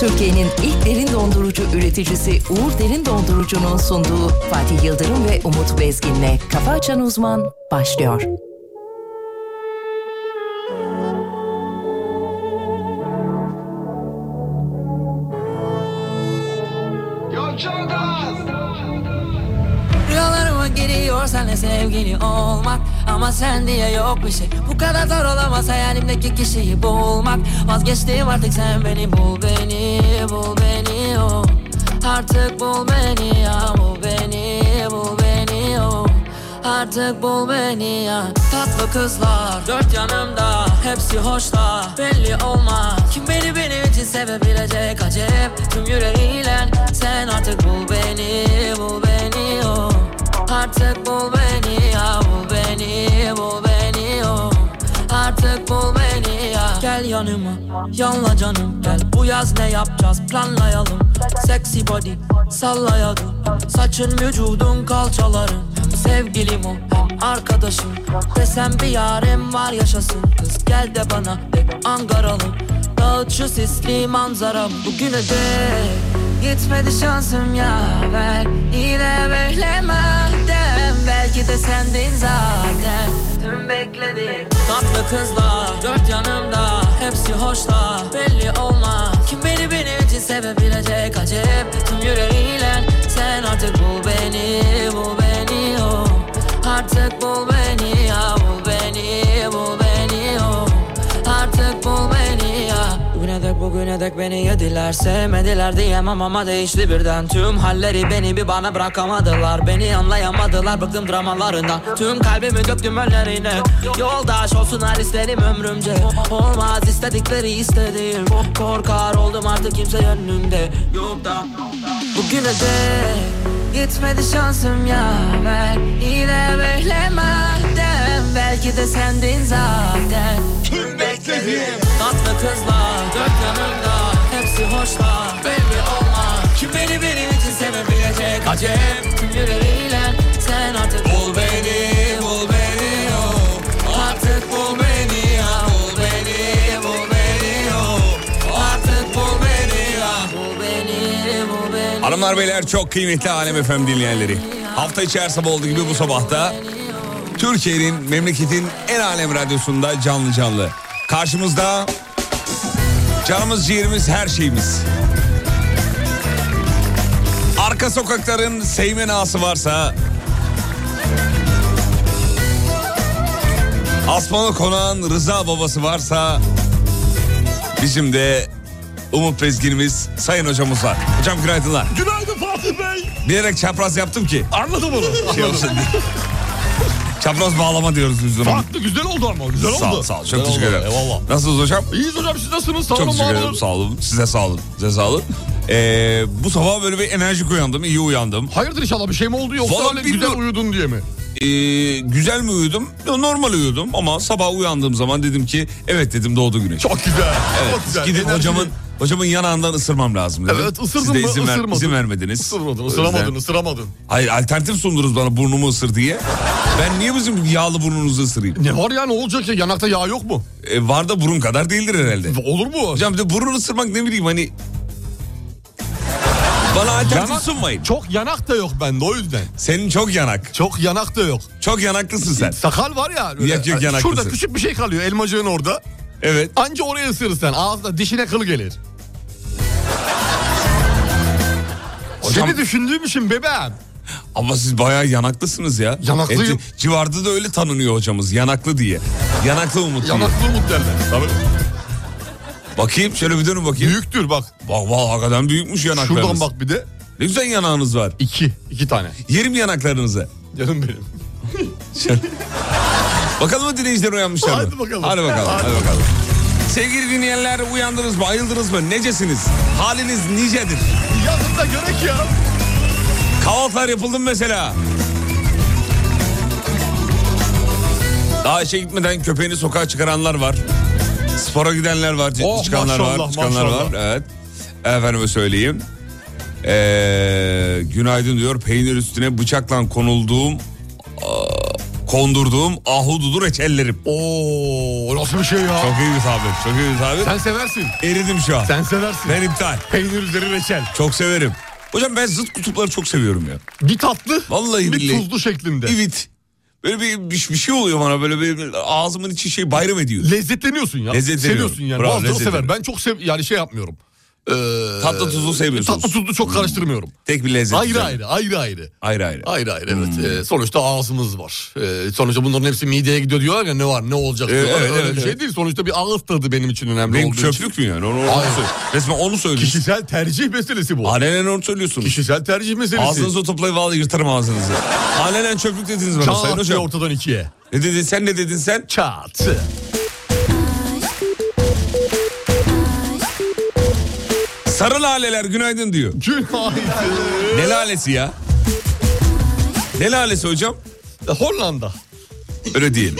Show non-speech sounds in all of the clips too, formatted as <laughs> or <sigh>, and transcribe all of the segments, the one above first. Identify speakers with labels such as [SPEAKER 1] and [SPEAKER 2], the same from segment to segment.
[SPEAKER 1] Türkiye'nin ilk derin dondurucu üreticisi Uğur Derin Dondurucu'nun sunduğu Fatih Yıldırım ve Umut Bezgin'le Kafa Açan Uzman başlıyor.
[SPEAKER 2] Rüyalarıma giriyor senle sevgili olmak Ama sen diye yok bir şey Bu kadar zor olamaz hayalimdeki kişiyi bulmak Vazgeçtim artık sen beni bul beni bul beni oh. Artık bul beni ya bul beni bul beni oh. Artık bul beni ya Tatlı kızlar dört yanımda Hepsi hoşla belli olmaz Kim beni benim için sevebilecek acep Tüm yüreğiyle sen artık bul beni bul beni oh. Artık bul beni ya bul beni bul beni oh. Artık bul beni ya Gel yanıma yanla canım gel Bu yaz ne yapacağız planlayalım Sexy body sallayalım Saçın vücudun kalçaların Hem sevgilim o hem arkadaşım Desem bir yarim var yaşasın Kız gel de bana de angaralım Dağıt şu sisli manzaram Bugüne dek Gitmedi şansım ya ver Yine böyle madem Belki de sendin zaten Tüm bekledik Tatlı kızlar dört yanımda Hepsi hoşla belli olma Kim beni benim için sevebilecek acep Tüm yüreğiyle sen artık bul beni Bul beni oh Artık bul beni ya Bul beni bul beni oh Artık bul beni ya Bugüne dek bugüne dek beni yediler Sevmediler diyemem ama değişti birden Tüm halleri beni bir bana bırakamadılar Beni anlayamadılar bıktım dramalarından Tüm kalbimi döktüm önlerine Yoldaş olsunlar isterim ömrümce Olmaz istedikleri istediğim Korkar oldum artık kimse önümde Yok da Bugüne dek Gitmedi şansım ya ver Yine böyle madem Belki de sendin zaten Tüm beklediğim Tatlı kızlar dört yanımda Hepsi hoşlar belli olmaz Kim beni benim için sevebilecek Acem tüm yüreğiyle Sen artık bul beni bul beni oh. Artık bul beni ya bul beni bul beni oh. Artık bul beni ya bul beni bul beni
[SPEAKER 3] Hanımlar beyler çok kıymetli Alem FM dinleyenleri. Hafta içi her sabah olduğu gibi bu sabahta Türkiye'nin memleketin en alem radyosunda canlı canlı. Karşımızda canımız ciğerimiz her şeyimiz. Arka sokakların seymen ağası varsa Asmalı konağın Rıza babası varsa bizim de Umut Bezgin'imiz Sayın Hocamız var. Hocam günaydınlar.
[SPEAKER 4] Günaydın Fatih Bey.
[SPEAKER 3] Bilerek çapraz yaptım ki.
[SPEAKER 4] Anladım <laughs> onu.
[SPEAKER 3] Şey olsun diye. Çapraz bağlama diyoruz biz ona.
[SPEAKER 4] Farklı güzel oldu ama güzel
[SPEAKER 3] Sağ ol,
[SPEAKER 4] oldu.
[SPEAKER 3] sağ ol.
[SPEAKER 4] Güzel
[SPEAKER 3] Çok teşekkür
[SPEAKER 4] oldu,
[SPEAKER 3] ederim.
[SPEAKER 4] Eyvallah.
[SPEAKER 3] Nasılsınız hocam?
[SPEAKER 4] İyiyiz hocam siz nasılsınız? Sağ
[SPEAKER 3] Çok
[SPEAKER 4] olun
[SPEAKER 3] teşekkür
[SPEAKER 4] var
[SPEAKER 3] ederim.
[SPEAKER 4] olun.
[SPEAKER 3] Sağ olun. Size sağ olun. Size sağ olun. Ee, bu sabah böyle bir enerjik uyandım. iyi uyandım.
[SPEAKER 4] Hayırdır inşallah bir şey mi oldu yoksa
[SPEAKER 3] Vallahi
[SPEAKER 4] öyle
[SPEAKER 3] bilmiyorum.
[SPEAKER 4] güzel uyudun diye mi?
[SPEAKER 3] Ee, güzel mi uyudum? Yo, Normal uyudum ama sabah uyandığım zaman dedim ki evet dedim doğdu güneş.
[SPEAKER 4] Çok güzel.
[SPEAKER 3] Evet,
[SPEAKER 4] Çok güzel.
[SPEAKER 3] Gidin
[SPEAKER 4] Enerjili.
[SPEAKER 3] hocamın hocamın yanağından ısırmam lazım dedim.
[SPEAKER 4] Evet, ısırdın
[SPEAKER 3] Siz de
[SPEAKER 4] mı?
[SPEAKER 3] izin, ver-
[SPEAKER 4] Isırmadın.
[SPEAKER 3] izin vermediniz. O
[SPEAKER 4] Isırmadın,
[SPEAKER 3] yüzden-
[SPEAKER 4] ısıramadın, ısıramadın.
[SPEAKER 3] Hayır alternatif sundunuz bana burnumu ısır diye. Ben niye bizim yağlı burnunuzu ısırayım?
[SPEAKER 4] Ne var ya ne olacak ya yanakta yağ yok mu?
[SPEAKER 3] E, var da burun kadar değildir herhalde.
[SPEAKER 4] Olur mu?
[SPEAKER 3] Hocam bir de burun ısırmak ne bileyim hani... Bana alternatif
[SPEAKER 4] Yanak-
[SPEAKER 3] sunmayın.
[SPEAKER 4] Çok yanak da yok bende o yüzden.
[SPEAKER 3] Senin çok yanak.
[SPEAKER 4] Çok yanak da yok.
[SPEAKER 3] Çok yanaklısın sen.
[SPEAKER 4] Sakal var ya. öyle.
[SPEAKER 3] Yok, yok, yanak
[SPEAKER 4] Şurada
[SPEAKER 3] mısın?
[SPEAKER 4] küçük bir şey kalıyor elmacığın orada.
[SPEAKER 3] Evet.
[SPEAKER 4] Anca oraya ısırırsan ağzına dişine kıl gelir.
[SPEAKER 3] Hocam-
[SPEAKER 4] Seni düşündüğüm için bebeğim.
[SPEAKER 3] Ama siz bayağı yanaklısınız ya.
[SPEAKER 4] Yanaklıyım.
[SPEAKER 3] ci- civarda da öyle tanınıyor hocamız. Yanaklı diye. Yanaklı Umut diye.
[SPEAKER 4] Yanaklı umut derler. Tabii.
[SPEAKER 3] Bakayım şöyle bir dönün bakayım.
[SPEAKER 4] Büyüktür bak.
[SPEAKER 3] Bak bak hakikaten büyükmüş yanaklarınız.
[SPEAKER 4] Şuradan bak bir de.
[SPEAKER 3] Ne güzel yanağınız var.
[SPEAKER 4] İki. iki tane.
[SPEAKER 3] Yerim yanaklarınızı.
[SPEAKER 4] Canım benim.
[SPEAKER 3] Bakalım mı dinleyiciler uyanmışlar mı?
[SPEAKER 4] Hadi bakalım.
[SPEAKER 3] Hadi bakalım.
[SPEAKER 4] Hadi
[SPEAKER 3] Hadi bakalım. Sevgili dinleyenler uyandınız mı, ayıldınız mı? Necesiniz? Haliniz nicedir?
[SPEAKER 4] Yazın da gerek ya.
[SPEAKER 3] Kahvaltılar yapıldı mı mesela? Daha işe gitmeden köpeğini sokağa çıkaranlar var. Spora gidenler var, ciddi
[SPEAKER 4] Oh,
[SPEAKER 3] çıkanlar var,
[SPEAKER 4] maşallah,
[SPEAKER 3] çıkanlar
[SPEAKER 4] maşallah.
[SPEAKER 3] var. Evet. Efendime söyleyeyim. Ee, günaydın diyor. Peynir üstüne bıçakla konulduğum aa, Kondurduğum ahududu reçellerim.
[SPEAKER 4] Oo nasıl bir şey ya?
[SPEAKER 3] Çok iyi bir tabir. Çok iyi bir tabir.
[SPEAKER 4] Sen seversin.
[SPEAKER 3] Eridim şu an.
[SPEAKER 4] Sen seversin.
[SPEAKER 3] Ben iptal.
[SPEAKER 4] Peynir üzeri reçel.
[SPEAKER 3] Çok severim. Hocam ben zıt kutupları çok seviyorum ya.
[SPEAKER 4] Bir tatlı.
[SPEAKER 3] Vallahi
[SPEAKER 4] bir
[SPEAKER 3] billahi.
[SPEAKER 4] tuzlu şeklinde.
[SPEAKER 3] Evet. Böyle bir, bir, bir şey oluyor bana böyle bir ağzımın içi şey bayram ediyor.
[SPEAKER 4] Lezzetleniyorsun ya.
[SPEAKER 3] Lezzetleniyorum.
[SPEAKER 4] Seviyorsun yani.
[SPEAKER 3] Bravo,
[SPEAKER 4] Bazıları
[SPEAKER 3] lezzetleniyorum.
[SPEAKER 4] sever. Ben çok sev yani şey yapmıyorum. Ee,
[SPEAKER 3] Tatlı tuzlu sevmiyorsunuz. Hmm.
[SPEAKER 4] Tatlı tuzlu çok karıştırmıyorum.
[SPEAKER 3] Tek bir lezzet.
[SPEAKER 4] Ayrı
[SPEAKER 3] güzel.
[SPEAKER 4] ayrı, ayrı ayrı.
[SPEAKER 3] Ayrı ayrı. Hmm.
[SPEAKER 4] Ayrı ayrı evet. Ee, sonuçta ağzımız var. Ee, sonuçta bunların hepsi mideye gidiyor diyorlar ya ne var ne olacak
[SPEAKER 3] Ee,
[SPEAKER 4] diyorlar.
[SPEAKER 3] evet,
[SPEAKER 4] Öyle
[SPEAKER 3] evet,
[SPEAKER 4] bir şey
[SPEAKER 3] evet.
[SPEAKER 4] değil. Sonuçta bir ağız tadı benim için önemli
[SPEAKER 3] Benim
[SPEAKER 4] olduğu için.
[SPEAKER 3] çöplük mü yani? Onu, onu
[SPEAKER 4] Hayır.
[SPEAKER 3] söyle- Resmen onu söylüyorsun.
[SPEAKER 4] Kişisel tercih meselesi bu.
[SPEAKER 3] Alenen onu söylüyorsunuz.
[SPEAKER 4] Kişisel tercih meselesi.
[SPEAKER 3] Ağzınızı o toplayıp vallahi yırtarım ağzınızı. Alenen çöplük dediniz bana
[SPEAKER 4] Çat
[SPEAKER 3] Sayın
[SPEAKER 4] diye
[SPEAKER 3] Hocam.
[SPEAKER 4] ortadan ikiye.
[SPEAKER 3] Ne dedin sen ne dedin sen?
[SPEAKER 4] Çat.
[SPEAKER 3] Sarı laleler günaydın diyor.
[SPEAKER 4] Günaydın.
[SPEAKER 3] Ne lalesi ya? Ne lalesi hocam?
[SPEAKER 4] Hollanda.
[SPEAKER 3] Öyle değil.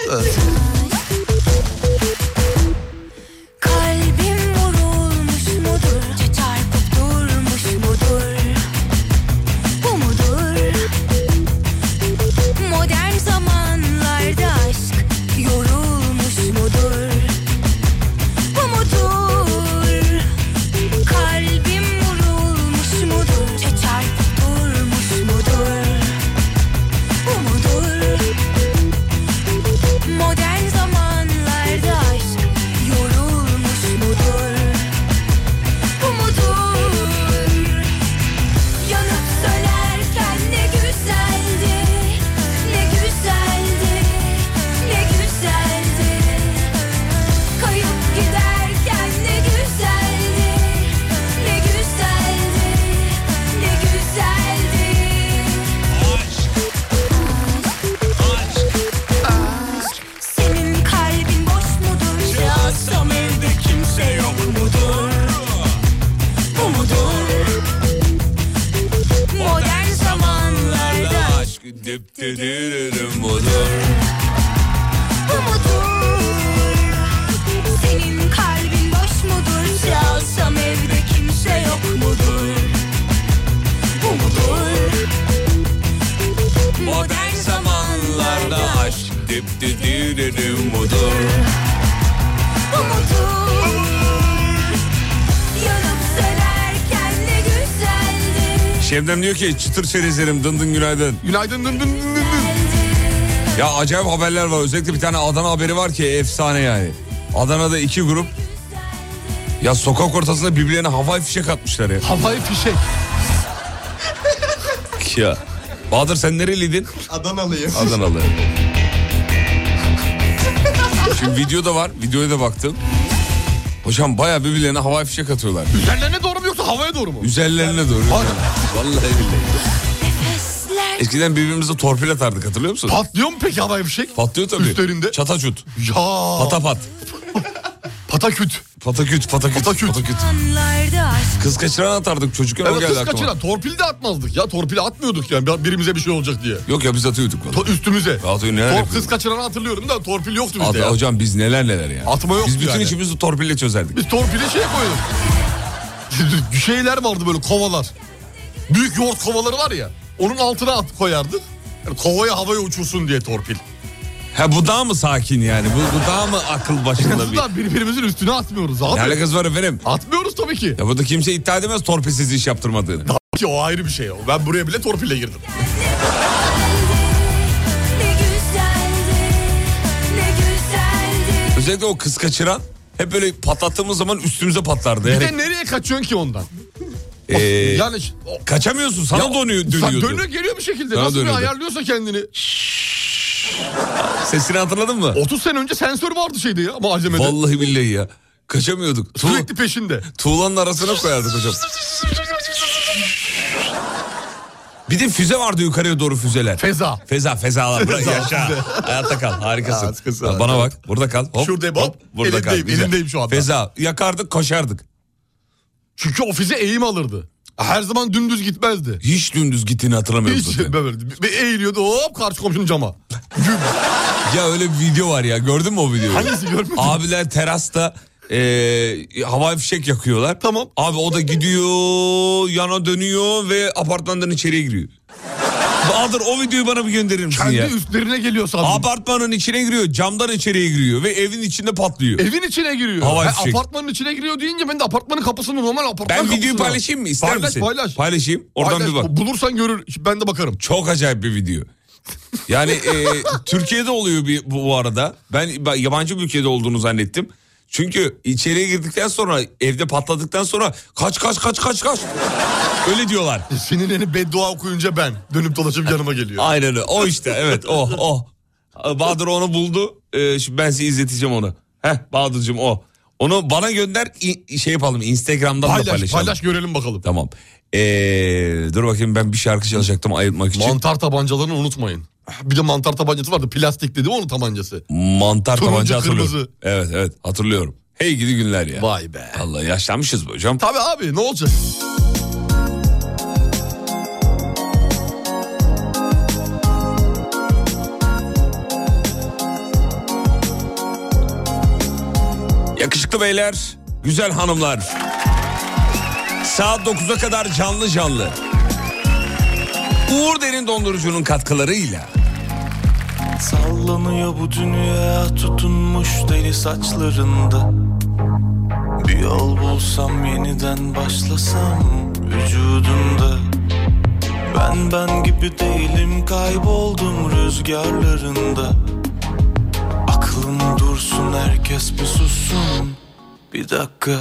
[SPEAKER 5] Kalbim vurulmuş mudur? Çarpıp durmuş mudur? Bu mudur? Modern zamanlarda aşk yorulmuş mudur? Bu mudur? Kalbim vurulmuş mudur? Çarpıp durmuş mudur? Bu mudur? Modern zamanlarda aşk yorulmuş mudur? Bu mudur? Yanıp sönerken ne güzeldi, ne güzeldi, ne güzeldi. Kayıp giderken ne güzeldi, ne güzeldi, ne güzeldi. Senin kalbin boş mudur? Yazsam evde kimse yok mudur? Bu mudur? Modern zamanlarda
[SPEAKER 3] Aşk dip didiririm budur.
[SPEAKER 5] bu mudur? Senin kalbin boş mudur? Yazsam evde kimse yok mudur? Bu mudur? Modern zamanlarda aşk
[SPEAKER 3] dip didiririm budur.
[SPEAKER 5] umudur Yanıp sönerken ne güzeldi
[SPEAKER 3] Şebnem diyor ki çıtır çerezlerim dındın günaydın.
[SPEAKER 4] Günaydın dın dın dın dın dın.
[SPEAKER 3] Ya acayip haberler var. Özellikle bir tane Adana haberi var ki efsane yani. Adana'da iki grup ya sokak ortasında birbirlerine havai fişek atmışlar ya.
[SPEAKER 4] Havai fişek.
[SPEAKER 3] ya. Bahadır sen nereliydin?
[SPEAKER 6] Adanalıyım.
[SPEAKER 3] Adanalı.
[SPEAKER 4] <laughs>
[SPEAKER 3] Şimdi video da var. Videoya da baktım. Hocam bayağı birbirlerine havai fişek atıyorlar.
[SPEAKER 4] Üzerlerine doğru mu yoksa havaya doğru mu?
[SPEAKER 3] Üzerlerine doğru.
[SPEAKER 4] Hadi.
[SPEAKER 3] Vallahi billahi.
[SPEAKER 5] Nefesler
[SPEAKER 3] Eskiden birbirimize torpil atardık hatırlıyor musun?
[SPEAKER 4] Patlıyor mu peki havai fişek?
[SPEAKER 3] Patlıyor tabii.
[SPEAKER 4] Üstlerinde.
[SPEAKER 3] Çataçut.
[SPEAKER 4] Ya.
[SPEAKER 3] Patapat.
[SPEAKER 4] Pataküt.
[SPEAKER 3] Pataküt, pataküt.
[SPEAKER 4] Pataküt.
[SPEAKER 3] pataküt.
[SPEAKER 5] anlarda aşk
[SPEAKER 3] Kız kaçıran atardık çocukken o
[SPEAKER 4] Evet
[SPEAKER 3] geldi
[SPEAKER 4] kız
[SPEAKER 3] aklıma.
[SPEAKER 4] kaçıran. Torpil de atmazdık ya. Torpil atmıyorduk yani bir- birimize bir şey olacak diye.
[SPEAKER 3] Yok ya biz atıyorduk valla.
[SPEAKER 4] To- üstümüze.
[SPEAKER 3] Ya atıyor, neler
[SPEAKER 4] Tor-
[SPEAKER 3] yapıyorduk?
[SPEAKER 4] kız kaçıranı hatırlıyorum da torpil yoktu bizde
[SPEAKER 3] At-
[SPEAKER 4] ya.
[SPEAKER 3] Hocam biz neler neler ya.
[SPEAKER 4] Atma yoktu
[SPEAKER 3] Biz bütün
[SPEAKER 4] yani.
[SPEAKER 3] işimizi torpille çözerdik.
[SPEAKER 4] Biz torpili şey koyduk. Şeyler vardı böyle kovalar. Büyük yoğurt kovaları var ya. Onun altına at koyardık. Yani kovaya havaya uçursun diye torpil.
[SPEAKER 3] Ha bu daha mı sakin yani? Bu, bu daha mı akıl başında bir?
[SPEAKER 4] Tabii. birbirimizin üstüne atmıyoruz abi.
[SPEAKER 3] Ne alakası var efendim?
[SPEAKER 4] Atmıyoruz tabii ki.
[SPEAKER 3] Ya burada kimse iddia edemez torpilsiz iş yaptırmadığını.
[SPEAKER 4] Tabii ki o ayrı bir şey o. Ben buraya bile torpille girdim.
[SPEAKER 5] ne güzeldi Ne güzeldi
[SPEAKER 3] Özellikle o kız kaçıran hep böyle patlattığımız zaman üstümüze patlardı.
[SPEAKER 4] Bir
[SPEAKER 3] Yani,
[SPEAKER 4] de nereye kaçıyorsun ki ondan?
[SPEAKER 3] Ee,
[SPEAKER 4] yani ş- o-
[SPEAKER 3] kaçamıyorsun sana
[SPEAKER 4] Ya,
[SPEAKER 3] dönüyor,
[SPEAKER 4] sen
[SPEAKER 3] dönüyordu.
[SPEAKER 4] dönüyor geliyor bir şekilde.
[SPEAKER 3] Sana
[SPEAKER 4] Nasıl bir
[SPEAKER 3] dönüyordu.
[SPEAKER 4] ayarlıyorsa kendini.
[SPEAKER 3] Sesini hatırladın mı?
[SPEAKER 4] 30 sene önce sensör vardı şeyde ya malzemede.
[SPEAKER 3] Vallahi billahi ya. Kaçamıyorduk. Tu-
[SPEAKER 4] Sürekli peşinde.
[SPEAKER 3] tuğlanın arasına koyardık hocam. Bir de füze vardı yukarıya doğru füzeler.
[SPEAKER 4] Feza.
[SPEAKER 3] Feza fezalar. Bırak yaşa. Hayatta kal. Harikasın.
[SPEAKER 4] Harikasın.
[SPEAKER 3] Ya bana bak. Burada kal. Hop,
[SPEAKER 4] Şurada hop.
[SPEAKER 3] Burada kal.
[SPEAKER 4] Elindeyim,
[SPEAKER 3] Güzel.
[SPEAKER 4] elindeyim şu anda.
[SPEAKER 3] Feza. Yakardık koşardık.
[SPEAKER 4] Çünkü ofise eğim alırdı. Her zaman dümdüz gitmezdi.
[SPEAKER 3] Hiç dümdüz gittiğini hatırlamıyorum
[SPEAKER 4] Hiç
[SPEAKER 3] zaten.
[SPEAKER 4] böyle bir- bir eğiliyordu hop karşı komşunun cama. Güm.
[SPEAKER 3] Ya öyle bir video var ya. Gördün mü o videoyu?
[SPEAKER 4] Hangisi görmedin?
[SPEAKER 3] Abiler terasta eee havai fişek yakıyorlar.
[SPEAKER 4] Tamam.
[SPEAKER 3] Abi o da gidiyor, yana dönüyor ve apartmandan içeriye giriyor. Bahadır o videoyu bana bir gönderir misin
[SPEAKER 4] Kendi
[SPEAKER 3] ya?
[SPEAKER 4] üstlerine geliyor sandım.
[SPEAKER 3] Apartmanın içine giriyor, camdan içeriye giriyor ve evin içinde patlıyor.
[SPEAKER 4] Evin içine giriyor.
[SPEAKER 3] Havai
[SPEAKER 4] Ha,
[SPEAKER 3] fişek.
[SPEAKER 4] apartmanın içine giriyor deyince ben de apartmanın kapısını normal apartman
[SPEAKER 3] ben
[SPEAKER 4] kapısını...
[SPEAKER 3] videoyu paylaşayım mı? İster
[SPEAKER 4] paylaş,
[SPEAKER 3] misin?
[SPEAKER 4] Paylaş paylaş.
[SPEAKER 3] Paylaşayım. Oradan bir bak.
[SPEAKER 4] Bulursan görür. Ben de bakarım.
[SPEAKER 3] Çok acayip bir video. Yani e,
[SPEAKER 4] <laughs>
[SPEAKER 3] Türkiye'de oluyor bir, bu, bu arada. Ben, ben yabancı bir ülkede olduğunu zannettim. Çünkü içeriye girdikten sonra evde patladıktan sonra kaç kaç kaç kaç kaç. Öyle diyorlar.
[SPEAKER 4] Sinirlenip E, beddua okuyunca ben dönüp dolaşıp yanıma geliyor.
[SPEAKER 3] Aynen öyle. O işte evet o o. Bahadır onu buldu. Ee, şimdi ben size izleteceğim onu. Heh Bahadır'cığım o. Onu bana gönder i- şey yapalım Instagram'dan da
[SPEAKER 4] Paylaş
[SPEAKER 3] paylaşalım.
[SPEAKER 4] paylaş görelim bakalım.
[SPEAKER 3] Tamam. Ee, dur bakayım ben bir şarkı çalacaktım ayırtmak için.
[SPEAKER 4] Mantar tabancalarını unutmayın. Bir de mantar tabancası vardı. Plastik dedi onun tabancası.
[SPEAKER 3] Mantar
[SPEAKER 4] Turuncu,
[SPEAKER 3] tabanca hatırlıyorum.
[SPEAKER 4] kırmızı.
[SPEAKER 3] Evet evet hatırlıyorum. Hey gidi günler ya.
[SPEAKER 4] Vay be.
[SPEAKER 3] Allah yaşlanmışız be hocam.
[SPEAKER 4] Tabii abi ne olacak?
[SPEAKER 3] Yakışıklı beyler, güzel hanımlar. Saat 9'a kadar canlı canlı. Uğur Derin Dondurucu'nun katkılarıyla
[SPEAKER 6] Sallanıyor bu dünya tutunmuş deli saçlarında Bir yol bulsam yeniden başlasam vücudunda Ben ben gibi değilim kayboldum rüzgarlarında Aklım dursun herkes bir sussun bir dakika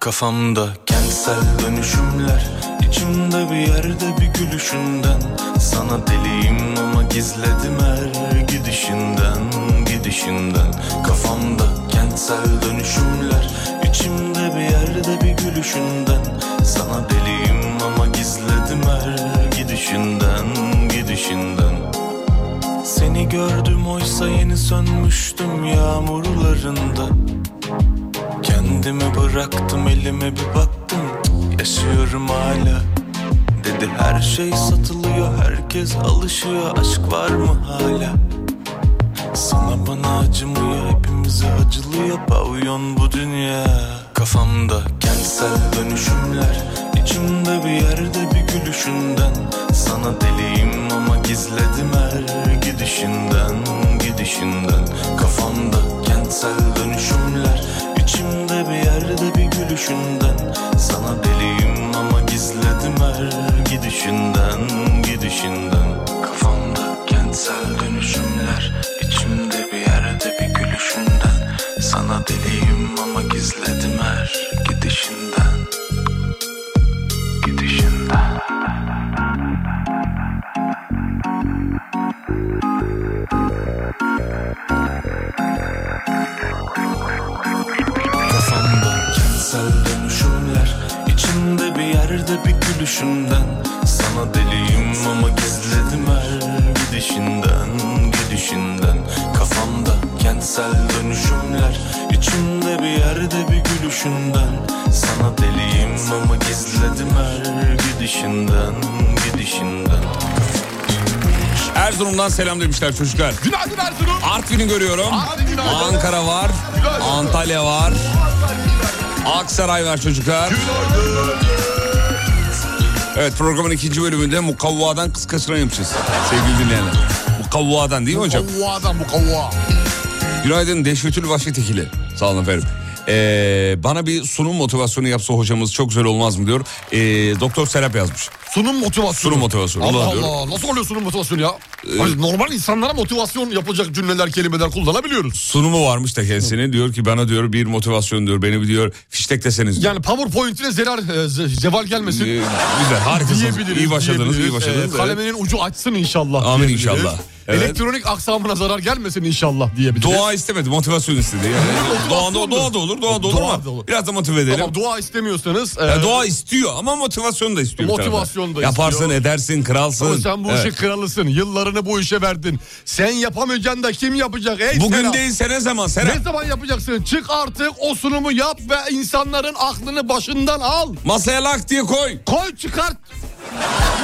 [SPEAKER 6] Kafamda kentsel dönüşümler içimde bir yerde bir gülüşünden Sana deliyim ama gizledim her gidişinden Gidişinden Kafamda kentsel dönüşümler içimde bir yerde bir gülüşünden Sana deliyim ama gizledim her gidişinden Gidişinden Seni gördüm oysa yeni sönmüştüm yağmurlarında Kendimi bıraktım elime bir baktım Yaşıyorum hala Dedi her şey satılıyor herkes alışıyor Aşk var mı hala Sana bana acımıyor hepimize acılıyor Pavyon bu dünya Kafamda kentsel dönüşümler içimde bir yerde bir gülüşünden Sana deliyim ama gizledim her gidişinden Gidişinden Kafamda kentsel dönüşümler içimde bir yerde bir gülüşünden Sana deliyim ama gizledim her gidişinden Gidişinden Kafamda kentsel dönüşümler içimde bir yerde bir gülüşünden Sana deliyim ama gizledim her gidişinden gidişinden Kafamda kentsel dönüşümler içimde bir yerde bir gülüşünden Sana deliyim ama gizledim her gidişinden Gidişinden Kafamda kentsel dönüşümler içimde bir yerde bir gülüşünden Sana deliyim ama gizledim her gidişinden Gidişinden
[SPEAKER 3] Erzurum'dan selam demişler çocuklar.
[SPEAKER 4] Günaydın Erzurum.
[SPEAKER 3] Artvin'i görüyorum.
[SPEAKER 4] Hadi günaydın.
[SPEAKER 3] Ankara var.
[SPEAKER 4] Günaydın.
[SPEAKER 3] Antalya var. Aksaray var çocuklar. Evet programın ikinci bölümünde mukavvadan kız kaçıran yapacağız. Sevgili dinleyenler. Mukavvadan değil mi hocam?
[SPEAKER 4] Kavva adam bu kavva.
[SPEAKER 3] Günaydın Deşvetül Vahşetekili. Sağ olun efendim. Ee, bana bir sunum motivasyonu yapsa hocamız çok güzel olmaz mı diyor. Ee, Doktor Serap yazmış.
[SPEAKER 4] Sunum motivasyonu.
[SPEAKER 3] Sunum motivasyonu.
[SPEAKER 4] Allah
[SPEAKER 3] Ulan
[SPEAKER 4] Allah.
[SPEAKER 3] diyorum.
[SPEAKER 4] Nasıl oluyor sunum motivasyonu ya?
[SPEAKER 3] Ee,
[SPEAKER 4] Hayır, normal insanlara motivasyon yapılacak cümleler, kelimeler kullanabiliyoruz.
[SPEAKER 3] Sunumu varmış da kendisinin. Diyor ki bana diyor bir motivasyon diyor. Beni diyor fiştek deseniz diyor.
[SPEAKER 4] Yani PowerPoint'ine zarar, e, ze- zeval gelmesin.
[SPEAKER 3] Ee, güzel harikasınız.
[SPEAKER 4] diyebiliriz.
[SPEAKER 3] İyi başladınız iyi
[SPEAKER 4] diyebiliriz.
[SPEAKER 3] başladınız.
[SPEAKER 4] Ee, kaleminin ucu açsın inşallah.
[SPEAKER 3] Amin
[SPEAKER 4] diyebiliriz.
[SPEAKER 3] inşallah. Evet.
[SPEAKER 4] Elektronik aksamına zarar gelmesin inşallah diyebiliriz.
[SPEAKER 3] Dua istemedi motivasyon istedi. Yani
[SPEAKER 4] Motivasyon
[SPEAKER 3] doğa,
[SPEAKER 4] olur.
[SPEAKER 3] doğa da olur doğa da olur
[SPEAKER 4] Doğa
[SPEAKER 3] ama
[SPEAKER 4] da olur.
[SPEAKER 3] biraz da motive edelim.
[SPEAKER 4] Tamam, dua istemiyorsanız. e,
[SPEAKER 3] Ya doğa istiyor ama motivasyon da istiyor. bir taraftan.
[SPEAKER 4] Motivasyon da
[SPEAKER 3] Yaparsın,
[SPEAKER 4] istiyor.
[SPEAKER 3] edersin, kralsın.
[SPEAKER 4] Ama sen bu
[SPEAKER 3] Evet.
[SPEAKER 4] işin kralısın. Yıllarını bu işe verdin. Sen yapamayacaksın da kim yapacak? Ey
[SPEAKER 3] Bugün
[SPEAKER 4] Serap,
[SPEAKER 3] değilse ne zaman Serap?
[SPEAKER 4] Ne zaman yapacaksın? Çık artık o sunumu yap ve insanların aklını başından al.
[SPEAKER 3] Masaya lak diye koy.
[SPEAKER 4] Koy çıkart.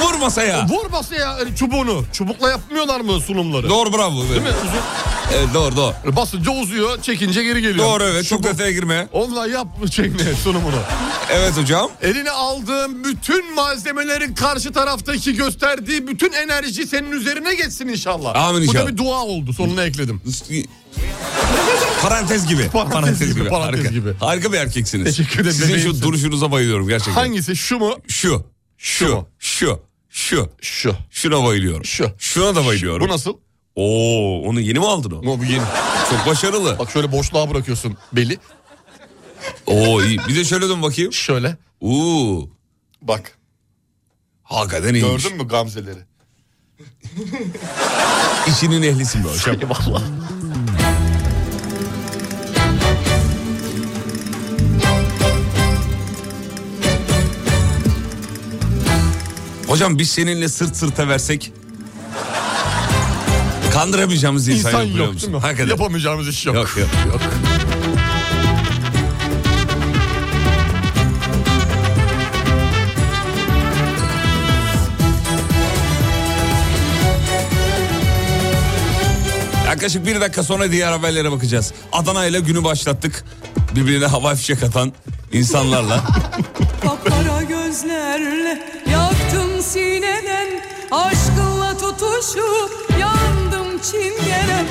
[SPEAKER 3] Vur masaya.
[SPEAKER 4] Vur masaya hani çubuğunu. Çubukla yapmıyorlar mı sunumları?
[SPEAKER 3] Doğru bravo.
[SPEAKER 4] Değil mi? Uzun-
[SPEAKER 3] Evet, doğru doğru.
[SPEAKER 4] Basınca uzuyor, çekince geri geliyor.
[SPEAKER 3] Doğru evet çok
[SPEAKER 4] Çubuk-
[SPEAKER 3] detaya girme.
[SPEAKER 4] Onunla yap çekme sunumunu.
[SPEAKER 3] Evet hocam.
[SPEAKER 4] Eline aldığın bütün malzemelerin karşı taraftaki gösterdiği bütün enerji senin üzerine geçsin inşallah.
[SPEAKER 3] Amin
[SPEAKER 4] Bu da
[SPEAKER 3] inşallah.
[SPEAKER 4] bir dua oldu. Sonuna ekledim.
[SPEAKER 3] Parantez gibi.
[SPEAKER 4] Parantez gibi, parantez
[SPEAKER 3] harika.
[SPEAKER 4] gibi.
[SPEAKER 3] Harika bir erkeksiniz.
[SPEAKER 4] Teşekkür ederim,
[SPEAKER 3] Sizin şu
[SPEAKER 4] bebeğimsin.
[SPEAKER 3] duruşunuza bayılıyorum gerçekten.
[SPEAKER 4] Hangisi? Şu mu?
[SPEAKER 3] Şu,
[SPEAKER 4] Şu
[SPEAKER 3] şu,
[SPEAKER 4] mu?
[SPEAKER 3] şu, şu.
[SPEAKER 4] Şu.
[SPEAKER 3] Şuna bayılıyorum.
[SPEAKER 4] Şu.
[SPEAKER 3] Şuna da bayılıyorum.
[SPEAKER 4] Bu nasıl?
[SPEAKER 3] Oo, onu yeni mi aldın o?
[SPEAKER 4] No, bu yeni.
[SPEAKER 3] Çok başarılı.
[SPEAKER 4] Bak şöyle boşluğa bırakıyorsun beli.
[SPEAKER 3] Oo, iyi. Bir de şöyle dön bakayım.
[SPEAKER 4] Şöyle.
[SPEAKER 3] Oo.
[SPEAKER 4] Bak.
[SPEAKER 3] Hakikaten iyiymiş.
[SPEAKER 4] Gördün mü gamzeleri?
[SPEAKER 3] İşinin ehlisin be hocam.
[SPEAKER 4] Eyvallah.
[SPEAKER 3] Hocam biz seninle sırt sırta versek kandıramayacağımız insan,
[SPEAKER 4] İnsan
[SPEAKER 3] yok biliyor
[SPEAKER 4] yok
[SPEAKER 3] musun?
[SPEAKER 4] değil mi?
[SPEAKER 3] Hakikaten.
[SPEAKER 4] Yapamayacağımız iş yok.
[SPEAKER 3] Yok yok yok. Yaklaşık bir dakika sonra diğer haberlere bakacağız. Adana ile günü başlattık. Birbirine hava fişek atan
[SPEAKER 4] <laughs>
[SPEAKER 3] insanlarla.
[SPEAKER 7] Kapkara gözlerle yaktım sineden Aşkınla tutuşup yandım çingene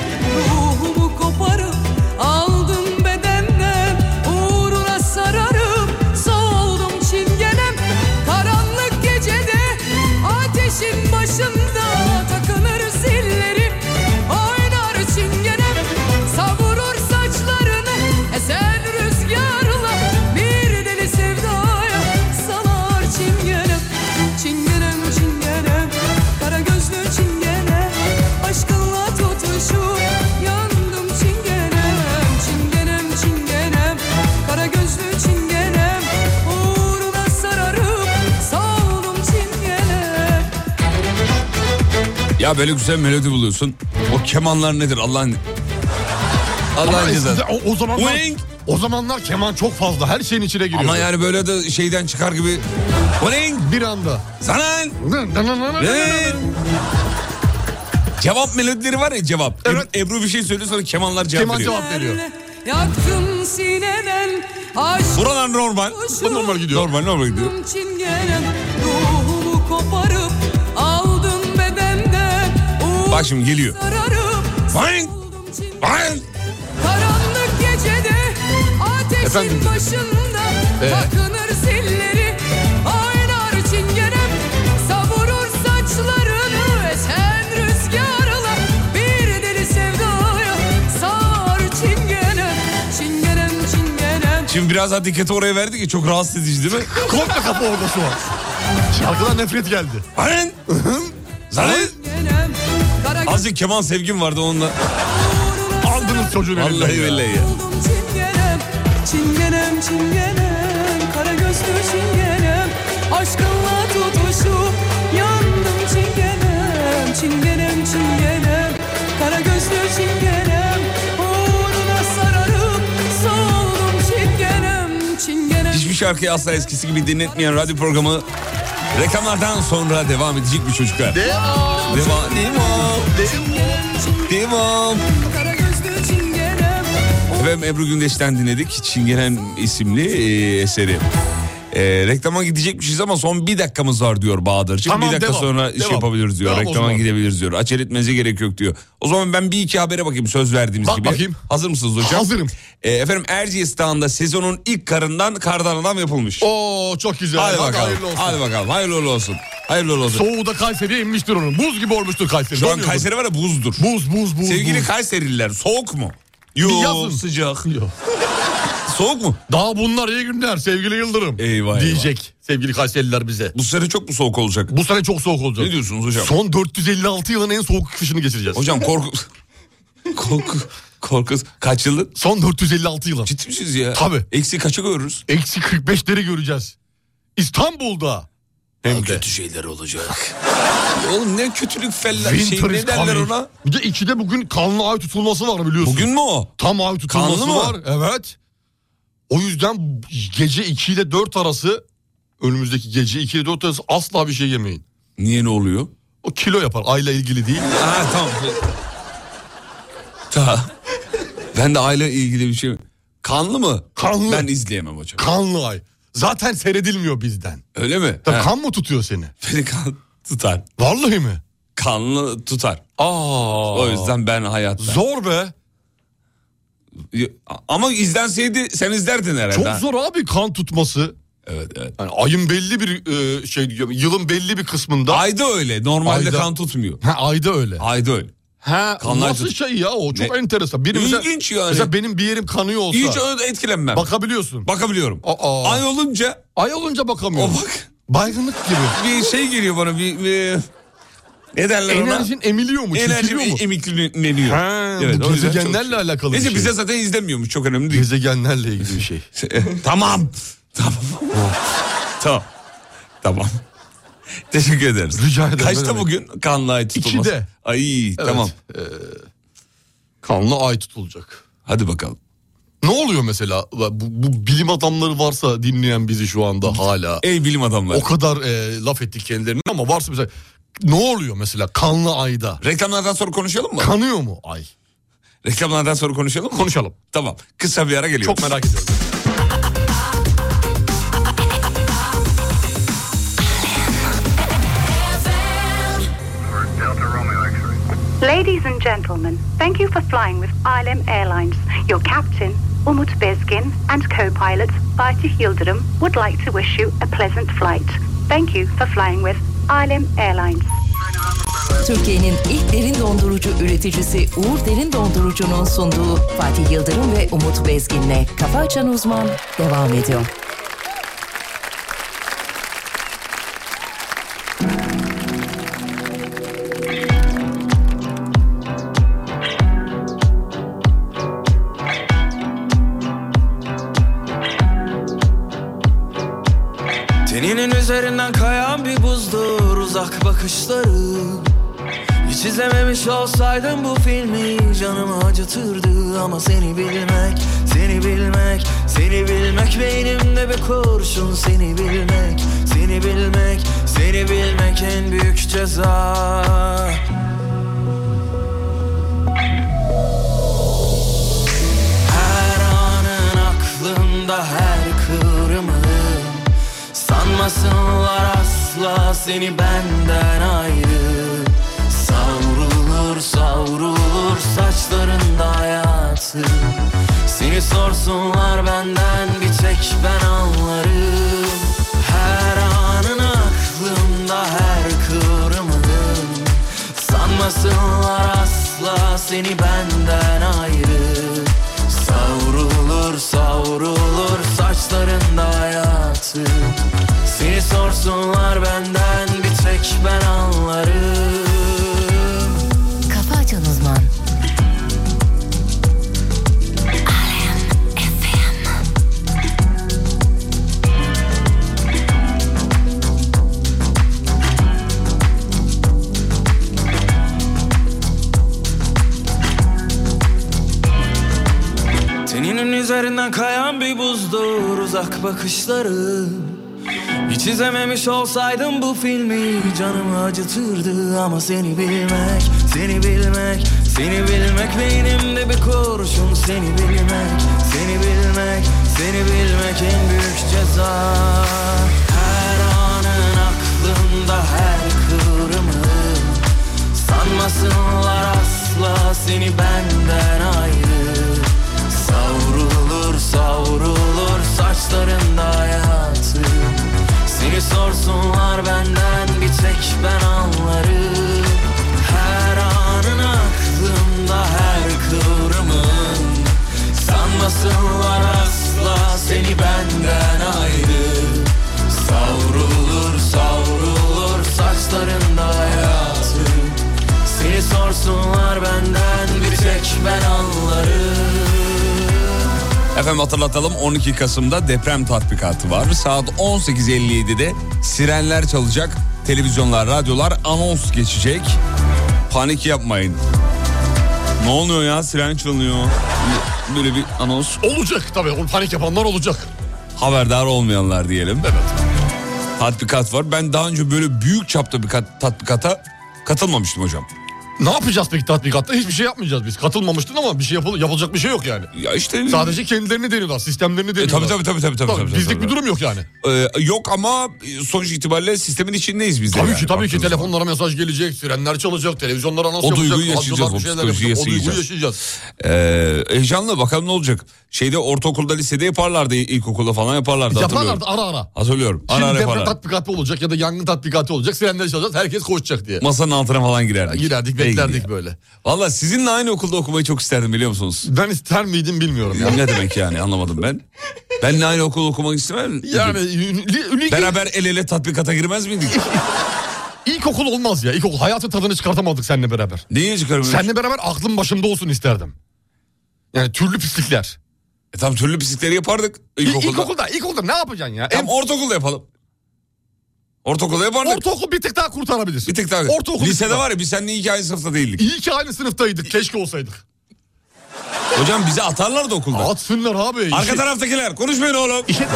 [SPEAKER 7] Ruhumu koparıp aldım bedenden Uğruna sararıp soldum çingenem Karanlık gecede ateşin başında Takılır zillerim oynar çingenem Savurur saçlarını esen rüzgarla Bir deli sevdaya salar çingenem Çingenem çingenem kara gözlü çingenem Aşkınla tutuşup yandım çingenem Çingenem çingenem kara gözlü çingenem Uğruna sararıp savundum çingenem
[SPEAKER 3] ya böyle güzel melodi buluyorsun. O kemanlar nedir Allah'ın... Allah'ın cezası.
[SPEAKER 4] O, o zamanlar
[SPEAKER 3] Wing.
[SPEAKER 4] o zamanlar keman çok fazla her şeyin içine giriyor.
[SPEAKER 3] Ama yani böyle de şeyden çıkar gibi... Ulan
[SPEAKER 4] bir anda.
[SPEAKER 3] Zanan! Lan! Cevap melodileri var ya cevap. Ebru-
[SPEAKER 4] Evet.
[SPEAKER 3] Ebru bir şey söylüyor sonra kemanlar cevap
[SPEAKER 4] Keman
[SPEAKER 3] veriyor.
[SPEAKER 4] cevap veriyor.
[SPEAKER 7] Yaktım sineden aşk
[SPEAKER 3] Buralar normal.
[SPEAKER 4] Bu normal gidiyor.
[SPEAKER 3] Normal normal gidiyor.
[SPEAKER 7] çingenem Ruhumu koparıp aldın bedenden Uğur
[SPEAKER 3] Bak şimdi geliyor.
[SPEAKER 7] sararıp
[SPEAKER 3] Vang!
[SPEAKER 7] soldum çingen-
[SPEAKER 3] Vang!
[SPEAKER 7] Karanlık gecede ateşin
[SPEAKER 4] Efendim?
[SPEAKER 7] başında
[SPEAKER 4] Ee?
[SPEAKER 7] Takınır zilleri oynar çingenem Savurur saçlarını esen rüzgarla Bir deli sevdaya sar çingenem Çingenem çingenem
[SPEAKER 3] Şimdi biraz daha dikkati oraya verdik ya çok rahatsız edici değil mi?
[SPEAKER 4] Komple kapı orada şu an. Şarkıdan nefret geldi.
[SPEAKER 3] Vang! Zanan!
[SPEAKER 7] çingenem Kara göz
[SPEAKER 3] Azıcık keman sevgim vardı onunla.
[SPEAKER 7] uğruna
[SPEAKER 4] Aldınız çocuğun elinden
[SPEAKER 3] Vallahi
[SPEAKER 4] ya.
[SPEAKER 3] billahi ya.
[SPEAKER 7] Oldum çingenem, çingenem, çingenem Kara gözlü çingenem Aşkınla tutuşup yandım çingenem Çingenem, çingenem Kara gözlü çingenem Uğruna sararım soldum çingenem Çingenem
[SPEAKER 3] Hiçbir şarkıyı asla eskisi gibi dinletmeyen radyo programı reklamlardan sonra şey- devam edecek mi çocuklar?
[SPEAKER 4] Devam.
[SPEAKER 3] Devam. Devam. Devam.
[SPEAKER 7] Kara gözlü çingenem
[SPEAKER 3] Efendim Ebru Gündeş'ten dinledik Çingenen isimli e, eseri. E, reklama gidecekmişiz ama son bir dakikamız var diyor Bahadır'cığım.
[SPEAKER 4] Tamam,
[SPEAKER 3] bir dakika
[SPEAKER 4] devam,
[SPEAKER 3] sonra iş
[SPEAKER 4] devam.
[SPEAKER 3] yapabiliriz diyor.
[SPEAKER 4] Tamam, o
[SPEAKER 3] reklama
[SPEAKER 4] zaman.
[SPEAKER 3] gidebiliriz diyor. Acele etmenize gerek yok diyor. O zaman ben bir iki habere bakayım söz verdiğimiz
[SPEAKER 4] Bak
[SPEAKER 3] gibi.
[SPEAKER 4] bakayım.
[SPEAKER 3] Hazır mısınız hocam?
[SPEAKER 4] Hazırım.
[SPEAKER 3] E, efendim Erciyes Dağı'nda sezonun ilk karından kardan adam yapılmış.
[SPEAKER 4] Oo çok güzel.
[SPEAKER 3] Hadi, bakalım.
[SPEAKER 4] hayırlı olsun.
[SPEAKER 3] Hadi bakalım. Hayırlı uğurlu olsun. Hayırlı uğurlu olsun.
[SPEAKER 4] Soğuğu da Kayseri'ye inmiştir onun. Buz gibi olmuştur Kayseri.
[SPEAKER 3] Şu an
[SPEAKER 4] Donuyordur.
[SPEAKER 3] Kayseri var ya buzdur.
[SPEAKER 4] Buz buz buz.
[SPEAKER 3] Sevgili
[SPEAKER 4] buz.
[SPEAKER 3] Kayserililer soğuk mu? Yok.
[SPEAKER 4] yazın.
[SPEAKER 3] sıcak.
[SPEAKER 4] Yok.
[SPEAKER 3] <laughs> Soğuk mu?
[SPEAKER 4] Daha bunlar iyi günler sevgili Yıldırım.
[SPEAKER 3] Eyvah,
[SPEAKER 4] Diyecek sevgili Kayseriler bize.
[SPEAKER 3] Bu sene çok mu soğuk olacak?
[SPEAKER 4] Bu sene çok soğuk olacak.
[SPEAKER 3] Ne diyorsunuz hocam?
[SPEAKER 4] Son 456 yılın en soğuk kışını geçireceğiz. <laughs>
[SPEAKER 3] Hocam korku... korku... Korku... Kaç yıldır?
[SPEAKER 4] Son 456 yılın.
[SPEAKER 3] Ciddi misiniz ya?
[SPEAKER 4] Tabii.
[SPEAKER 3] Eksi kaça görürüz?
[SPEAKER 4] Eksi 45'leri göreceğiz. İstanbul'da. Hem de.
[SPEAKER 3] şeyler olacak. Oğlum ne kötülük fellah şey
[SPEAKER 4] Winter is
[SPEAKER 3] ne derler
[SPEAKER 4] coming.
[SPEAKER 3] ona?
[SPEAKER 4] Bir de ikide bugün kanlı ay tutulması var biliyorsun.
[SPEAKER 3] Bugün mü o?
[SPEAKER 4] Tam ay tutulması
[SPEAKER 3] Kanlı mı?
[SPEAKER 4] var. Evet. O yüzden gece 2 ile 4 arası önümüzdeki gece 2 ile 4 arası asla bir şey yemeyin.
[SPEAKER 3] Niye ne oluyor?
[SPEAKER 4] O kilo yapar ayla ilgili değil.
[SPEAKER 3] Ha tamam. Ta. Ben de aile ilgili bir şey. Kanlı mı?
[SPEAKER 4] Kanlı.
[SPEAKER 3] Ben izleyemem hocam.
[SPEAKER 4] Kanlı ay. Zaten seyredilmiyor bizden.
[SPEAKER 3] Öyle mi?
[SPEAKER 4] Tabii
[SPEAKER 3] Ha.
[SPEAKER 4] kan mı tutuyor seni?
[SPEAKER 3] Beni kan tutar.
[SPEAKER 4] Vallahi mi?
[SPEAKER 3] Kanlı tutar.
[SPEAKER 4] Aa.
[SPEAKER 3] O yüzden ben hayatta.
[SPEAKER 4] Zor be.
[SPEAKER 3] Ama izlenseydi sen izlerdin herhalde.
[SPEAKER 4] Çok
[SPEAKER 3] ha?
[SPEAKER 4] zor abi kan tutması.
[SPEAKER 3] Evet evet.
[SPEAKER 4] Yani ayın belli bir e, şey diyorum, yılın belli bir kısmında.
[SPEAKER 3] Ayda öyle. Normalde
[SPEAKER 4] Ayda.
[SPEAKER 3] kan tutmuyor.
[SPEAKER 4] Ha, ayda öyle.
[SPEAKER 3] Ayda öyle.
[SPEAKER 4] Ha,
[SPEAKER 3] Kanlar
[SPEAKER 4] nasıl
[SPEAKER 3] tut-
[SPEAKER 4] şey ya o çok
[SPEAKER 3] Ne?
[SPEAKER 4] enteresan. Biri mesela-
[SPEAKER 3] İlginç yani.
[SPEAKER 4] Mesela benim bir yerim kanıyor olsa.
[SPEAKER 3] Hiç öyle etkilenmem.
[SPEAKER 4] bakabiliyorsun.
[SPEAKER 3] Bakabiliyorum.
[SPEAKER 4] Aa.
[SPEAKER 3] Ay olunca
[SPEAKER 4] Ay olunca
[SPEAKER 3] o
[SPEAKER 4] bakamıyorum.
[SPEAKER 3] bak
[SPEAKER 4] Baygınlık gibi.
[SPEAKER 3] bir şey geliyor bana bir, bir ne derler
[SPEAKER 4] Enerjin emiliyor mu?
[SPEAKER 3] ona? Enerji
[SPEAKER 4] çekiliyor mu?
[SPEAKER 3] emikleniyor.
[SPEAKER 4] Ha, bu
[SPEAKER 3] o yüzden
[SPEAKER 4] gezegenlerle
[SPEAKER 3] çok-
[SPEAKER 4] alakalı bir
[SPEAKER 3] Neyse
[SPEAKER 4] şey.
[SPEAKER 3] bize zaten izlemiyormuş çok önemli değil.
[SPEAKER 4] Gezegenlerle ilgili bir
[SPEAKER 3] <laughs>
[SPEAKER 4] şey.
[SPEAKER 3] tamam. Tamam. tamam. Tamam. Teşekkür ederiz.
[SPEAKER 4] Rica ederim, ne
[SPEAKER 3] Kaçta
[SPEAKER 4] demek.
[SPEAKER 3] bugün kanlı ay tutulması?
[SPEAKER 4] İkide.
[SPEAKER 3] Ay tamam.
[SPEAKER 4] Ee, Kanlı ay tutulacak.
[SPEAKER 3] Hadi bakalım.
[SPEAKER 4] Ne oluyor mesela? Bu, bu bilim adamları varsa dinleyen bizi şu anda hala.
[SPEAKER 3] Ey bilim adamları.
[SPEAKER 4] O kadar e, laf ettik kendilerine ama varsa mesela ne oluyor mesela kanlı ayda?
[SPEAKER 3] Reklamlardan sonra konuşalım mı?
[SPEAKER 4] Kanıyor mu ay?
[SPEAKER 3] Reklamlardan sonra konuşalım mı?
[SPEAKER 4] Konuşalım.
[SPEAKER 3] Tamam. Kısa bir ara geliyoruz.
[SPEAKER 4] Çok merak ediyorum.
[SPEAKER 8] Ladies and gentlemen, thank you for flying with ILM Airlines. Your captain, Umut Bezgin, and co-pilot Fatih Yildirim would like to wish you a pleasant flight. Thank you for flying with ILM Airlines.
[SPEAKER 1] Türkiye'nin ilk derin dondurucu üreticisi Uğur Derin Dondurucu'nun sunduğu Fatih Yıldırım ve Umut Bezgin'le Kafa Açan Uzman devam ediyor.
[SPEAKER 9] Teninin üzerinden kayan bir buzdur uzak bakışları Hiç izlememiş olsaydım bu filmi canımı acıtırdı Ama seni bilmek, seni bilmek, seni bilmek Beynimde bir kurşun seni bilmek, seni bilmek, seni bilmek en büyük ceza Her anın aklımda her kıvrımın Sanmasınlar asla seni benden ayrı Savrulur savrulur saçlarında hayatı Seni sorsunlar benden bir tek ben anlarım Her anın aklımda her kıvrımın Sanmasınlar asla seni benden ayrı Savrulur savrulur saçlarında hayatı Seni sorsunlar benden bir tek ben anlarım
[SPEAKER 1] Kafa Açan Uzman
[SPEAKER 9] Teninin üzerinden kayan bir buzdur uzak bakışları Hiç izlememiş olsaydım bu filmi canımı acıtırdı Ama seni bilmek, seni bilmek, seni bilmek Beynimde bir kurşun seni bilmek, seni bilmek, seni bilmek en büyük ceza Her anın aklımda her kıvrımın Sanmasınlar asla seni benden ayrı Savrulur savrulur saçlarında hayatı Seni sorsunlar benden bir tek ben anlarım Her anın aklımda her kıvrımın Sanmasınlar asla seni benden ayrı Savrulur savrulur saçlarında hayatı Seni sorsunlar benden bir tek ben anlarım
[SPEAKER 3] Efendim hatırlatalım 12 Kasım'da deprem tatbikatı var. Saat 18.57'de sirenler çalacak. Televizyonlar, radyolar anons geçecek. Panik yapmayın. Ne oluyor ya siren çalınıyor. Böyle bir anons.
[SPEAKER 4] Olacak tabii. O panik yapanlar olacak.
[SPEAKER 3] Haberdar olmayanlar diyelim.
[SPEAKER 4] Evet.
[SPEAKER 3] tatbikat var. Ben daha önce böyle büyük çapta bir kat- tatbikata katılmamıştım hocam.
[SPEAKER 4] Ne yapacağız peki tatbikatta? Hiçbir şey yapmayacağız biz. Katılmamıştın ama bir şey yapıl yapılacak bir şey yok yani.
[SPEAKER 3] Ya işte
[SPEAKER 4] Sadece kendilerini deniyorlar, sistemlerini
[SPEAKER 3] E,
[SPEAKER 4] deniyorlar.
[SPEAKER 3] tabii tabii tabii tabii tabii. tabii,
[SPEAKER 4] bizlik
[SPEAKER 3] tabii.
[SPEAKER 4] bir durum yok yani.
[SPEAKER 3] Ee, yok ama sonuç itibariyle sistemin içindeyiz biz de.
[SPEAKER 4] Tabii
[SPEAKER 3] yani
[SPEAKER 4] ki tabii ki
[SPEAKER 3] baktığınız zaman.
[SPEAKER 4] telefonlara mesaj gelecek, sirenler çalacak, televizyonlar anons
[SPEAKER 3] O
[SPEAKER 4] yapacak.
[SPEAKER 3] duyguyu
[SPEAKER 4] radyolar
[SPEAKER 3] yaşayacağız,
[SPEAKER 4] bir
[SPEAKER 3] o
[SPEAKER 4] şeyler
[SPEAKER 3] psikolojiyi
[SPEAKER 4] yapacak, O duyguyu
[SPEAKER 3] yaşayacağız.
[SPEAKER 4] yaşayacağız.
[SPEAKER 3] Ee, heyecanla bakalım ne olacak. Şeyde ortaokulda lisede yaparlardı ilkokulda falan yaparlardı
[SPEAKER 4] Yaparlardı
[SPEAKER 3] hatırlıyorum.
[SPEAKER 4] ara ara.
[SPEAKER 3] Hatırlıyorum. Ara
[SPEAKER 4] Şimdi
[SPEAKER 3] ara
[SPEAKER 4] deprem
[SPEAKER 3] yaparlar.
[SPEAKER 4] tatbikatı olacak ya da yangın tatbikatı olacak. Sirenler çalacağız, herkes koşacak diye.
[SPEAKER 3] Masanın altına falan girerdik.
[SPEAKER 4] Girerdik,
[SPEAKER 3] Neye
[SPEAKER 4] beklerdik
[SPEAKER 3] gidiyor?
[SPEAKER 4] böyle.
[SPEAKER 3] Valla sizinle aynı okulda okumayı çok isterdim biliyor musunuz?
[SPEAKER 4] Ben ister miydim bilmiyorum ya.
[SPEAKER 3] ne demek yani anlamadım ben. Benle aynı okul okumak istemem.
[SPEAKER 4] Yani ünlü- ünlü-
[SPEAKER 3] Beraber el ele tatbikata girmez miydik?
[SPEAKER 4] ilkokul olmaz ya. <laughs> İlkokul hayatın tadını çıkartamadık seninle beraber.
[SPEAKER 3] Niye çıkarım?
[SPEAKER 4] Seninle beraber aklım başımda olsun isterdim. Yani türlü pislikler.
[SPEAKER 3] E, tam türlü pislikleri yapardık
[SPEAKER 4] İlkokulda,
[SPEAKER 3] ilkokulda.
[SPEAKER 4] ilkokulda, ilkokulda ne yapacaksın ya?
[SPEAKER 3] Tam ortaokulda yapalım. Ortaokulda yapardık.
[SPEAKER 4] Ortaokul bir tık daha kurtarabilir.
[SPEAKER 3] bir tık daha.
[SPEAKER 4] Ortaokul bir tık
[SPEAKER 3] Lisede
[SPEAKER 4] daha.
[SPEAKER 3] var ya biz seninle iki aynı sınıfta değildik.
[SPEAKER 4] İyi ki aynı sınıftaydık. Keşke olsaydık.
[SPEAKER 3] Hocam bizi atarlardı okulda.
[SPEAKER 4] Atsınlar abi. İşe-
[SPEAKER 3] Arka taraftakiler konuşmayın oğlum.
[SPEAKER 4] İşe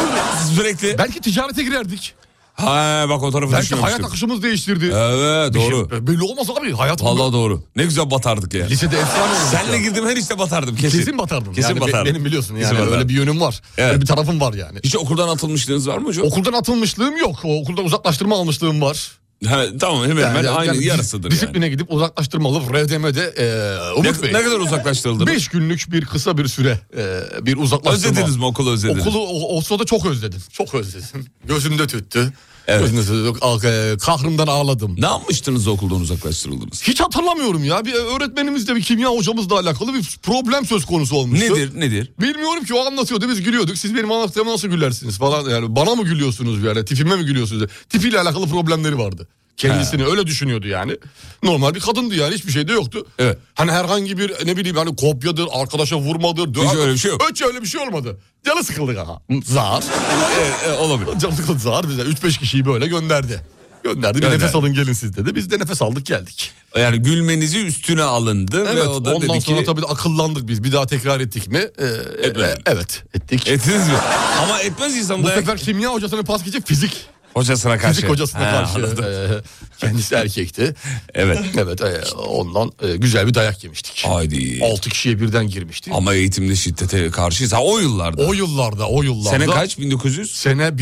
[SPEAKER 3] Sürekli.
[SPEAKER 4] Belki ticarete girerdik.
[SPEAKER 3] Ha bak o tarafı
[SPEAKER 4] Belki hayat
[SPEAKER 3] düşünmemiştim.
[SPEAKER 4] akışımız değiştirdi.
[SPEAKER 3] Evet
[SPEAKER 4] Bir şey-
[SPEAKER 3] doğru.
[SPEAKER 4] belli olmaz abi. Hayat
[SPEAKER 3] Vallahi doğru. Ne güzel batardık ya.
[SPEAKER 4] Lisede efsane olurdu.
[SPEAKER 3] Senle
[SPEAKER 4] ya.
[SPEAKER 3] girdim her işte batardım kesin.
[SPEAKER 4] kesin, batardım.
[SPEAKER 3] Kesin
[SPEAKER 4] yani be-
[SPEAKER 3] batardım.
[SPEAKER 4] Benim biliyorsun
[SPEAKER 3] Kesin
[SPEAKER 4] yani
[SPEAKER 3] batardım.
[SPEAKER 4] öyle bir yönüm var.
[SPEAKER 3] Evet.
[SPEAKER 4] Öyle bir tarafım var yani.
[SPEAKER 3] Hiç okuldan atılmışlığınız var mı hocam?
[SPEAKER 4] Okuldan atılmışlığım yok. O okuldan uzaklaştırma almışlığım var.
[SPEAKER 3] Ha, tamam hemen hemen
[SPEAKER 4] Yani-
[SPEAKER 3] aynı
[SPEAKER 4] yani
[SPEAKER 3] yarısıdır yani.
[SPEAKER 4] Disipline gidip uzaklaştırma alıp RDM'de e, Umut
[SPEAKER 3] Ne,
[SPEAKER 4] Bey.
[SPEAKER 3] ne kadar uzaklaştırıldı?
[SPEAKER 4] 5 günlük bir kısa bir süre e, bir uzaklaştırma.
[SPEAKER 3] Özlediniz mi okulu özlediniz?
[SPEAKER 4] Okulu o, o sırada çok özledim. Çok özledim. Gözümde tüttü.
[SPEAKER 3] Evet.
[SPEAKER 4] Gözümde tüttü. Ah, e, Kahrımdan ağladım.
[SPEAKER 3] Ne yapmıştınız da okuldan uzaklaştırıldınız?
[SPEAKER 4] Hiç hatırlamıyorum ya. Bir e, öğretmenimizle bir kimya hocamızla alakalı bir problem söz konusu olmuştu.
[SPEAKER 3] Nedir nedir?
[SPEAKER 4] Bilmiyorum ki o anlatıyordu biz gülüyorduk. Siz benim anlattığıma nasıl gülersiniz falan yani bana mı gülüyorsunuz yani tipime mi gülüyorsunuz? Tipiyle alakalı problemleri vardı. Kendisini öyle düşünüyordu yani. Normal bir kadındı yani hiçbir şey de yoktu.
[SPEAKER 3] Evet.
[SPEAKER 4] Hani herhangi bir ne bileyim hani kopyadır, arkadaşa vurmadır. döver-
[SPEAKER 3] Hiç öyle bir şey yok.
[SPEAKER 4] Hiç öyle bir şey olmadı. Canı sıkıldı ha. Zar.
[SPEAKER 3] E, e, olabilir.
[SPEAKER 4] Canı sıkıldı zar. Bize 3-5 kişiyi böyle gönderdi. Gönderdi bir
[SPEAKER 3] Gönderdi.
[SPEAKER 4] nefes alın gelin siz dedi. Biz de nefes aldık geldik.
[SPEAKER 3] Yani gülmenizi üstüne alındı
[SPEAKER 4] Evet
[SPEAKER 3] ve o da
[SPEAKER 4] ondan
[SPEAKER 3] dedi
[SPEAKER 4] sonra
[SPEAKER 3] ki...
[SPEAKER 4] tabii de akıllandık biz. Bir daha tekrar ettik mi? Ee,
[SPEAKER 3] Etmedik.
[SPEAKER 4] e- evet ettik.
[SPEAKER 3] Ettiniz mi? Ama etmez insan
[SPEAKER 4] Bu
[SPEAKER 3] dayak.
[SPEAKER 4] sefer kimya hocasına pas geçip fizik.
[SPEAKER 3] Hocasına karşı.
[SPEAKER 4] Fizik hocasına
[SPEAKER 3] Ha,
[SPEAKER 4] karşı.
[SPEAKER 3] anladım.
[SPEAKER 4] e, kendisi erkekti.
[SPEAKER 3] Evet.
[SPEAKER 4] Evet e, ondan e, güzel bir dayak yemiştik.
[SPEAKER 3] Haydi.
[SPEAKER 4] 6 kişiye birden girmişti.
[SPEAKER 3] Ama eğitimde şiddete karşıyız. Ha o yıllarda.
[SPEAKER 4] O yıllarda o yıllarda.
[SPEAKER 3] Sene kaç? 1996.
[SPEAKER 4] Sene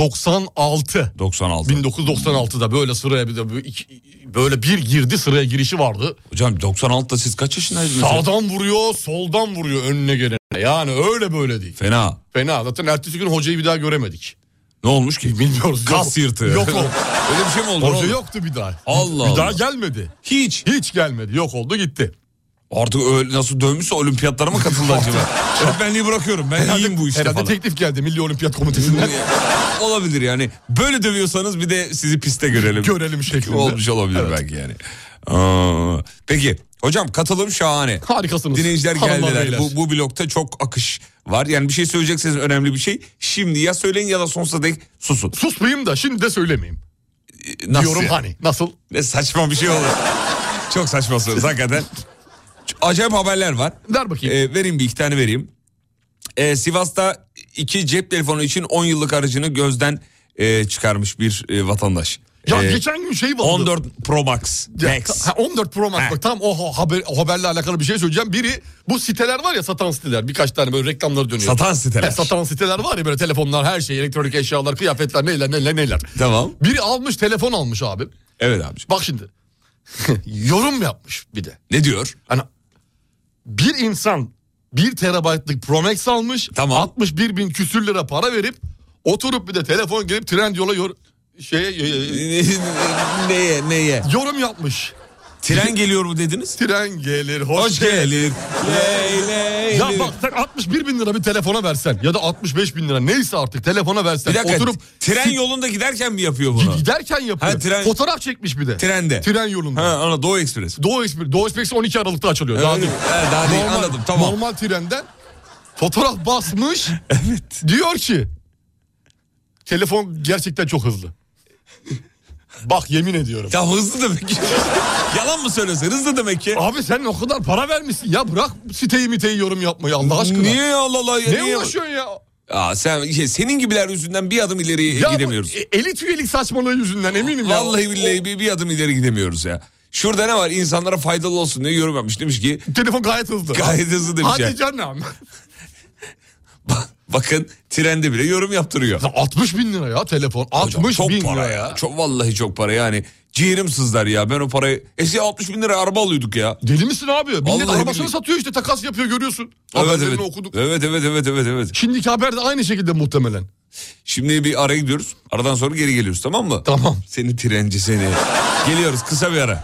[SPEAKER 4] 1996. 1996'da böyle sıraya bir de bu iki- böyle bir girdi sıraya girişi vardı.
[SPEAKER 3] Hocam 96'da siz kaç yaşındaydınız?
[SPEAKER 4] Sağdan vuruyor, soldan vuruyor önüne gelene. Yani öyle böyle değil.
[SPEAKER 3] Fena.
[SPEAKER 4] Fena. Zaten ertesi gün hocayı bir daha göremedik.
[SPEAKER 3] Ne olmuş ki?
[SPEAKER 4] Bilmiyoruz. yok.
[SPEAKER 3] Kas yırtığı.
[SPEAKER 4] Yok o.
[SPEAKER 3] <laughs> Öyle bir şey mi oldu? Ne
[SPEAKER 4] Hoca
[SPEAKER 3] oldu?
[SPEAKER 4] yoktu bir daha.
[SPEAKER 3] Allah
[SPEAKER 4] Bir daha
[SPEAKER 3] Allah.
[SPEAKER 4] gelmedi.
[SPEAKER 3] Hiç.
[SPEAKER 4] Hiç gelmedi. Yok oldu gitti.
[SPEAKER 3] Artık öyle nasıl dövmüşse olimpiyatlara mı
[SPEAKER 4] <laughs>
[SPEAKER 3] katıldı acaba? Öğretmenliği bırakıyorum. Ben iyiyim bu işte
[SPEAKER 4] Herhalde
[SPEAKER 3] falan.
[SPEAKER 4] teklif geldi Milli Olimpiyat Komitesi'nden.
[SPEAKER 3] <laughs> olabilir yani. Böyle dövüyorsanız bir de sizi piste görelim.
[SPEAKER 4] Görelim şeklinde.
[SPEAKER 3] Olmuş olabilir belki yani. Aa, peki hocam katılım şahane.
[SPEAKER 4] Harikasınız.
[SPEAKER 3] Dinleyiciler
[SPEAKER 4] Hanımlar,
[SPEAKER 3] geldiler.
[SPEAKER 4] beyler.
[SPEAKER 3] Bu, bu blokta çok akış var. Yani bir şey söyleyecekseniz önemli bir şey. Şimdi ya söyleyin ya da sonsuza dek susun.
[SPEAKER 4] Susmayayım da şimdi de söylemeyeyim.
[SPEAKER 3] Ee, Nasıl?
[SPEAKER 4] Diyorum
[SPEAKER 3] ya?
[SPEAKER 4] hani. Nasıl?
[SPEAKER 3] Ne saçma bir
[SPEAKER 4] <laughs>
[SPEAKER 3] şey olur. çok saçmasınız hakikaten. Ç- Acayip haberler var.
[SPEAKER 4] Ver bakayım.
[SPEAKER 3] Ee, vereyim bir iki tane vereyim. Ee, Sivas'ta iki cep telefonu için 10 yıllık aracını gözden e, çıkarmış bir e, vatandaş.
[SPEAKER 4] ya
[SPEAKER 3] Ee,
[SPEAKER 4] geçen gün şey vardı.
[SPEAKER 3] 14 Pro Max.
[SPEAKER 4] Ya,
[SPEAKER 3] Max.
[SPEAKER 4] ha, 14 Pro Max
[SPEAKER 3] Ha.
[SPEAKER 4] bak tam o ha- haber, o haberle alakalı bir şey söyleyeceğim. Biri bu siteler var ya satan siteler birkaç tane böyle reklamları dönüyor.
[SPEAKER 3] Satan siteler.
[SPEAKER 4] He, satan siteler var ya böyle telefonlar her şey elektronik eşyalar kıyafetler neyler neyler neyler.
[SPEAKER 3] Tamam.
[SPEAKER 4] Biri almış telefon almış abi.
[SPEAKER 3] Evet abiciğim.
[SPEAKER 4] Bak şimdi <laughs> yorum yapmış bir de.
[SPEAKER 3] Ne diyor?
[SPEAKER 4] Hani bir insan 1 terabaytlık Pro Max almış.
[SPEAKER 3] Tamam.
[SPEAKER 4] 61 bin küsür lira para verip oturup bir de telefon gelip Trendyol'a yor şeye, e, e,
[SPEAKER 3] <laughs> neye neye?
[SPEAKER 4] yorum yapmış.
[SPEAKER 3] Tren geliyor mu dediniz?
[SPEAKER 4] Tren gelir hoş,
[SPEAKER 3] Hoş gelir. Ley ley.
[SPEAKER 4] Ya
[SPEAKER 3] ley.
[SPEAKER 4] bak sen 61 bin lira bir telefona versen ya da 65 bin lira neyse artık telefona versen
[SPEAKER 3] Bir dakika.
[SPEAKER 4] oturup
[SPEAKER 3] tren
[SPEAKER 4] sit-
[SPEAKER 3] yolunda giderken mi yapıyor bunu?
[SPEAKER 4] giderken yapıyor.
[SPEAKER 3] Ha, tren-
[SPEAKER 4] Fotoğraf çekmiş bir de.
[SPEAKER 3] Trende.
[SPEAKER 4] Tren yolunda.
[SPEAKER 3] Ha ana Doğu Ekspres.
[SPEAKER 4] Doğu Ekspres, Doğu Ekspresi 12 Aralık'ta açılıyor.
[SPEAKER 3] Evet,
[SPEAKER 4] Daha değil.
[SPEAKER 3] evet, daha değil, anladım, tamam.
[SPEAKER 4] Normal trenden fotoğraf
[SPEAKER 3] <laughs>
[SPEAKER 4] basmış. evet. Diyor ki telefon gerçekten çok hızlı. Bak yemin ediyorum.
[SPEAKER 3] Ya hızlı demek ki. <laughs> Yalan mı söylüyorsun? Hızlı demek ki.
[SPEAKER 4] Abi sen o kadar para vermişsin ya bırak siteyi miteyi yorum yapmayı Allah aşkına.
[SPEAKER 3] Niye Allah Allah? Ya,
[SPEAKER 4] Neye
[SPEAKER 3] niye?
[SPEAKER 4] uğraşıyorsun ya?
[SPEAKER 3] Aa, sen işte senin gibiler yüzünden bir adım ileri
[SPEAKER 4] Ya bu
[SPEAKER 3] gidemiyoruz.
[SPEAKER 4] e- elit üyelik saçmalığı yüzünden eminim ya.
[SPEAKER 3] Vallahi billahi bir, bir adım ileri gidemiyoruz ya. Şurada ne var? İnsanlara faydalı olsun diye yorum yapmış. Demiş ki
[SPEAKER 4] Telefon gayet hızlı.
[SPEAKER 3] Gayet hızlı demiş
[SPEAKER 4] Hadi
[SPEAKER 3] ya.
[SPEAKER 4] canım.
[SPEAKER 3] "Bak- bakın trende bile yorum yaptırıyor.
[SPEAKER 4] Ya 60 bin lira ya telefon.
[SPEAKER 3] Hocam
[SPEAKER 4] 60
[SPEAKER 3] çok
[SPEAKER 4] bin
[SPEAKER 3] para
[SPEAKER 4] lira ya.
[SPEAKER 3] Çok vallahi çok para yani. Ciğerim sızlar ya. Ben o parayı eski 60 bin lira araba alıyorduk ya.
[SPEAKER 4] Deli misin abi? Millet
[SPEAKER 3] Vallahi
[SPEAKER 4] arabasını
[SPEAKER 3] billahi.
[SPEAKER 4] satıyor işte takas yapıyor görüyorsun.
[SPEAKER 3] Evet
[SPEAKER 4] Haberlerini
[SPEAKER 3] evet.
[SPEAKER 4] okuduk.
[SPEAKER 3] evet evet evet evet evet.
[SPEAKER 4] Şimdiki haber de aynı şekilde muhtemelen.
[SPEAKER 3] Şimdi bir ara gidiyoruz. Aradan sonra geri geliyoruz tamam mı?
[SPEAKER 4] Tamam.
[SPEAKER 3] Seni trenci seni. Geliyoruz kısa bir ara.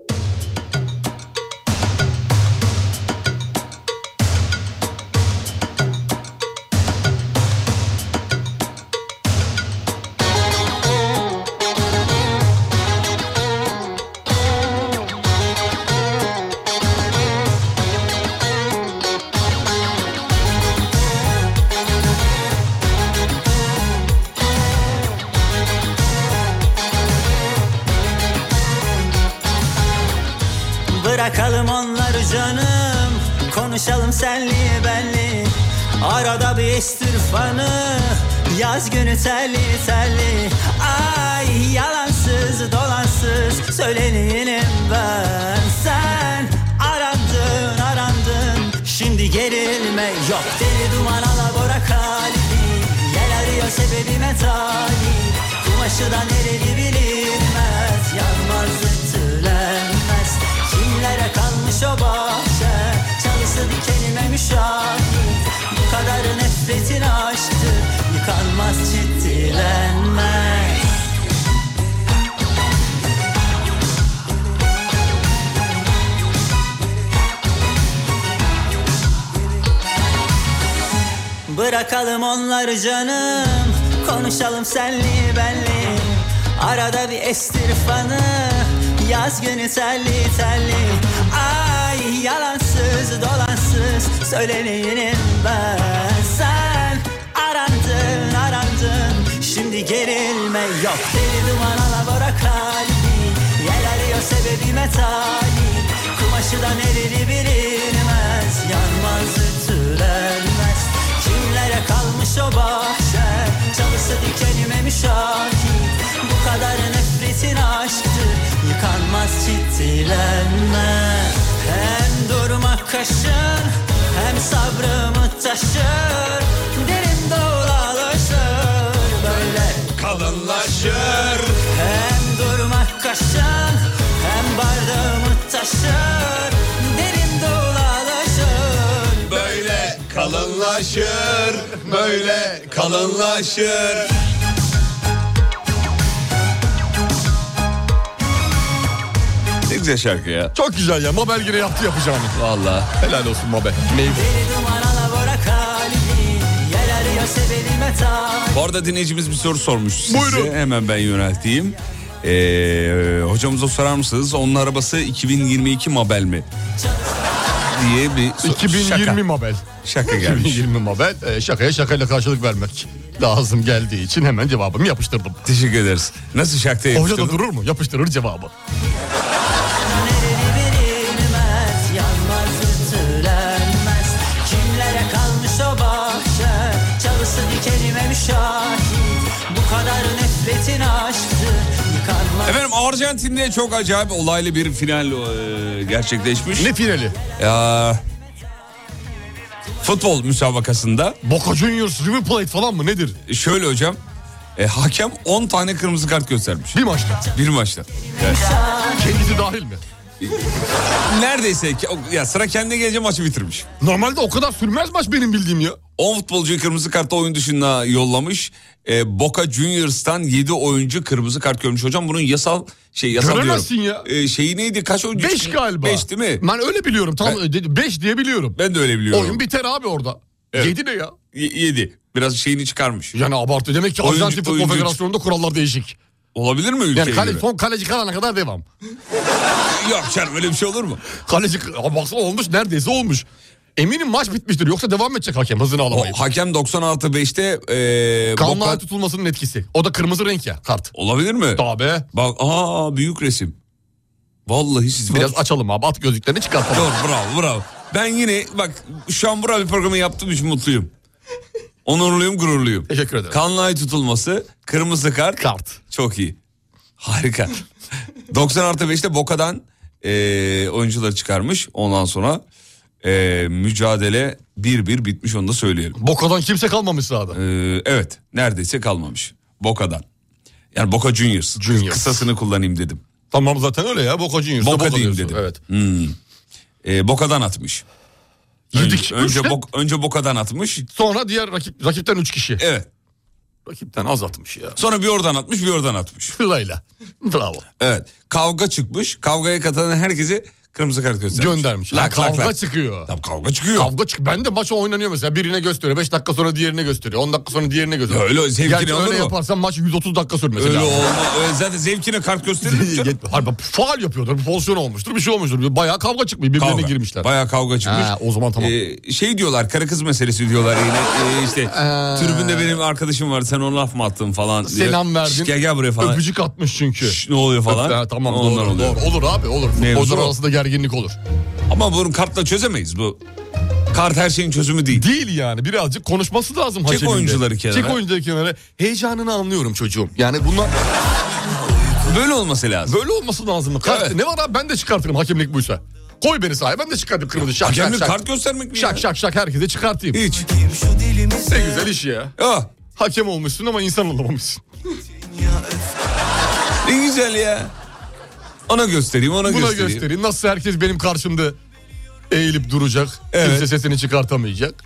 [SPEAKER 10] Bırakalım onları canım Konuşalım senli benli Arada bir estir fanı Yaz günü telli telli Ay yalansız dolansız Söyleneyim ben Sen arandın arandın Şimdi gerilme yok Deli duman alabora kalbi Yel arıyor sebebime talip Kumaşı da nereli bilinmez Yanmaz ütülenmez Kimlere kalmış o bahçe Çalısı dikenime müşahit Bu kadar nefretin aşktır Yıkanmaz ciddilenmez Bırakalım onları canım Konuşalım senli benli Arada bir estir fanı Yaz günü telli telli Ay yalansız dolansız Söyleneyim ben Sen arandın arandın Şimdi gerilme yok Deli duman alabora kalbi Yel arıyor sebebime talip Kumaşı da nereli bilinmez Yanmaz ütülenmez Kimlere kalmış o bahçe Çalısı dikenime müşahit Bu kadar nefretin aşktır Yıkanmaz çitilenme Hem durmak kaşın Hem sabrımı taşır Derin dolalaşır Böyle
[SPEAKER 3] Kalınlaşır.
[SPEAKER 10] hem durmak kaşan hem bardağımı taşır Derin dolaşır
[SPEAKER 3] Böyle kalınlaşır. Böyle kalınlaşır. Ne güzel şarkı ya.
[SPEAKER 4] Çok güzel ya. Mabel yine yaptı yapacağını.
[SPEAKER 3] Vallahi.
[SPEAKER 4] Helal olsun Mabel.
[SPEAKER 10] Deli duman alabora kalbi Yer arıyor sebebime tabi
[SPEAKER 3] Bu arada dinleyicimiz bir soru sormuş size.
[SPEAKER 4] Buyurun.
[SPEAKER 3] Hemen ben yönelteyim. Ee, hocamıza sorar mısınız? Onun arabası 2022 Mabel mi? diye bir so-
[SPEAKER 4] 2020
[SPEAKER 3] şaka.
[SPEAKER 4] Mabel.
[SPEAKER 3] Şaka gelmiş.
[SPEAKER 4] 2020 Mabel. E, şakaya şakayla karşılık vermek lazım geldiği için hemen cevabımı yapıştırdım.
[SPEAKER 3] Teşekkür ederiz. Nasıl şakta
[SPEAKER 4] Hoca da
[SPEAKER 3] yapıştırdın?
[SPEAKER 4] durur mu? Yapıştırır cevabı.
[SPEAKER 10] Nereli bilinmez Yanmaz ütülenmez Kimlere kalmış o bahçe Çalısı dikenime müşahit Bu kadar nefretin aşktır Yıkanmaz
[SPEAKER 3] Efendim Arjantin'de çok acayip olaylı bir final e, gerçekleşmiş.
[SPEAKER 4] Ne finali?
[SPEAKER 3] Ya, futbol müsabakasında
[SPEAKER 4] Boca Juniors River Plate falan mı nedir?
[SPEAKER 3] şöyle hocam e, hakem 10 tane kırmızı kart göstermiş
[SPEAKER 4] Bir maçta.
[SPEAKER 3] bir maçta. Evet.
[SPEAKER 4] Kendisi dahil mi?
[SPEAKER 3] Neredeyse ke- ya sıra kendine gelince maçı bitirmiş.
[SPEAKER 4] Normalde o kadar sürmez maç benim bildiğim ya.
[SPEAKER 3] 10 futbolcuyu kırmızı kartla oyun dışına yollamış. E, Boca Juniors'tan 7 oyuncu kırmızı kart görmüş hocam. Bunun yasal şey yasal
[SPEAKER 4] Göremezsin
[SPEAKER 3] diyorum. E, şeyi neydi? Kaç oyuncu?
[SPEAKER 4] 5 galiba.
[SPEAKER 3] 5 değil mi?
[SPEAKER 4] Ben öyle biliyorum. Tam 5 diye biliyorum.
[SPEAKER 3] Ben de öyle biliyorum.
[SPEAKER 4] Oyun biter abi orada.
[SPEAKER 3] Evet.
[SPEAKER 4] 7 ne ya?
[SPEAKER 3] 7. Biraz şeyini çıkarmış.
[SPEAKER 4] Yani abartı. Demek ki
[SPEAKER 3] Oyuncu-
[SPEAKER 4] Arjantin Futbol
[SPEAKER 3] oyuncu-
[SPEAKER 4] Federasyonu'nda kurallar değişik.
[SPEAKER 3] Olabilir mi ülke
[SPEAKER 4] Yani kale,
[SPEAKER 3] göre?
[SPEAKER 4] son kaleci kalana kadar devam.
[SPEAKER 3] Yok canım öyle bir şey olur mu?
[SPEAKER 4] Kaleci Ya baksana olmuş neredeyse olmuş. Eminim maç bitmiştir yoksa devam edecek hakem hızını
[SPEAKER 3] O,
[SPEAKER 4] alamayıp.
[SPEAKER 3] hakem 96-5'te ee,
[SPEAKER 4] Kanlara
[SPEAKER 3] Boka-
[SPEAKER 4] tutulmasının etkisi. O da <laughs> kırmızı renk ya kart.
[SPEAKER 3] Olabilir mi?
[SPEAKER 4] Abi
[SPEAKER 3] Bak aa büyük resim. Vallahi siz
[SPEAKER 4] biraz açalım abi at gözlüklerini çıkartalım.
[SPEAKER 3] Dur bravo bravo. Ben yine bak şu an bravo bir programı yaptığım için mutluyum. Onurluyum gururluyum.
[SPEAKER 4] Teşekkür ederim.
[SPEAKER 3] Kanlı ay tutulması, kırmızı kart.
[SPEAKER 4] Kart.
[SPEAKER 3] Çok iyi. Harika. 90 artı 5'te Boka'dan eee oyuncuları çıkarmış. Ondan sonra eee, e, mücadele 1-1 bitmiş onu da söyleyelim.
[SPEAKER 4] Bokadan kimse kalmamış sahada.
[SPEAKER 3] Ee, evet neredeyse kalmamış. Boka'dan. Yani Boca Juniors.
[SPEAKER 4] Juniors.
[SPEAKER 3] Kısasını kullanayım dedim.
[SPEAKER 4] Tamam zaten öyle ya Boka Juniors'a
[SPEAKER 3] Boca
[SPEAKER 4] Boka
[SPEAKER 3] diyeyim
[SPEAKER 4] diyorsun.
[SPEAKER 3] dedim.
[SPEAKER 4] Evet.
[SPEAKER 3] Ee, Boka'dan atmış.
[SPEAKER 4] Yedik.
[SPEAKER 3] Önce, önce,
[SPEAKER 4] Üçten,
[SPEAKER 3] Bok- önce Boka'dan atmış.
[SPEAKER 4] Sonra diğer rakip, rakipten 3 kişi.
[SPEAKER 3] Evet.
[SPEAKER 4] Rakipten az atmış ya.
[SPEAKER 3] Sonra bir oradan atmış bir oradan atmış.
[SPEAKER 4] <laughs> Sırayla. Bravo.
[SPEAKER 3] Evet. Kavga çıkmış. Kavgaya katılan herkese kırmızı kart göstermiş.
[SPEAKER 4] Göndermiş.
[SPEAKER 3] Lak,
[SPEAKER 4] Ha,
[SPEAKER 3] lak,
[SPEAKER 4] kavga
[SPEAKER 3] lak.
[SPEAKER 4] çıkıyor.
[SPEAKER 3] Tam kavga çıkıyor.
[SPEAKER 4] Kavga çık. Ben de maç oynanıyor mesela. Birine gösteriyor. 5 dakika sonra diğerine gösteriyor. 10 dakika sonra diğerine gösteriyor.
[SPEAKER 3] Ya öyle zevkine
[SPEAKER 4] Gerçi
[SPEAKER 3] olur
[SPEAKER 4] öyle
[SPEAKER 3] mu?
[SPEAKER 4] yaparsan maç 130 dakika sürmesi
[SPEAKER 3] Öyle
[SPEAKER 4] lazım. <laughs>
[SPEAKER 3] olma. Öyle zaten zevkine kart gösterir mi canım?
[SPEAKER 4] Yetmiyor. Harbi faal yapıyordur. Bir pozisyon olmuştur. Bir şey olmuştur. Bayağı kavga çıkmıyor. Birbirine
[SPEAKER 3] Kavga.
[SPEAKER 4] girmişler.
[SPEAKER 3] Bayağı kavga çıkmış.
[SPEAKER 4] Ha, o zaman tamam.
[SPEAKER 3] Ee, şey diyorlar karı kız meselesi diyorlar yine. Ee, işte tribünde benim arkadaşım var sen ona laf mı attın falan. diye.
[SPEAKER 4] Selam verdin.
[SPEAKER 3] Şş, Gel gel buraya falan.
[SPEAKER 4] Öpücük atmış çünkü.
[SPEAKER 3] Şş, ne oluyor falan.
[SPEAKER 4] Ha, tamam
[SPEAKER 3] Ondan
[SPEAKER 4] doğru,
[SPEAKER 3] oluyor.
[SPEAKER 4] doğru. Olur abi olur.
[SPEAKER 3] Mevzu
[SPEAKER 4] Futbolcular
[SPEAKER 3] o.
[SPEAKER 4] arasında gerginlik olur.
[SPEAKER 3] Ama bunu kartla çözemeyiz bu. Kart her şeyin çözümü değil.
[SPEAKER 4] Değil yani birazcık konuşması lazım haşerinde.
[SPEAKER 3] oyuncuları kenara.
[SPEAKER 4] Çek oyuncuları kenara. Heyecanını anlıyorum çocuğum. Yani bunlar
[SPEAKER 3] <laughs> Böyle olması lazım.
[SPEAKER 4] böyle olması lazım. Kart,
[SPEAKER 3] Evet.
[SPEAKER 4] Ne var abi ben de çıkartırım hakemlik buysa. Koy beni sahaya ben de çıkartayım kırmızı şak şak
[SPEAKER 3] Hakemlik
[SPEAKER 4] şak.
[SPEAKER 3] kart göstermek mi
[SPEAKER 4] Şak
[SPEAKER 3] ya?
[SPEAKER 4] şak şak herkese çıkartayım.
[SPEAKER 3] Hiç.
[SPEAKER 4] Ne güzel iş ya.
[SPEAKER 3] Ah,
[SPEAKER 4] Hakem olmuşsun ama insan olamamışsın.
[SPEAKER 3] ne güzel ya. Ona göstereyim ona
[SPEAKER 4] Buna
[SPEAKER 3] göstereyim.
[SPEAKER 4] göstereyim. Nasıl herkes benim karşımda eğilip duracak.
[SPEAKER 3] Evet.
[SPEAKER 4] Kimse sesini çıkartamayacak.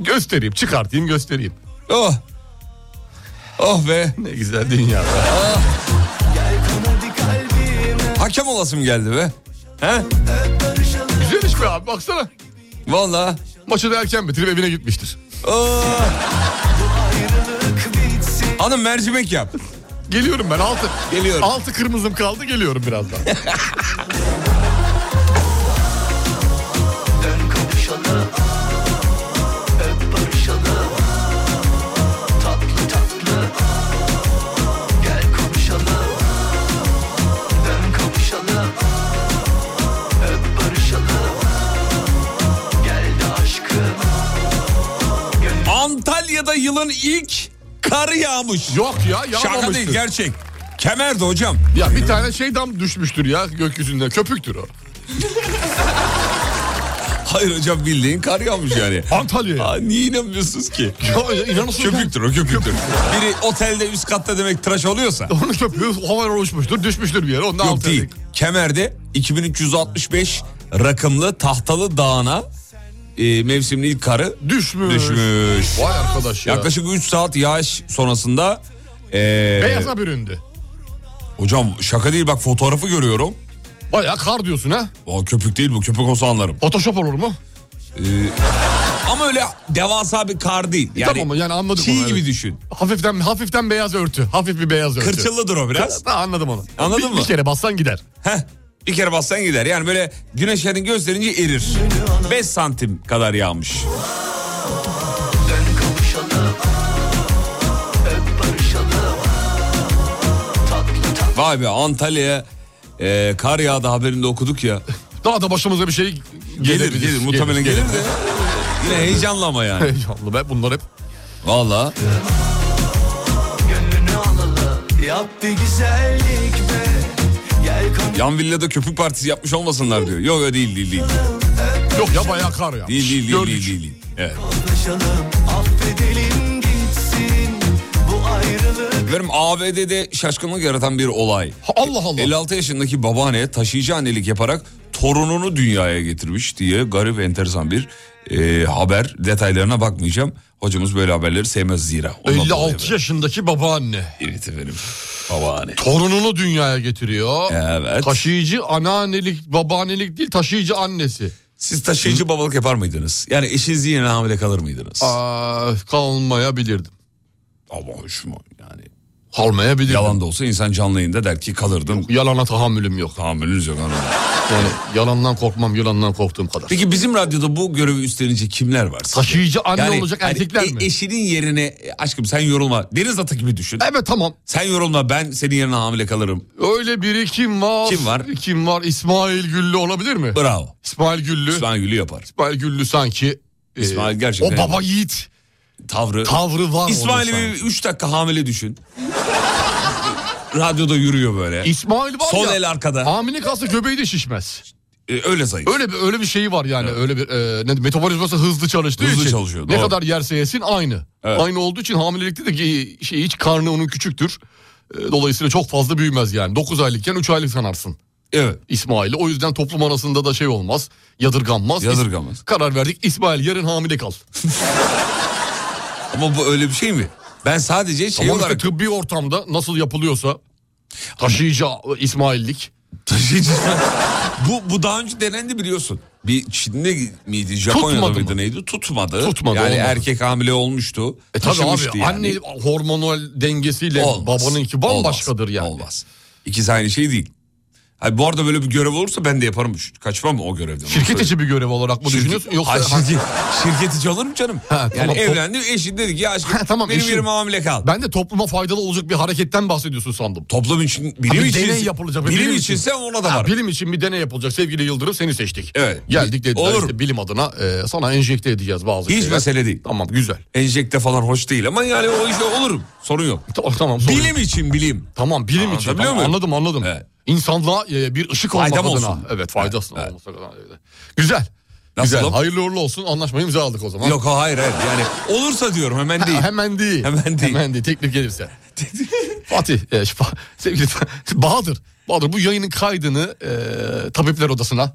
[SPEAKER 4] Göstereyim, çıkartayım, göstereyim.
[SPEAKER 3] Oh. Oh be.
[SPEAKER 4] Ne güzel dünya. be.
[SPEAKER 3] Hakem olasım geldi be. He?
[SPEAKER 4] Güzel iş be abi baksana.
[SPEAKER 3] Valla.
[SPEAKER 4] Maçı da erken bitirip evine gitmiştir.
[SPEAKER 3] Oh. Hanım mercimek yap.
[SPEAKER 4] Geliyorum ben altı.
[SPEAKER 3] Geliyorum.
[SPEAKER 4] Altı kırmızım kaldı geliyorum birazdan.
[SPEAKER 3] Antalya'da yılın ilk kar yağmış.
[SPEAKER 4] Yok ya
[SPEAKER 3] <laughs> Şaka değil
[SPEAKER 4] yağmamıştır.
[SPEAKER 3] gerçek. Kemerdi hocam.
[SPEAKER 4] ya bir tane şey dam düşmüştür ya gökyüzünde. Köpüktür o.
[SPEAKER 3] Hayır hocam bildiğin kar
[SPEAKER 4] <laughs>
[SPEAKER 3] yağmış yani.
[SPEAKER 4] Antalya.
[SPEAKER 3] Aa, niye inanmıyorsunuz ki?
[SPEAKER 4] Ya, ya inanılsın.
[SPEAKER 3] Köpüktür o köpüktür. Biri otelde üst katta demek tıraş
[SPEAKER 4] <laughs>
[SPEAKER 3] oluyorsa.
[SPEAKER 4] Onun köpüğü havaya uçmuştur, düşmüştür bir yere. Ondan
[SPEAKER 3] Yok
[SPEAKER 4] altı
[SPEAKER 3] değil.
[SPEAKER 4] erkek.
[SPEAKER 3] Kemer'de 2365 rakımlı tahtalı dağına e, mevsimin ilk karı
[SPEAKER 4] Düşmüş.
[SPEAKER 3] düşmüş.
[SPEAKER 4] Vay arkadaş ya.
[SPEAKER 3] Yaklaşık 3 saat yağış sonrasında e,
[SPEAKER 4] Beyaza büründü.
[SPEAKER 3] hocam şaka değil bak fotoğrafı görüyorum.
[SPEAKER 4] Bayağı kar diyorsun ha.
[SPEAKER 3] O köpük değil bu köpük olsa anlarım. Ee,
[SPEAKER 4] Photoshop olur mu?
[SPEAKER 3] Ama öyle devasa bir kar değil. Yani
[SPEAKER 4] E, tamam yani anladık
[SPEAKER 3] çiğ
[SPEAKER 4] onu,
[SPEAKER 3] gibi
[SPEAKER 4] evet.
[SPEAKER 3] düşün.
[SPEAKER 4] Hafiften hafiften beyaz örtü. Hafif bir beyaz örtü.
[SPEAKER 3] Kırçıllıdır o biraz.
[SPEAKER 4] Ha, anladım onu.
[SPEAKER 3] Anladın
[SPEAKER 4] bir,
[SPEAKER 3] mı?
[SPEAKER 4] Bir kere bassan gider.
[SPEAKER 3] Heh, bir kere bassan gider. Yani böyle güneşlerin gösterince erir. 5 santim kadar yağmış. Vay be Antalya'ya e, kar yağdı haberinde okuduk ya.
[SPEAKER 4] Daha da başımıza bir şey
[SPEAKER 3] Gelir gelir muhtemelen gelir, de. Yine heyecanlı ama yani.
[SPEAKER 4] Heyecanlı be bunlar hep.
[SPEAKER 3] Valla.
[SPEAKER 6] Yap bir güzellik be Gel kanı
[SPEAKER 3] Yan villada köpük partisi yapmış olmasınlar diyor. Yok öyle değil değil değil.
[SPEAKER 4] Yok ya bayağı kar ya.
[SPEAKER 3] Değil değil değil
[SPEAKER 4] Gördük.
[SPEAKER 3] değil. değil, değil. Evet.
[SPEAKER 6] taşalım Affedelim gitsin Bu ayrılık
[SPEAKER 3] Efendim ABD'de şaşkınlık yaratan bir olay.
[SPEAKER 4] Ha, Allah Allah.
[SPEAKER 3] 56 yaşındaki babaanne taşıyıcı annelik yaparak torununu dünyaya getirmiş diye garip enteresan bir e, haber. Detaylarına bakmayacağım. Hocamız böyle haberleri sevmez zira. Ondan dolayı
[SPEAKER 4] 56
[SPEAKER 3] böyle.
[SPEAKER 4] yaşındaki babaanne.
[SPEAKER 3] Evet efendim. Babaanne.
[SPEAKER 4] Torununu dünyaya getiriyor.
[SPEAKER 3] Evet.
[SPEAKER 4] Taşıyıcı anaannelik, babaannelik değil taşıyıcı annesi.
[SPEAKER 3] Siz taşıyıcı babalık yapar mıydınız? Yani eşiniz yine hamile kalır mıydınız?
[SPEAKER 4] Aa, kalmayabilirdim.
[SPEAKER 3] Ama hoş mu yani?
[SPEAKER 4] Kalmayabilir.
[SPEAKER 3] Yalan da olsa insan canlı yayında der ki kalırdım.
[SPEAKER 4] Yalana tahammülüm yok.
[SPEAKER 3] Tahammülünüz yok anam.
[SPEAKER 4] Yani yalandan korkmam, yalandan korktuğum kadar.
[SPEAKER 3] Peki bizim radyoda bu görevi üstlenecek kimler var? sizce?
[SPEAKER 4] Taşıyıcı anne
[SPEAKER 3] Yani
[SPEAKER 4] olacak
[SPEAKER 3] hani
[SPEAKER 4] erkekler
[SPEAKER 3] e-
[SPEAKER 4] mi?
[SPEAKER 3] Eşinin yerine e, aşkım sen yorulma. Deniz atı gibi düşün.
[SPEAKER 4] evet tamam.
[SPEAKER 3] Sen yorulma ben senin yerine hamile kalırım.
[SPEAKER 4] Öyle biri kim var?
[SPEAKER 3] Kim var?
[SPEAKER 4] Kim var? İsmail Güllü olabilir mi?
[SPEAKER 3] Bravo.
[SPEAKER 4] İsmail Güllü. İsmail,
[SPEAKER 3] İsmail Gül'ü yapar.
[SPEAKER 4] Güllü sanki. e,
[SPEAKER 3] İsmail gerçekten-
[SPEAKER 4] O baba yiğit
[SPEAKER 3] Tavrı.
[SPEAKER 4] tavrı var.
[SPEAKER 3] İsmail'i
[SPEAKER 4] orada
[SPEAKER 3] bir
[SPEAKER 4] sanki.
[SPEAKER 3] 3 dakika hamile düşün. Radyoda yürüyor böyle.
[SPEAKER 4] İsmail var
[SPEAKER 3] Sol
[SPEAKER 4] ya.
[SPEAKER 3] el arkada.
[SPEAKER 4] Hamile kalsa göbeği de şişmez.
[SPEAKER 3] E, öyle zayıf.
[SPEAKER 4] Öyle bir öyle bir şeyi var yani. Öyle bir e, ne, metabolizması hızlı çalıştığı
[SPEAKER 3] Hızlı
[SPEAKER 4] için.
[SPEAKER 3] çalışıyor,
[SPEAKER 4] Ne
[SPEAKER 3] doğru.
[SPEAKER 4] kadar yerse yesin aynı.
[SPEAKER 3] Evet.
[SPEAKER 4] Aynı olduğu için hamilelikte de ge- şey iç karnı onun küçüktür. E, Dolayısıyla çok fazla büyümez yani. 9 aylıkken 3 aylık sanarsın.
[SPEAKER 3] Evet.
[SPEAKER 4] İsmail'i. O yüzden toplum arasında da şey olmaz. Yadırganmaz.
[SPEAKER 3] Yadırganmaz.
[SPEAKER 4] İs- Karar verdik. İsmail yarın hamile kal.
[SPEAKER 3] <laughs> Ama bu öyle bir şey mi? Ben sadece şey
[SPEAKER 4] Ama işte
[SPEAKER 3] olarak
[SPEAKER 4] tıbbi ortamda nasıl yapılıyorsa taşıyıcı İsmaillik.
[SPEAKER 3] taşıyıcı. <laughs> bu bu daha önce denendi biliyorsun. Bir Çin'de miydi, Japonya'da
[SPEAKER 4] Tutmadı
[SPEAKER 3] mıydı
[SPEAKER 4] mı?
[SPEAKER 3] neydi? Tutmadı.
[SPEAKER 4] Tutmadı,
[SPEAKER 3] Yani
[SPEAKER 4] olmadı.
[SPEAKER 3] erkek hamile olmuştu.
[SPEAKER 4] E tabii abi
[SPEAKER 3] Taşımıştı yani.
[SPEAKER 4] anne hormonal dengesiyle
[SPEAKER 3] Olmaz.
[SPEAKER 4] babanınki bambaşkadır
[SPEAKER 3] Olmaz.
[SPEAKER 4] yani.
[SPEAKER 3] Olmaz. İkisi aynı şey değil. Hayır, bu arada böyle bir görev olursa ben de yaparım. Kaçmam o görevden.
[SPEAKER 4] Şirket içi bir görev olarak mı düşünüyorsun? Yoksa
[SPEAKER 3] Hayır, şirket, <laughs> şirket içi olur mu canım?
[SPEAKER 4] Ha,
[SPEAKER 3] yani
[SPEAKER 4] tamam, top-
[SPEAKER 3] evlendim eşin dedi ki ya aşkım
[SPEAKER 4] Ha, tamam,
[SPEAKER 3] benim
[SPEAKER 4] eşin.
[SPEAKER 3] yerime hamile kal.
[SPEAKER 4] ben de topluma faydalı olacak bir hareketten bahsediyorsun sandım.
[SPEAKER 3] Toplum için bilim
[SPEAKER 4] Ha, bir
[SPEAKER 3] için
[SPEAKER 4] deney yapılacak. bir
[SPEAKER 3] bilim, içinse ona da
[SPEAKER 4] Ha,
[SPEAKER 3] var.
[SPEAKER 4] bilim için bir deney yapılacak. Sevgili Yıldırım seni seçtik.
[SPEAKER 3] Evet.
[SPEAKER 4] Geldik dediler
[SPEAKER 3] Olur.
[SPEAKER 4] işte bilim adına e, sana enjekte edeceğiz bazı
[SPEAKER 3] Hiç
[SPEAKER 4] şeyler.
[SPEAKER 3] mesele değil.
[SPEAKER 4] Tamam güzel.
[SPEAKER 3] Enjekte falan hoş değil ama yani o işte olurum. Sorun yok.
[SPEAKER 4] Tamam tamam. sorun yok.
[SPEAKER 3] Bilim için bilim.
[SPEAKER 4] Tamam bilim
[SPEAKER 3] Anlatabiliyor
[SPEAKER 4] için. Tamam,
[SPEAKER 3] muyum?
[SPEAKER 4] anladım anladım.
[SPEAKER 3] Evet.
[SPEAKER 4] İnsanlığa e, bir ışık olmak
[SPEAKER 3] Faydam
[SPEAKER 4] adına.
[SPEAKER 3] olsun.
[SPEAKER 4] Evet faydasın.
[SPEAKER 3] Evet.
[SPEAKER 4] olması adına. Evet. Güzel.
[SPEAKER 3] Nasıl
[SPEAKER 4] Güzel.
[SPEAKER 3] oğlum?
[SPEAKER 4] Hayırlı uğurlu olsun. Anlaşmayı imzaladık o zaman.
[SPEAKER 3] Yok hayır hayır yani olursa diyorum hemen değil.
[SPEAKER 4] Ha, hemen değil.
[SPEAKER 3] Hemen değil.
[SPEAKER 4] Hemen değil. Teklif
[SPEAKER 3] <laughs>
[SPEAKER 4] gelirse. Fatih, e, şu Fa- sevgili Fa- Bahadır. Bahadır bu yayının kaydını e, tabipler
[SPEAKER 3] <laughs>
[SPEAKER 4] odasına.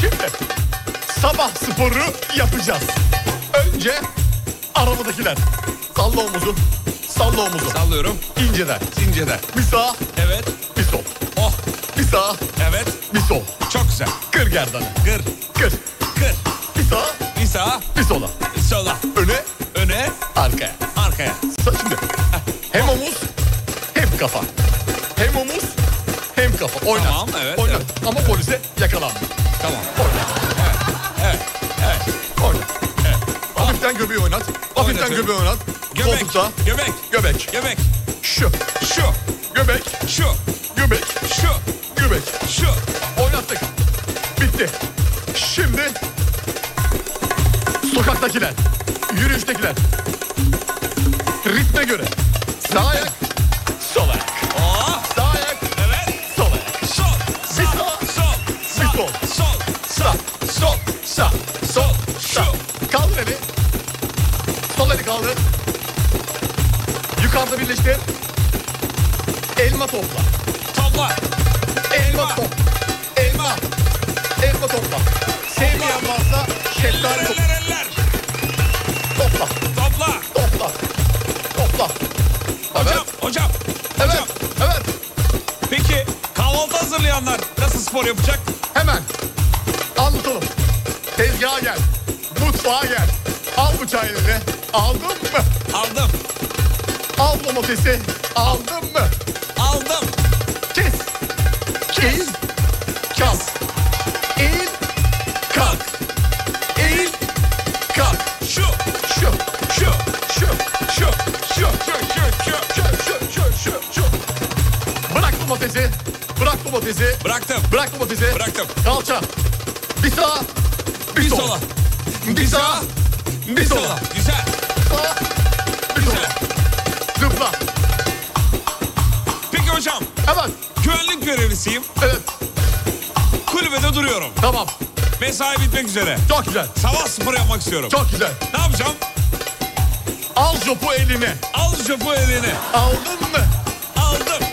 [SPEAKER 4] Şimdi sabah sporu yapacağız. Önce arabadakiler. Salla omuzu. Salla omuzu.
[SPEAKER 3] Sallıyorum.
[SPEAKER 4] İnceden.
[SPEAKER 3] Zinceden.
[SPEAKER 4] Bir sağ,
[SPEAKER 3] Evet.
[SPEAKER 4] bir sol.
[SPEAKER 3] Oh.
[SPEAKER 4] Bir sağ,
[SPEAKER 3] Evet.
[SPEAKER 4] bir sol.
[SPEAKER 3] Çok güzel.
[SPEAKER 4] Kır gerdanı.
[SPEAKER 3] Kır.
[SPEAKER 4] Kır.
[SPEAKER 3] Kır.
[SPEAKER 4] Bir sağa,
[SPEAKER 3] Bir sağa.
[SPEAKER 4] bir sola.
[SPEAKER 3] Sola.
[SPEAKER 4] Öne,
[SPEAKER 3] Öne.
[SPEAKER 4] arkaya.
[SPEAKER 3] Arkaya.
[SPEAKER 4] Sa- Şimdi hem omuz hem kafa. Hem omuz hem kafa. Oyna.
[SPEAKER 3] Tamam, evet,
[SPEAKER 4] Oyna.
[SPEAKER 3] evet.
[SPEAKER 4] Ama polise yakalanma.
[SPEAKER 3] Tamam.
[SPEAKER 4] Oyna.
[SPEAKER 3] Evet. Evet.
[SPEAKER 4] Oyna. Hafiften göbeği oynat. Hafiften
[SPEAKER 3] Oynatıyorum.
[SPEAKER 4] göbeği oynat.
[SPEAKER 3] Göbek.
[SPEAKER 4] Koltukta.
[SPEAKER 3] Göbek.
[SPEAKER 4] Göbek.
[SPEAKER 3] Göbek.
[SPEAKER 4] Şu.
[SPEAKER 3] Şu.
[SPEAKER 4] Göbek.
[SPEAKER 3] Şu.
[SPEAKER 4] Göbek.
[SPEAKER 3] Şu.
[SPEAKER 4] Göbek.
[SPEAKER 3] Şu.
[SPEAKER 4] Oynattık. Bitti. Şimdi sokaktakiler, yürüyüştekiler. Ritme göre. Sağ ayak, sol ayak.
[SPEAKER 3] Oh.
[SPEAKER 4] Sağ ayak,
[SPEAKER 3] Evet.
[SPEAKER 4] sol ayak.
[SPEAKER 3] Sol.
[SPEAKER 4] Bir
[SPEAKER 3] Sağ.
[SPEAKER 4] sağ,
[SPEAKER 3] Sol. Sağ.
[SPEAKER 4] sol.
[SPEAKER 3] Sol.
[SPEAKER 4] Sağ, sol, sağ, sol, sağ. Kaldır eli. Sol eli kaldır. Yukarıda birleştir. Elma topla.
[SPEAKER 3] Topla.
[SPEAKER 4] Elma topla. Elma. Elma topla. Sevmeyen varsa şeftali topla.
[SPEAKER 3] Eller eller.
[SPEAKER 4] Topla.
[SPEAKER 3] Topla.
[SPEAKER 4] Topla. Topla.
[SPEAKER 3] Hocam. Hocam.
[SPEAKER 4] Evet.
[SPEAKER 3] Hocam.
[SPEAKER 4] Evet. evet.
[SPEAKER 3] Peki kahvaltı hazırlayanlar nasıl spor yapacak?
[SPEAKER 4] Hemen. Anlatalım. Tezgaha gel. Mutfağa gel. Al bıçağı eline. Aldın mı?
[SPEAKER 3] Aldım.
[SPEAKER 4] Al domatesi. Aldın mı?
[SPEAKER 3] Aldım.
[SPEAKER 4] Kes. Kes. Kas. Eğil. Kalk. Eğil. Kalk.
[SPEAKER 3] Şu.
[SPEAKER 4] Şu. Şu. Şu. Şu. Şu. Şu. Şu. Şu. Şu. Şu. Şu. Şu. Bırak domatesi. Bırak domatesi.
[SPEAKER 3] Bıraktım.
[SPEAKER 4] Bırak domatesi.
[SPEAKER 3] Bıraktım.
[SPEAKER 4] Kalça. Bir sağa. Bir,
[SPEAKER 3] Bir
[SPEAKER 4] sola.
[SPEAKER 3] sola.
[SPEAKER 4] Bir sağa. Bir sola.
[SPEAKER 3] Güzel.
[SPEAKER 4] Sağa. Bir sola.
[SPEAKER 3] Güzel.
[SPEAKER 4] Zıpla.
[SPEAKER 11] Hemen.
[SPEAKER 3] Güvenlik görevlisiyim.
[SPEAKER 11] Evet.
[SPEAKER 3] Kulübede duruyorum.
[SPEAKER 11] Tamam.
[SPEAKER 3] Mesai bitmek üzere.
[SPEAKER 11] Çok güzel.
[SPEAKER 3] Sabah spor yapmak istiyorum.
[SPEAKER 11] Çok güzel.
[SPEAKER 3] Ne yapacağım?
[SPEAKER 11] Al jopu eline.
[SPEAKER 3] Al jopu eline.
[SPEAKER 11] Aldın mı?
[SPEAKER 3] Aldım.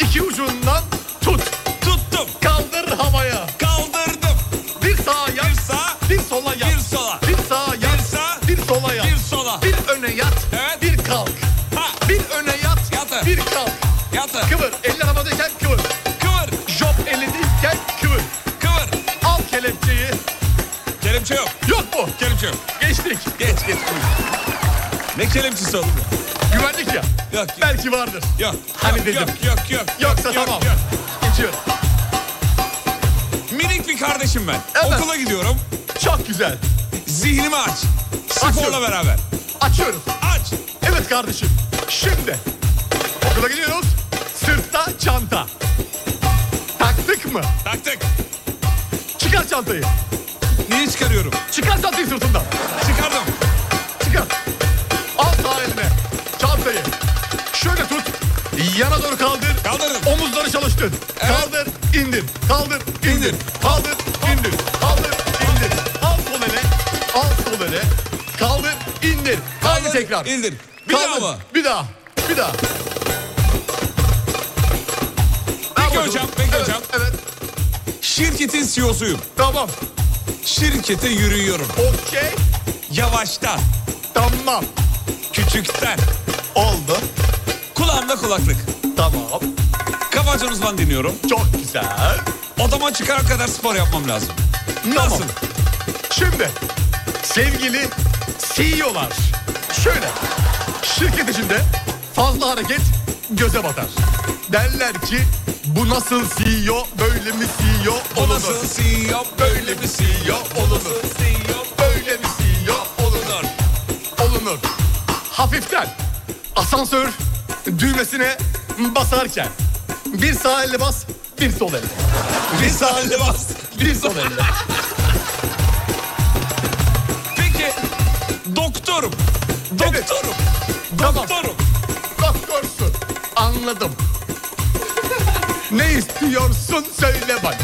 [SPEAKER 11] İki ucundan tut.
[SPEAKER 3] Tuttum.
[SPEAKER 11] Kaldır havaya.
[SPEAKER 3] Kaldırdım.
[SPEAKER 11] Bir sağa yap.
[SPEAKER 3] Bir sağa,
[SPEAKER 11] Bir sola yap.
[SPEAKER 3] bir sola.
[SPEAKER 11] Bir sağa yap.
[SPEAKER 3] Bir sağa,
[SPEAKER 11] Bir sola yap.
[SPEAKER 3] bir sola.
[SPEAKER 11] Bir öne yat.
[SPEAKER 3] Evet.
[SPEAKER 11] Bir kalk.
[SPEAKER 3] Ha.
[SPEAKER 11] Bir öne yat.
[SPEAKER 3] Yatır.
[SPEAKER 11] Bir kalk.
[SPEAKER 3] Yatır.
[SPEAKER 11] Kıvır. Elini havadayken kıvır.
[SPEAKER 3] Kıvır.
[SPEAKER 11] Job elindeyken kıvır.
[SPEAKER 3] Kıvır.
[SPEAKER 11] Al kelepçeyi.
[SPEAKER 3] Kelepçe yok.
[SPEAKER 11] Yok mu?
[SPEAKER 3] Kelepçe yok.
[SPEAKER 11] Geçtik.
[SPEAKER 3] Geç geç. Ne kelepçesi oğlum? ya?
[SPEAKER 11] Güvenlik ya.
[SPEAKER 3] yok.
[SPEAKER 11] Belki vardır.
[SPEAKER 3] Yok.
[SPEAKER 11] Hani
[SPEAKER 3] yok,
[SPEAKER 11] dedim.
[SPEAKER 3] Yok yok yok.
[SPEAKER 11] Yoksa
[SPEAKER 3] yok,
[SPEAKER 11] tamam.
[SPEAKER 3] yok.
[SPEAKER 11] Geçiyor.
[SPEAKER 3] Minik bir kardeşim ben.
[SPEAKER 11] Evet.
[SPEAKER 3] Okula gidiyorum.
[SPEAKER 11] Çok güzel.
[SPEAKER 3] Zihnimi aç. Sporla
[SPEAKER 11] Açıyorum.
[SPEAKER 3] beraber.
[SPEAKER 11] Açıyorum.
[SPEAKER 3] Aç.
[SPEAKER 11] Evet kardeşim. Şimdi okula gidiyoruz. Sırtta çanta. Taktık mı?
[SPEAKER 3] Taktık.
[SPEAKER 11] Çıkar çantayı.
[SPEAKER 3] Niye çıkarıyorum?
[SPEAKER 11] Çıkar çantayı sırtından.
[SPEAKER 3] Çıkardım.
[SPEAKER 11] Çıkar. Al sağ eline çantayı. Şöyle tut. Yana doğru kaldır.
[SPEAKER 3] Kaldırdım.
[SPEAKER 11] Omuzları çalıştır.
[SPEAKER 3] Evet.
[SPEAKER 11] Kaldır, indir. Kaldır, indir.
[SPEAKER 3] İndir.
[SPEAKER 11] Kaldır, indir. Kaldır, indir. Al sol ele. Al sol ele. Kaldır, indir. Kaldır,
[SPEAKER 3] Kaldır,
[SPEAKER 11] tekrar.
[SPEAKER 3] indir. Bir
[SPEAKER 11] Kaldır.
[SPEAKER 3] daha mı?
[SPEAKER 11] Bir daha. Bir daha.
[SPEAKER 3] Peki hocam,
[SPEAKER 11] Al bakalım.
[SPEAKER 3] peki
[SPEAKER 11] evet,
[SPEAKER 3] hocam.
[SPEAKER 11] Evet,
[SPEAKER 3] Şirketin CEO'suyum.
[SPEAKER 11] tamam.
[SPEAKER 3] Şirkete yürüyorum.
[SPEAKER 11] Okey,
[SPEAKER 3] Yavaştan,
[SPEAKER 11] tamam.
[SPEAKER 3] küçükten.
[SPEAKER 11] Oldu,
[SPEAKER 3] Kulağımda kulaklık.
[SPEAKER 11] tamam.
[SPEAKER 3] Kafacan uzman dinliyorum.
[SPEAKER 11] Çok güzel.
[SPEAKER 3] Odama çıkana kadar spor yapmam lazım.
[SPEAKER 11] Tamam.
[SPEAKER 3] Nasıl?
[SPEAKER 11] Şimdi sevgili CEO'lar E şöyle şirket içinde fazla hareket göze batar. Derler ki bu nasıl CEO böyle mi CEO
[SPEAKER 3] O
[SPEAKER 11] olunur?
[SPEAKER 3] nasıl CEO? Böyle mi CEO? O nasıl CEO?
[SPEAKER 11] E Böyle mi CEO olunur? Olunur. Hafiften asansör düğmesine basarken bir sağ elle bas bir sol elle.
[SPEAKER 3] Bir saniye bas.
[SPEAKER 11] Bir sol elle.
[SPEAKER 3] Peki, doktorum. Doktorum.
[SPEAKER 11] Tamam.
[SPEAKER 3] Doktorum.
[SPEAKER 11] Doktorsun. Anladım. <laughs> ne istiyorsun söyle bana.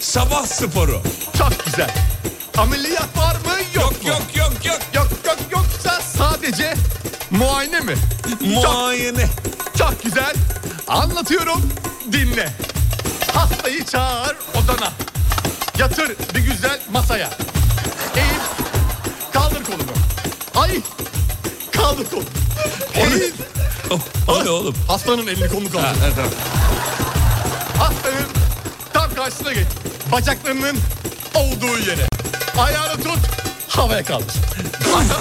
[SPEAKER 3] Sabah sporu.
[SPEAKER 11] Çok güzel. Ameliyat var mı yok,
[SPEAKER 3] Yok
[SPEAKER 11] mu?
[SPEAKER 3] yok yok yok.
[SPEAKER 11] Yok yok yoksa sadece muayene mi? çok,
[SPEAKER 3] Muayene.
[SPEAKER 11] çok güzel. Anlatıyorum dinle. Hastayı çağır odana. Yatır bir güzel masaya. Eğil. Kaldır kolunu. Ay. Kaldır kolunu. Eğil.
[SPEAKER 3] O ne oğlum?
[SPEAKER 11] Hastanın elini kolunu kaldır.
[SPEAKER 3] Ha, ha, tamam.
[SPEAKER 11] Hastanın tam karşısına geç. Bacaklarının olduğu yere. Ayağını tut. Havaya kaldır. Ayağını tut.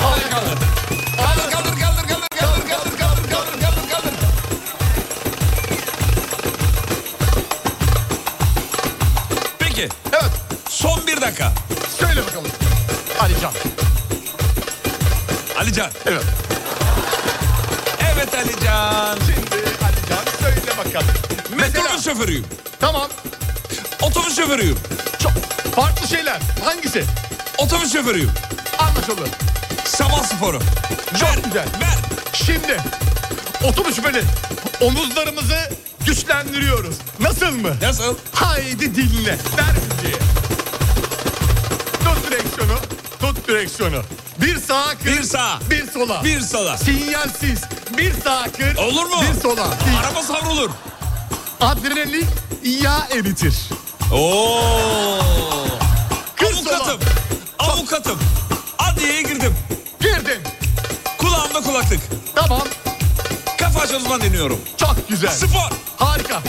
[SPEAKER 11] Havaya kaldır. Ayağını kaldır. Kaldır kaldır kaldır kaldır kaldır kaldır kaldır kaldır.
[SPEAKER 3] Peki,
[SPEAKER 11] Evet.
[SPEAKER 3] son bir dakika.
[SPEAKER 11] Söyle bakalım. Ali Can.
[SPEAKER 3] Alican.
[SPEAKER 11] Evet.
[SPEAKER 3] Evet Alican.
[SPEAKER 11] Şimdi Ali Can söyle bakalım. Mesela
[SPEAKER 3] Metrobüs şoförüyüm.
[SPEAKER 11] tamam.
[SPEAKER 3] Otobüs şoförüyüm.
[SPEAKER 11] Çok farklı şeyler. Hangisi?
[SPEAKER 3] Otobüs şoförüyüm.
[SPEAKER 11] Anlaşıldı.
[SPEAKER 3] Sabah sporu.
[SPEAKER 11] Çok güzel.
[SPEAKER 3] Ver.
[SPEAKER 11] Şimdi oturuş böyle omuzlarımızı güçlendiriyoruz. Nasıl mı?
[SPEAKER 3] Nasıl?
[SPEAKER 11] Haydi dinle. Ver müziği. Tut direksiyonu. Tut direksiyonu. Bir sağa kır.
[SPEAKER 3] Bir sağa.
[SPEAKER 11] Bir sola.
[SPEAKER 3] Bir sola.
[SPEAKER 11] Sinyalsiz. Bir sağa kır.
[SPEAKER 3] Olur mu?
[SPEAKER 11] Bir sola.
[SPEAKER 3] Araba savrulur.
[SPEAKER 11] Adrenalin yağ eritir.
[SPEAKER 3] Oo.
[SPEAKER 11] Kır sola.
[SPEAKER 3] Avukatım. Avukatım. Adliyeye girdim.
[SPEAKER 11] Girdin.
[SPEAKER 3] Kulağımda kulaklık.
[SPEAKER 11] Tamam.
[SPEAKER 3] Kafa aç uzman dinliyorum.
[SPEAKER 11] Çok güzel.
[SPEAKER 3] Spor.
[SPEAKER 11] Harika.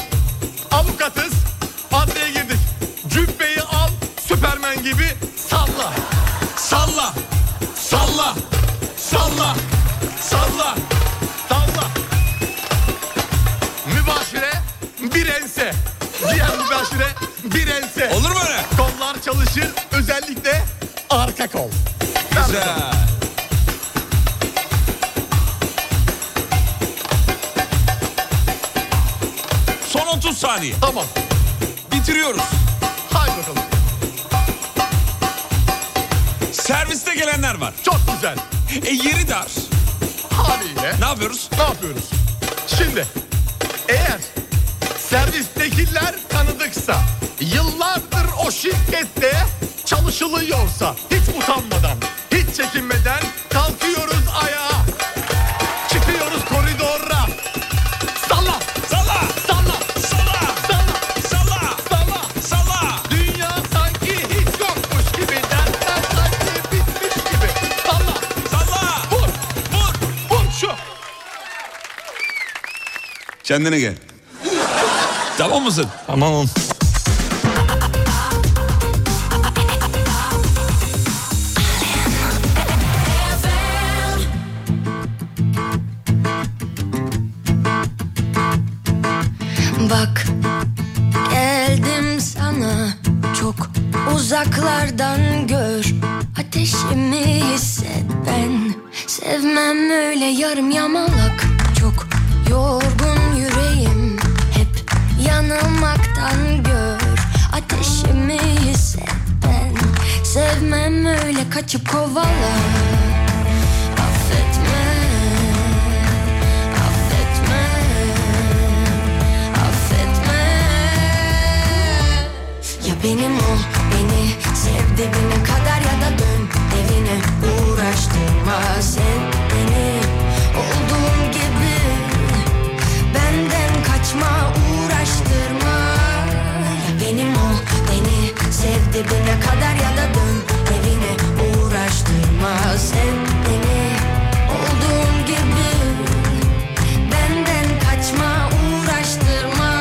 [SPEAKER 11] Avukatız. Adliye girdik. Cübbeyi al. Süpermen gibi salla.
[SPEAKER 3] Salla. Salla. Salla. Salla.
[SPEAKER 11] Salla. Mübaşire bir ense. Diğer mübaşire bir ense.
[SPEAKER 3] Olur mu öyle?
[SPEAKER 11] Kollar çalışır. Özellikle arka kol.
[SPEAKER 3] Güzel. Son 30 saniye.
[SPEAKER 11] Tamam.
[SPEAKER 3] Bitiriyoruz.
[SPEAKER 11] Haydi bakalım.
[SPEAKER 3] Serviste gelenler var.
[SPEAKER 11] Çok güzel.
[SPEAKER 3] E yeri dar.
[SPEAKER 4] Haliyle
[SPEAKER 3] Ne yapıyoruz?
[SPEAKER 4] ne yapıyoruz? Şimdi eğer servistekiler tanıdıksa, yıllardır o şirkette çalışılıyorsa hiç utanmadan, hiç çekinmeden kalkıyoruz ayağa. Çıkıyoruz koridora. Salla,
[SPEAKER 3] Salla!
[SPEAKER 4] salla,
[SPEAKER 3] Salla!
[SPEAKER 4] salla,
[SPEAKER 3] Salla!
[SPEAKER 4] salla.
[SPEAKER 3] Salla!
[SPEAKER 4] Dünya sanki hiç yokmuş gibi, dertler sanki bitmiş gibi. Salla,
[SPEAKER 3] Salla!
[SPEAKER 4] vur, vur, vur şu.
[SPEAKER 3] Kendine gel. tamam mısın?
[SPEAKER 4] Tamam.
[SPEAKER 5] Bak geldim sana çok uzaklardan gör Ateşimi hisset ben sevmem öyle yarım yamalak Çok yorgun yüreğim hep yanılmaktan gör Ateşimi hisset ben sevmem öyle kaçıp kovala Affetme, affetme affetme Ya benim ol beni sev dibine kadar ya da dön evine uğraştırma sen beni Olduğum gibi benden kaçma uğraştırma Ya benim ol beni sev dibine kadar ya da dön evine uğraştırma sen beni Olduğum gibi Benden kaçma uğraştırma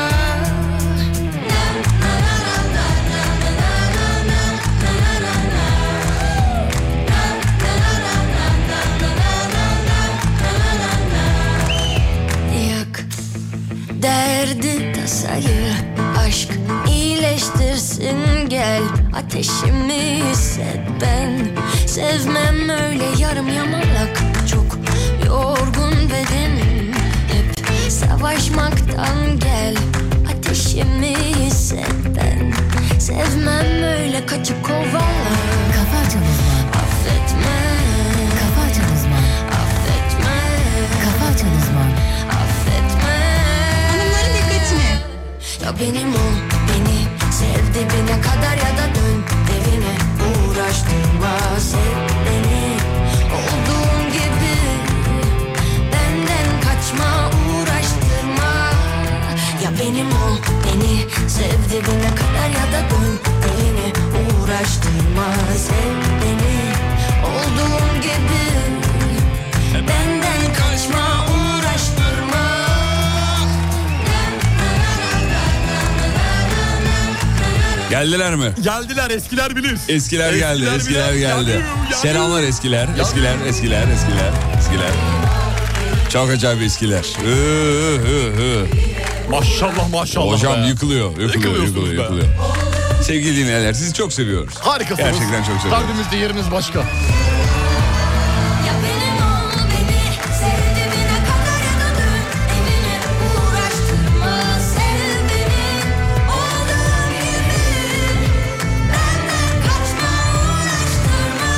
[SPEAKER 5] Yak derdi tasayı Aşk iyileştirsin gel Ateşimi hisset ben Sevmem öyle yarım yamalak Çok yorgun bedenim Hep savaşmaktan gel Ateşimi hisset ben Sevmem öyle kaçıp kovala
[SPEAKER 1] Kafa Açan Uzman,
[SPEAKER 5] Affetme
[SPEAKER 1] Kafa Açan Uzman,
[SPEAKER 5] Affetme
[SPEAKER 1] Kafa Açan Uzman.
[SPEAKER 5] Affetme
[SPEAKER 7] Hanımların dikkatine.
[SPEAKER 5] Ya benim ol beni Sev dibine kadar ya da dön evine Uğraştırma sev beni Olduğum gibi Benden kaçma uğraştırma Ya benim ol beni Sev dibine kadar ya da dön evine Uğraştırma sev beni Olduğum gibi Benden kaçma uğraştırma
[SPEAKER 3] Geldiler mi?
[SPEAKER 4] Geldiler eskiler bilir.
[SPEAKER 3] Eskiler geldi,
[SPEAKER 4] Eskiler
[SPEAKER 3] eskiler
[SPEAKER 4] bilir.
[SPEAKER 3] geldi.
[SPEAKER 4] Yanıyorum, yanıyorum.
[SPEAKER 3] Selamlar eskiler, eskiler, eskiler, eskiler, eskiler. Çok acayip eskiler. Hı, hı, hı.
[SPEAKER 4] Maşallah maşallah.
[SPEAKER 3] Hocam
[SPEAKER 4] be.
[SPEAKER 3] yıkılıyor, yıkılıyor,
[SPEAKER 4] Yıkılıyorsunuz
[SPEAKER 3] yıkılıyor,
[SPEAKER 4] be.
[SPEAKER 3] yıkılıyor. Sevgili dinleyenler sizi çok seviyoruz.
[SPEAKER 4] Harikasınız.
[SPEAKER 3] Gerçekten çok seviyoruz.
[SPEAKER 4] Kalbimizde yeriniz başka.
[SPEAKER 5] Ya benim ol beni sev dibine kadar ya da dön evine uğraştırma sev beni olduğum gibi benden kaçma uğraştırma.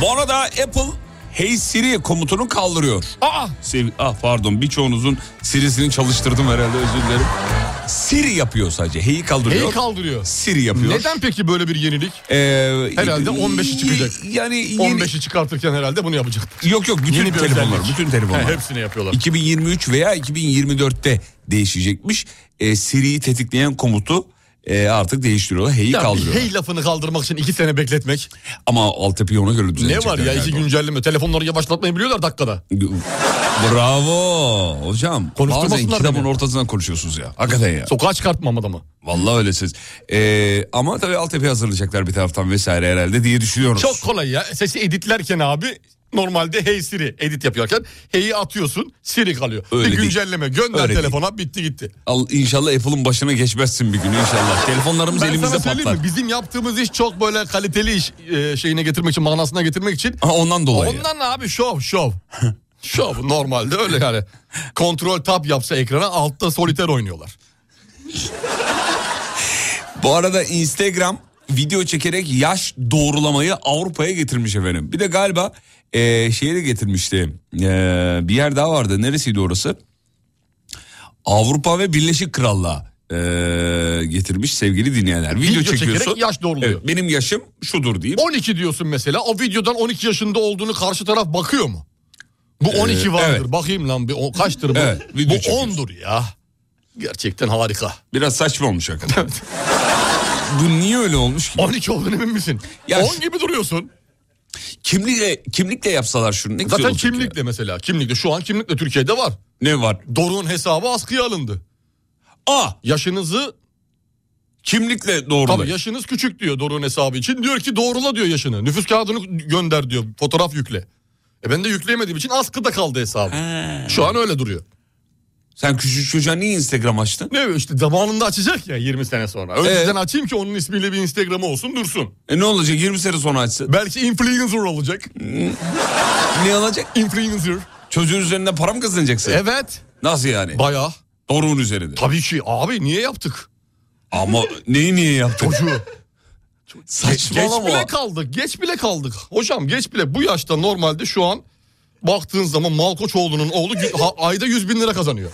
[SPEAKER 3] Bu arada Apple Hey Siri komutunu kaldırıyor.
[SPEAKER 4] Aa
[SPEAKER 3] Sev ah pardon birçoğunuzun Siri'sini çalıştırdım herhalde özür dilerim. Siri yapıyor sadece. Hey'i kaldırıyor.
[SPEAKER 4] neyi kaldırıyor?
[SPEAKER 3] Siri yapıyor.
[SPEAKER 4] Neden peki böyle bir yenilik?
[SPEAKER 3] Ee,
[SPEAKER 4] Herhalde 15'i çıkacak.
[SPEAKER 3] Yani yeni-
[SPEAKER 4] 15'i çıkartırken herhalde bunu yapacaktı.
[SPEAKER 3] Yok yok bütün
[SPEAKER 4] Yeni bir
[SPEAKER 3] telefonlar,
[SPEAKER 4] özellik.
[SPEAKER 3] bütün telefonlar.
[SPEAKER 4] <laughs> He, hepsini yapıyorlar.
[SPEAKER 3] 2023 veya 2024'te değişecekmiş. Ee, Siri'yi tetikleyen komutu e, artık değiştiriyorlar. Hey'i
[SPEAKER 4] Ya bir
[SPEAKER 3] kaldırıyor.
[SPEAKER 4] hey lafını kaldırmak için iki sene bekletmek.
[SPEAKER 3] Ama altyapıyı ona göre
[SPEAKER 4] Ne
[SPEAKER 3] düzenleyecekler.
[SPEAKER 4] var ya iki
[SPEAKER 3] galiba.
[SPEAKER 4] güncelleme. Telefonları yavaşlatmayı biliyorlar dakikada.
[SPEAKER 3] Bravo hocam.
[SPEAKER 4] Konuşturmasınlar
[SPEAKER 3] Bazen kitabın
[SPEAKER 4] beni.
[SPEAKER 3] ortasından konuşuyorsunuz ya. Hakikaten ya.
[SPEAKER 4] Sokağa çıkartmam adamı.
[SPEAKER 3] Vallahi öylesiz. Ee, ama tabii altyapı hazırlayacaklar bir taraftan vesaire herhalde diye düşünüyoruz.
[SPEAKER 4] Çok kolay ya. Sesi editlerken abi normalde Hey Siri edit yapıyorken Hey'i atıyorsun Siri kalıyor.
[SPEAKER 3] Öyle
[SPEAKER 4] bir
[SPEAKER 3] değil.
[SPEAKER 4] güncelleme gönder
[SPEAKER 3] Öyle
[SPEAKER 4] telefona bitti gitti.
[SPEAKER 3] Al, inşallah Apple'ın başına geçmezsin bir gün inşallah. Telefonlarımız
[SPEAKER 4] Ben
[SPEAKER 3] elimizde
[SPEAKER 4] sana
[SPEAKER 3] patlar.
[SPEAKER 4] söyleyeyim mi? Bizim yaptığımız iş çok böyle kaliteli iş e, şeyine getirmek için, manasına getirmek için.
[SPEAKER 3] Ha, ondan dolayı.
[SPEAKER 4] Ondan abi şov
[SPEAKER 3] <laughs>
[SPEAKER 4] şov. şov normalde öyle yani. Kontrol tab yapsa ekrana altta soliter oynuyorlar.
[SPEAKER 3] Bu arada Instagram video çekerek yaş doğrulamayı Avrupa'ya getirmiş efendim. Bir de galiba e, şeye de getirmişti. E, bir yer daha vardı. Neresiydi orası? Avrupa ve Birleşik Krallığa e, getirmiş sevgili dinleyenler. Video,
[SPEAKER 4] Video çekerek
[SPEAKER 3] çekiyorsun.
[SPEAKER 4] yaş doğruluyor.
[SPEAKER 3] Evet, benim yaşım şudur diyeyim.
[SPEAKER 4] 12 diyorsun mesela. O videodan 12 yaşında olduğunu karşı taraf bakıyor mu? Bu
[SPEAKER 3] Ee,
[SPEAKER 4] 12 vardır.
[SPEAKER 3] evet.
[SPEAKER 4] Bakayım lan bir o- kaçtır bu?
[SPEAKER 3] Evet, video
[SPEAKER 4] bu
[SPEAKER 3] çekiyorsun.
[SPEAKER 4] 10'dur ya. Gerçekten <laughs> harika.
[SPEAKER 3] Biraz saçma
[SPEAKER 4] <laughs>
[SPEAKER 3] olmuş hakikaten. Bu niye öyle olmuş ki?
[SPEAKER 4] 12 olduğunu emin misin?
[SPEAKER 3] Ya-
[SPEAKER 4] 10 gibi duruyorsun.
[SPEAKER 3] Kimlikle, kimlikle yapsalar şunu ne güzel
[SPEAKER 4] Zaten
[SPEAKER 3] olacak ya.
[SPEAKER 4] kimlikle mesela. Kimlikle şu an kimlikle Türkiye'de var.
[SPEAKER 3] Ne var?
[SPEAKER 4] Doruk'un hesabı askıya alındı.
[SPEAKER 3] Aa
[SPEAKER 4] Yaşınızı
[SPEAKER 3] kimlikle doğru.
[SPEAKER 4] Tabii yaşınız küçük diyor Doruk'un hesabı için. Diyor ki doğrula diyor yaşını. Nüfus kağıdını gönder diyor. Fotoğraf yükle. E ben de yükleyemediğim için askıda kaldı hesabı. Şu an öyle duruyor.
[SPEAKER 3] Sen küçük çocuğa niye Instagram açtın?
[SPEAKER 4] Ne işte zamanında açacak ya 20 sene sonra. Önceden açayım ki onun ismiyle bir Instagram'ı olsun dursun.
[SPEAKER 3] E ne olacak 20 sene sonra açsın?
[SPEAKER 4] Belki influencer olacak.
[SPEAKER 3] Ne alacak?
[SPEAKER 4] Influencer.
[SPEAKER 3] Çocuğun üzerinden para mı kazanacaksın?
[SPEAKER 4] Evet.
[SPEAKER 3] Nasıl yani?
[SPEAKER 4] Bayağı.
[SPEAKER 3] Doğruğun üzerinde.
[SPEAKER 4] Tabii ki abi niye yaptık?
[SPEAKER 3] Ama neyi niye yaptın?
[SPEAKER 4] Çocuğu. Geç
[SPEAKER 3] Saçmalama.
[SPEAKER 4] bile kaldık. Geç bile kaldık. Hocam geç bile. Bu yaşta normalde şu an baktığın zaman Malkoçoğlu'nun oğlu gü- ha- ayda 100 bin lira kazanıyor.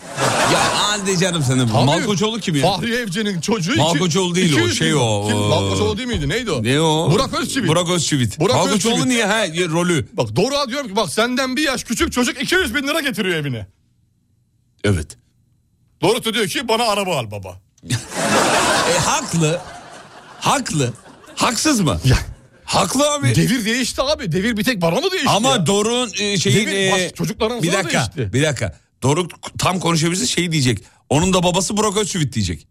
[SPEAKER 3] Ya hadi canım senin.
[SPEAKER 4] Tabii.
[SPEAKER 3] Malkoçoğlu kim ya?
[SPEAKER 4] Fahri Evcen'in çocuğu.
[SPEAKER 3] Malkoçoğlu değil o,
[SPEAKER 4] 200 bin
[SPEAKER 3] şey
[SPEAKER 4] lira.
[SPEAKER 3] o,
[SPEAKER 4] Kim?
[SPEAKER 3] o-
[SPEAKER 4] Malkoçoğlu değil miydi? Neydi o?
[SPEAKER 3] Ne o?
[SPEAKER 4] Burak Özçivit.
[SPEAKER 3] Burak Özçivit.
[SPEAKER 4] Burak
[SPEAKER 3] Malkoçoğlu
[SPEAKER 4] Özçivit.
[SPEAKER 3] niye? Ha, ya, rolü.
[SPEAKER 4] Bak Doruk'a diyorum ki bak senden bir yaş küçük çocuk 200 bin lira getiriyor evine.
[SPEAKER 3] Evet.
[SPEAKER 4] Doruk da diyor ki bana araba al baba.
[SPEAKER 3] <laughs> E haklı. Haklı. Haksız mı?
[SPEAKER 4] Ya.
[SPEAKER 3] Haklı abi.
[SPEAKER 4] Devir değişti abi. Devir bir tek bana mı değişti?
[SPEAKER 3] Ama
[SPEAKER 4] ya?
[SPEAKER 3] Doruk'un e, şeyin...
[SPEAKER 4] Demin baş- çocuklarımıza
[SPEAKER 3] bir
[SPEAKER 4] da
[SPEAKER 3] dakika,
[SPEAKER 4] değişti.
[SPEAKER 3] bir dakika. Doruk tam konuşabilse şey diyecek. Onun da babası Burak Özçivit diyecek.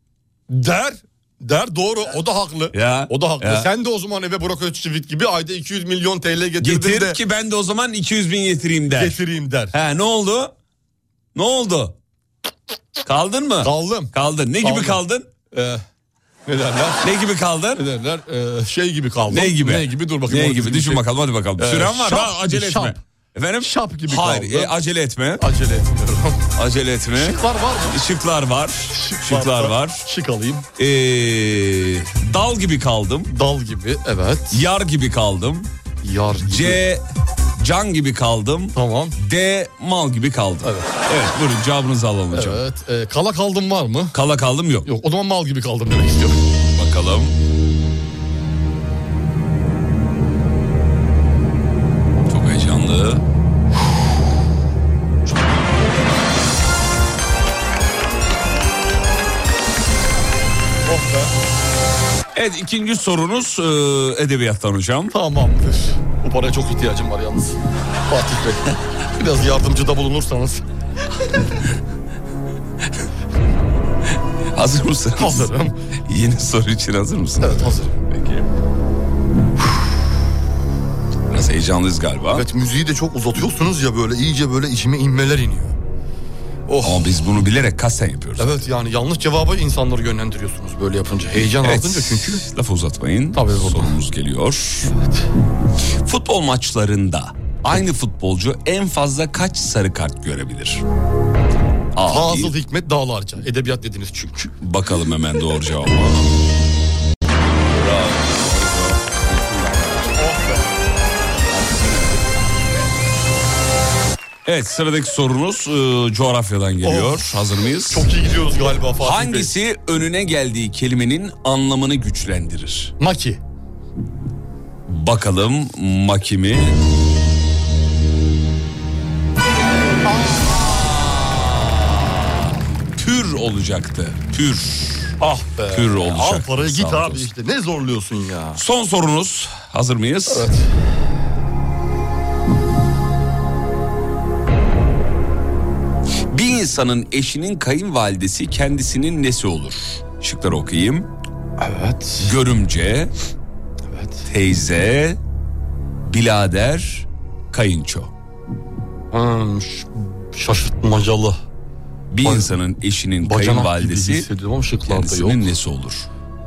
[SPEAKER 4] der der doğru o da haklı.
[SPEAKER 3] Ya.
[SPEAKER 4] O da haklı.
[SPEAKER 3] Ya.
[SPEAKER 4] Sen de o zaman eve Burak Özçivit gibi ayda 200 milyon TL getirdin
[SPEAKER 3] Getir
[SPEAKER 4] de
[SPEAKER 3] ki ben de o zaman 200 bin getireyim der.
[SPEAKER 4] getireyim der.
[SPEAKER 3] He ne oldu? Ne oldu? Kaldın mı?
[SPEAKER 4] Kaldım.
[SPEAKER 3] Kaldın. Ne gibi
[SPEAKER 4] Kaldım.
[SPEAKER 3] kaldın?
[SPEAKER 4] Ee, ne derler?
[SPEAKER 3] Ne gibi
[SPEAKER 4] Ne
[SPEAKER 3] kaldın?
[SPEAKER 4] derler? Ee, şey gibi kaldım.
[SPEAKER 3] Ne gibi?
[SPEAKER 4] Ne gibi dur bakayım.
[SPEAKER 3] Ne
[SPEAKER 4] orada
[SPEAKER 3] gibi?
[SPEAKER 4] bir
[SPEAKER 3] Düşün
[SPEAKER 4] şey-
[SPEAKER 3] bakalım hadi bakalım.
[SPEAKER 4] Ee,
[SPEAKER 3] Süren var.
[SPEAKER 4] şap
[SPEAKER 3] Ha, acele
[SPEAKER 4] gibi, şap.
[SPEAKER 3] etme. Efendim?
[SPEAKER 4] Şap gibi
[SPEAKER 3] Hayır
[SPEAKER 4] kaldım.
[SPEAKER 3] e, acele etme.
[SPEAKER 4] Acele etmiyorum.
[SPEAKER 3] Acele etme.
[SPEAKER 4] Şıklar var mı?
[SPEAKER 3] Şıklar var. Şıklar var.
[SPEAKER 4] Şık alayım.
[SPEAKER 3] Ee, dal gibi kaldım.
[SPEAKER 4] Dal gibi evet.
[SPEAKER 3] Yar gibi kaldım.
[SPEAKER 4] Yar gibi.
[SPEAKER 3] C can gibi kaldım.
[SPEAKER 4] Tamam.
[SPEAKER 3] D mal gibi kaldım. Evet. buyurun cevabınızı alalım hocam.
[SPEAKER 4] Evet. Ee, kala kaldım var mı?
[SPEAKER 3] Kala kaldım yok.
[SPEAKER 4] Yok o zaman mal gibi kaldım demek istiyorum.
[SPEAKER 3] Bakalım. Çok heyecanlı. Evet ikinci sorunuz e, edebiyattan hocam.
[SPEAKER 4] Tamamdır. Bu paraya çok ihtiyacım var yalnız. Fatih
[SPEAKER 3] <laughs>
[SPEAKER 4] Bey. Biraz yardımcıda bulunursanız.
[SPEAKER 3] Hazır mısınız?
[SPEAKER 4] Hazırım.
[SPEAKER 3] Yeni soru için hazır mısınız?
[SPEAKER 4] Evet hazırım.
[SPEAKER 3] Peki. Biraz heyecanlıyız galiba.
[SPEAKER 4] Evet müziği de çok uzatıyorsunuz ya böyle iyice böyle içime inmeler iniyor. Oh.
[SPEAKER 3] Ama biz bunu bilerek kasten yapıyoruz.
[SPEAKER 4] Evet yani yanlış cevaba insanları yönlendiriyorsunuz böyle yapınca. Heyecan artınca çünkü.
[SPEAKER 3] Lafı uzatmayın.
[SPEAKER 4] Tabii baba.
[SPEAKER 3] Sorumuz geliyor. Futbol maçlarında aynı futbolcu en fazla kaç sarı kart görebilir? A,
[SPEAKER 4] Fazıl Hikmet Dağlarca. Edebiyat dediniz çünkü.
[SPEAKER 3] Bakalım hemen doğru cevabı. Evet sıradaki sorunuz e, coğrafyadan geliyor.
[SPEAKER 4] Of.
[SPEAKER 3] Hazır mıyız?
[SPEAKER 4] Çok iyi gidiyoruz galiba Fatih Bey.
[SPEAKER 3] Hangisi önüne geldiği kelimenin anlamını güçlendirir?
[SPEAKER 4] Maki.
[SPEAKER 3] Bakalım makimi. Pür olacaktı. Pür.
[SPEAKER 4] Ah be.
[SPEAKER 3] Pür olacak.
[SPEAKER 4] Al parayı git
[SPEAKER 3] Sağ
[SPEAKER 4] abi
[SPEAKER 3] olsun.
[SPEAKER 4] işte. Ne zorluyorsun ya.
[SPEAKER 3] Son sorunuz. Hazır mıyız?
[SPEAKER 4] Evet.
[SPEAKER 3] Bir insanın eşinin kayınvalidesi kendisinin nesi olur? Şıkları okuyayım.
[SPEAKER 4] Evet.
[SPEAKER 3] Görümce, teyze, bilader, kayınço.
[SPEAKER 4] Hmm, ş- şaşırtmacalı.
[SPEAKER 3] Bir
[SPEAKER 4] Bak-
[SPEAKER 3] insanın eşinin
[SPEAKER 4] Bacanak gibi
[SPEAKER 3] kayınvalidesi
[SPEAKER 4] hissediyorum ama şıklarda yok.
[SPEAKER 3] kendisinin nesi olur?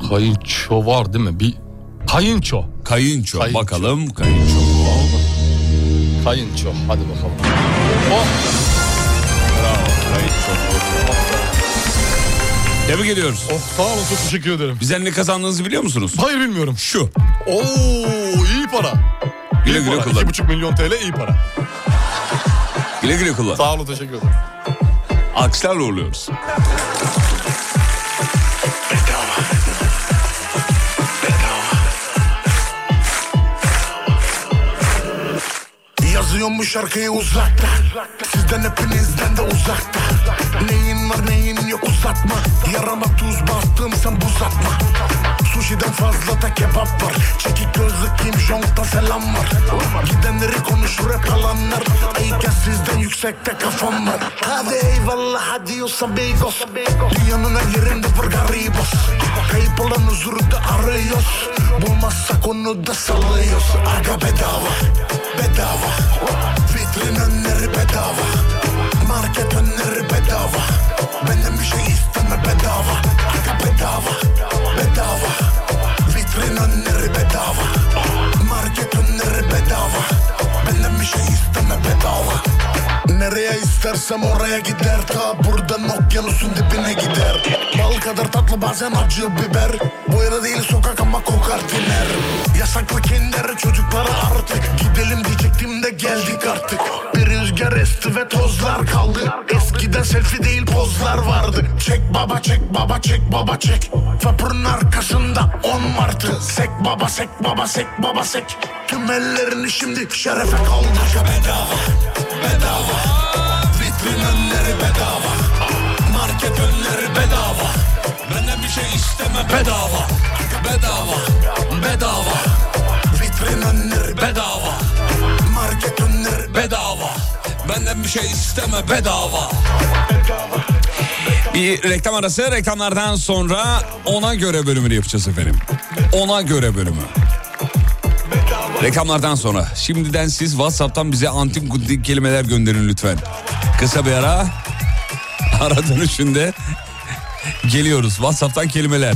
[SPEAKER 4] Kayınço var değil mi? Bir kayınço.
[SPEAKER 3] Kayınço.
[SPEAKER 4] Kayınço.
[SPEAKER 3] Bakalım kayınço mu?
[SPEAKER 4] Kayınço. Hadi bakalım. Oh,
[SPEAKER 3] Kayınço mu? Tebrik ediyoruz.
[SPEAKER 4] oh sağ olun çok teşekkür ederim.
[SPEAKER 3] Bizden ne kazandığınızı biliyor musunuz?
[SPEAKER 4] Hayır bilmiyorum.
[SPEAKER 3] Şu.
[SPEAKER 4] Oo iyi para.
[SPEAKER 3] Güle güle
[SPEAKER 4] para.
[SPEAKER 3] kullan.
[SPEAKER 4] 2,5 milyon TL iyi para.
[SPEAKER 3] Güle güle kullan.
[SPEAKER 4] Sağ olun teşekkür ederim.
[SPEAKER 3] Alkışlarla uğurluyoruz.
[SPEAKER 12] Yazıyorum bu şarkıyı uzakta Sizden hepinizden de uzakta Neyin var neyin yok uzatma Yarama tuz bastım sen buz atma Sushi'den fazla da kebap var Çekik gözlü Kim Jong'da selam var Gidenleri konuşur hep alanlar Ayıken sizden yüksekte kafam var Hadi eyvallah hadi olsa beygos Dünyanın her yerinde var garibos Kayıp olan huzuru da arıyoruz Bulmazsak onu da sallıyoruz Aga bedava bedava Vitrin önleri bedava Market önleri bedava Benden bir şey isteme bedava Aga bedava Bedava Vitrin önleri bedava Market önleri bedava Benden bir şey isteme bedava Nereye istersem oraya gider Ta buradan okyanusun dibine gider Bal kadar tatlı bazen acı biber Boyada değil sokak ama kokar tiner Yasaklı kinder çocuklara artık Gidelim diyecektim de geldik artık Bir rüzgar esti ve tozlar kaldı Eskiden selfie değil pozlar vardı Çek baba çek baba çek baba çek Vapurun arkasında on martı Sek baba sek baba sek baba sek Tüm ellerini şimdi şerefe kaldır Ya Bedava bedava Vitrin önleri bedava Market önleri bedava Benden bir şey isteme bedava Bedava bedava Vitrin önleri bedava Market önleri bedava Benden bir şey isteme bedava
[SPEAKER 3] Bir reklam arası reklamlardan sonra ona göre bölümünü yapacağız efendim. Ona göre bölümü. Reklamlardan sonra şimdiden siz WhatsApp'tan bize antin kuntin kelimeler gönderin lütfen. Kısa bir ara. Ara dönüşünde geliyoruz. WhatsApp'tan kelimeler.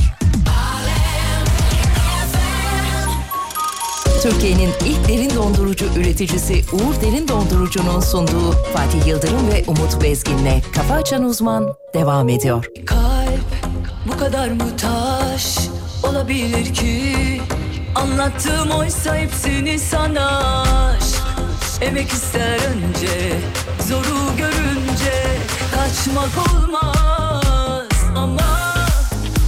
[SPEAKER 1] Türkiye'nin ilk derin dondurucu üreticisi Uğur Derin Dondurucu'nun sunduğu Fatih Yıldırım ve Umut Bezgin'le Kafa Açan Uzman devam ediyor.
[SPEAKER 13] Kalp bu kadar mı taş olabilir ki? Anlattığım oysa hepsini sana aşk. Emek ister önce, zoru görünce kaçmak olmaz ama